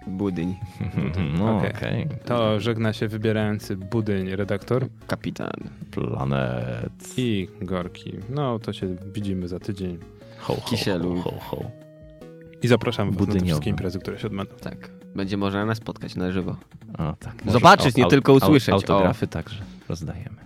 Speaker 1: Budyń.
Speaker 3: No
Speaker 2: Okej.
Speaker 3: okej.
Speaker 2: To żegna się wybierający budyń redaktor
Speaker 1: Kapitan.
Speaker 3: Planet.
Speaker 2: i Gorki. No to się widzimy za tydzień.
Speaker 3: Ho, ho,
Speaker 1: Kisielu.
Speaker 3: Ho, ho, ho.
Speaker 2: I zapraszam was na te
Speaker 3: Budyniowy.
Speaker 2: wszystkie imprezy, które się odbędą.
Speaker 1: Tak. Będzie można nas spotkać na żywo.
Speaker 3: O, tak.
Speaker 1: Zobaczyć, nie tylko
Speaker 3: au-
Speaker 1: usłyszeć. O.
Speaker 3: Autografy także rozdajemy.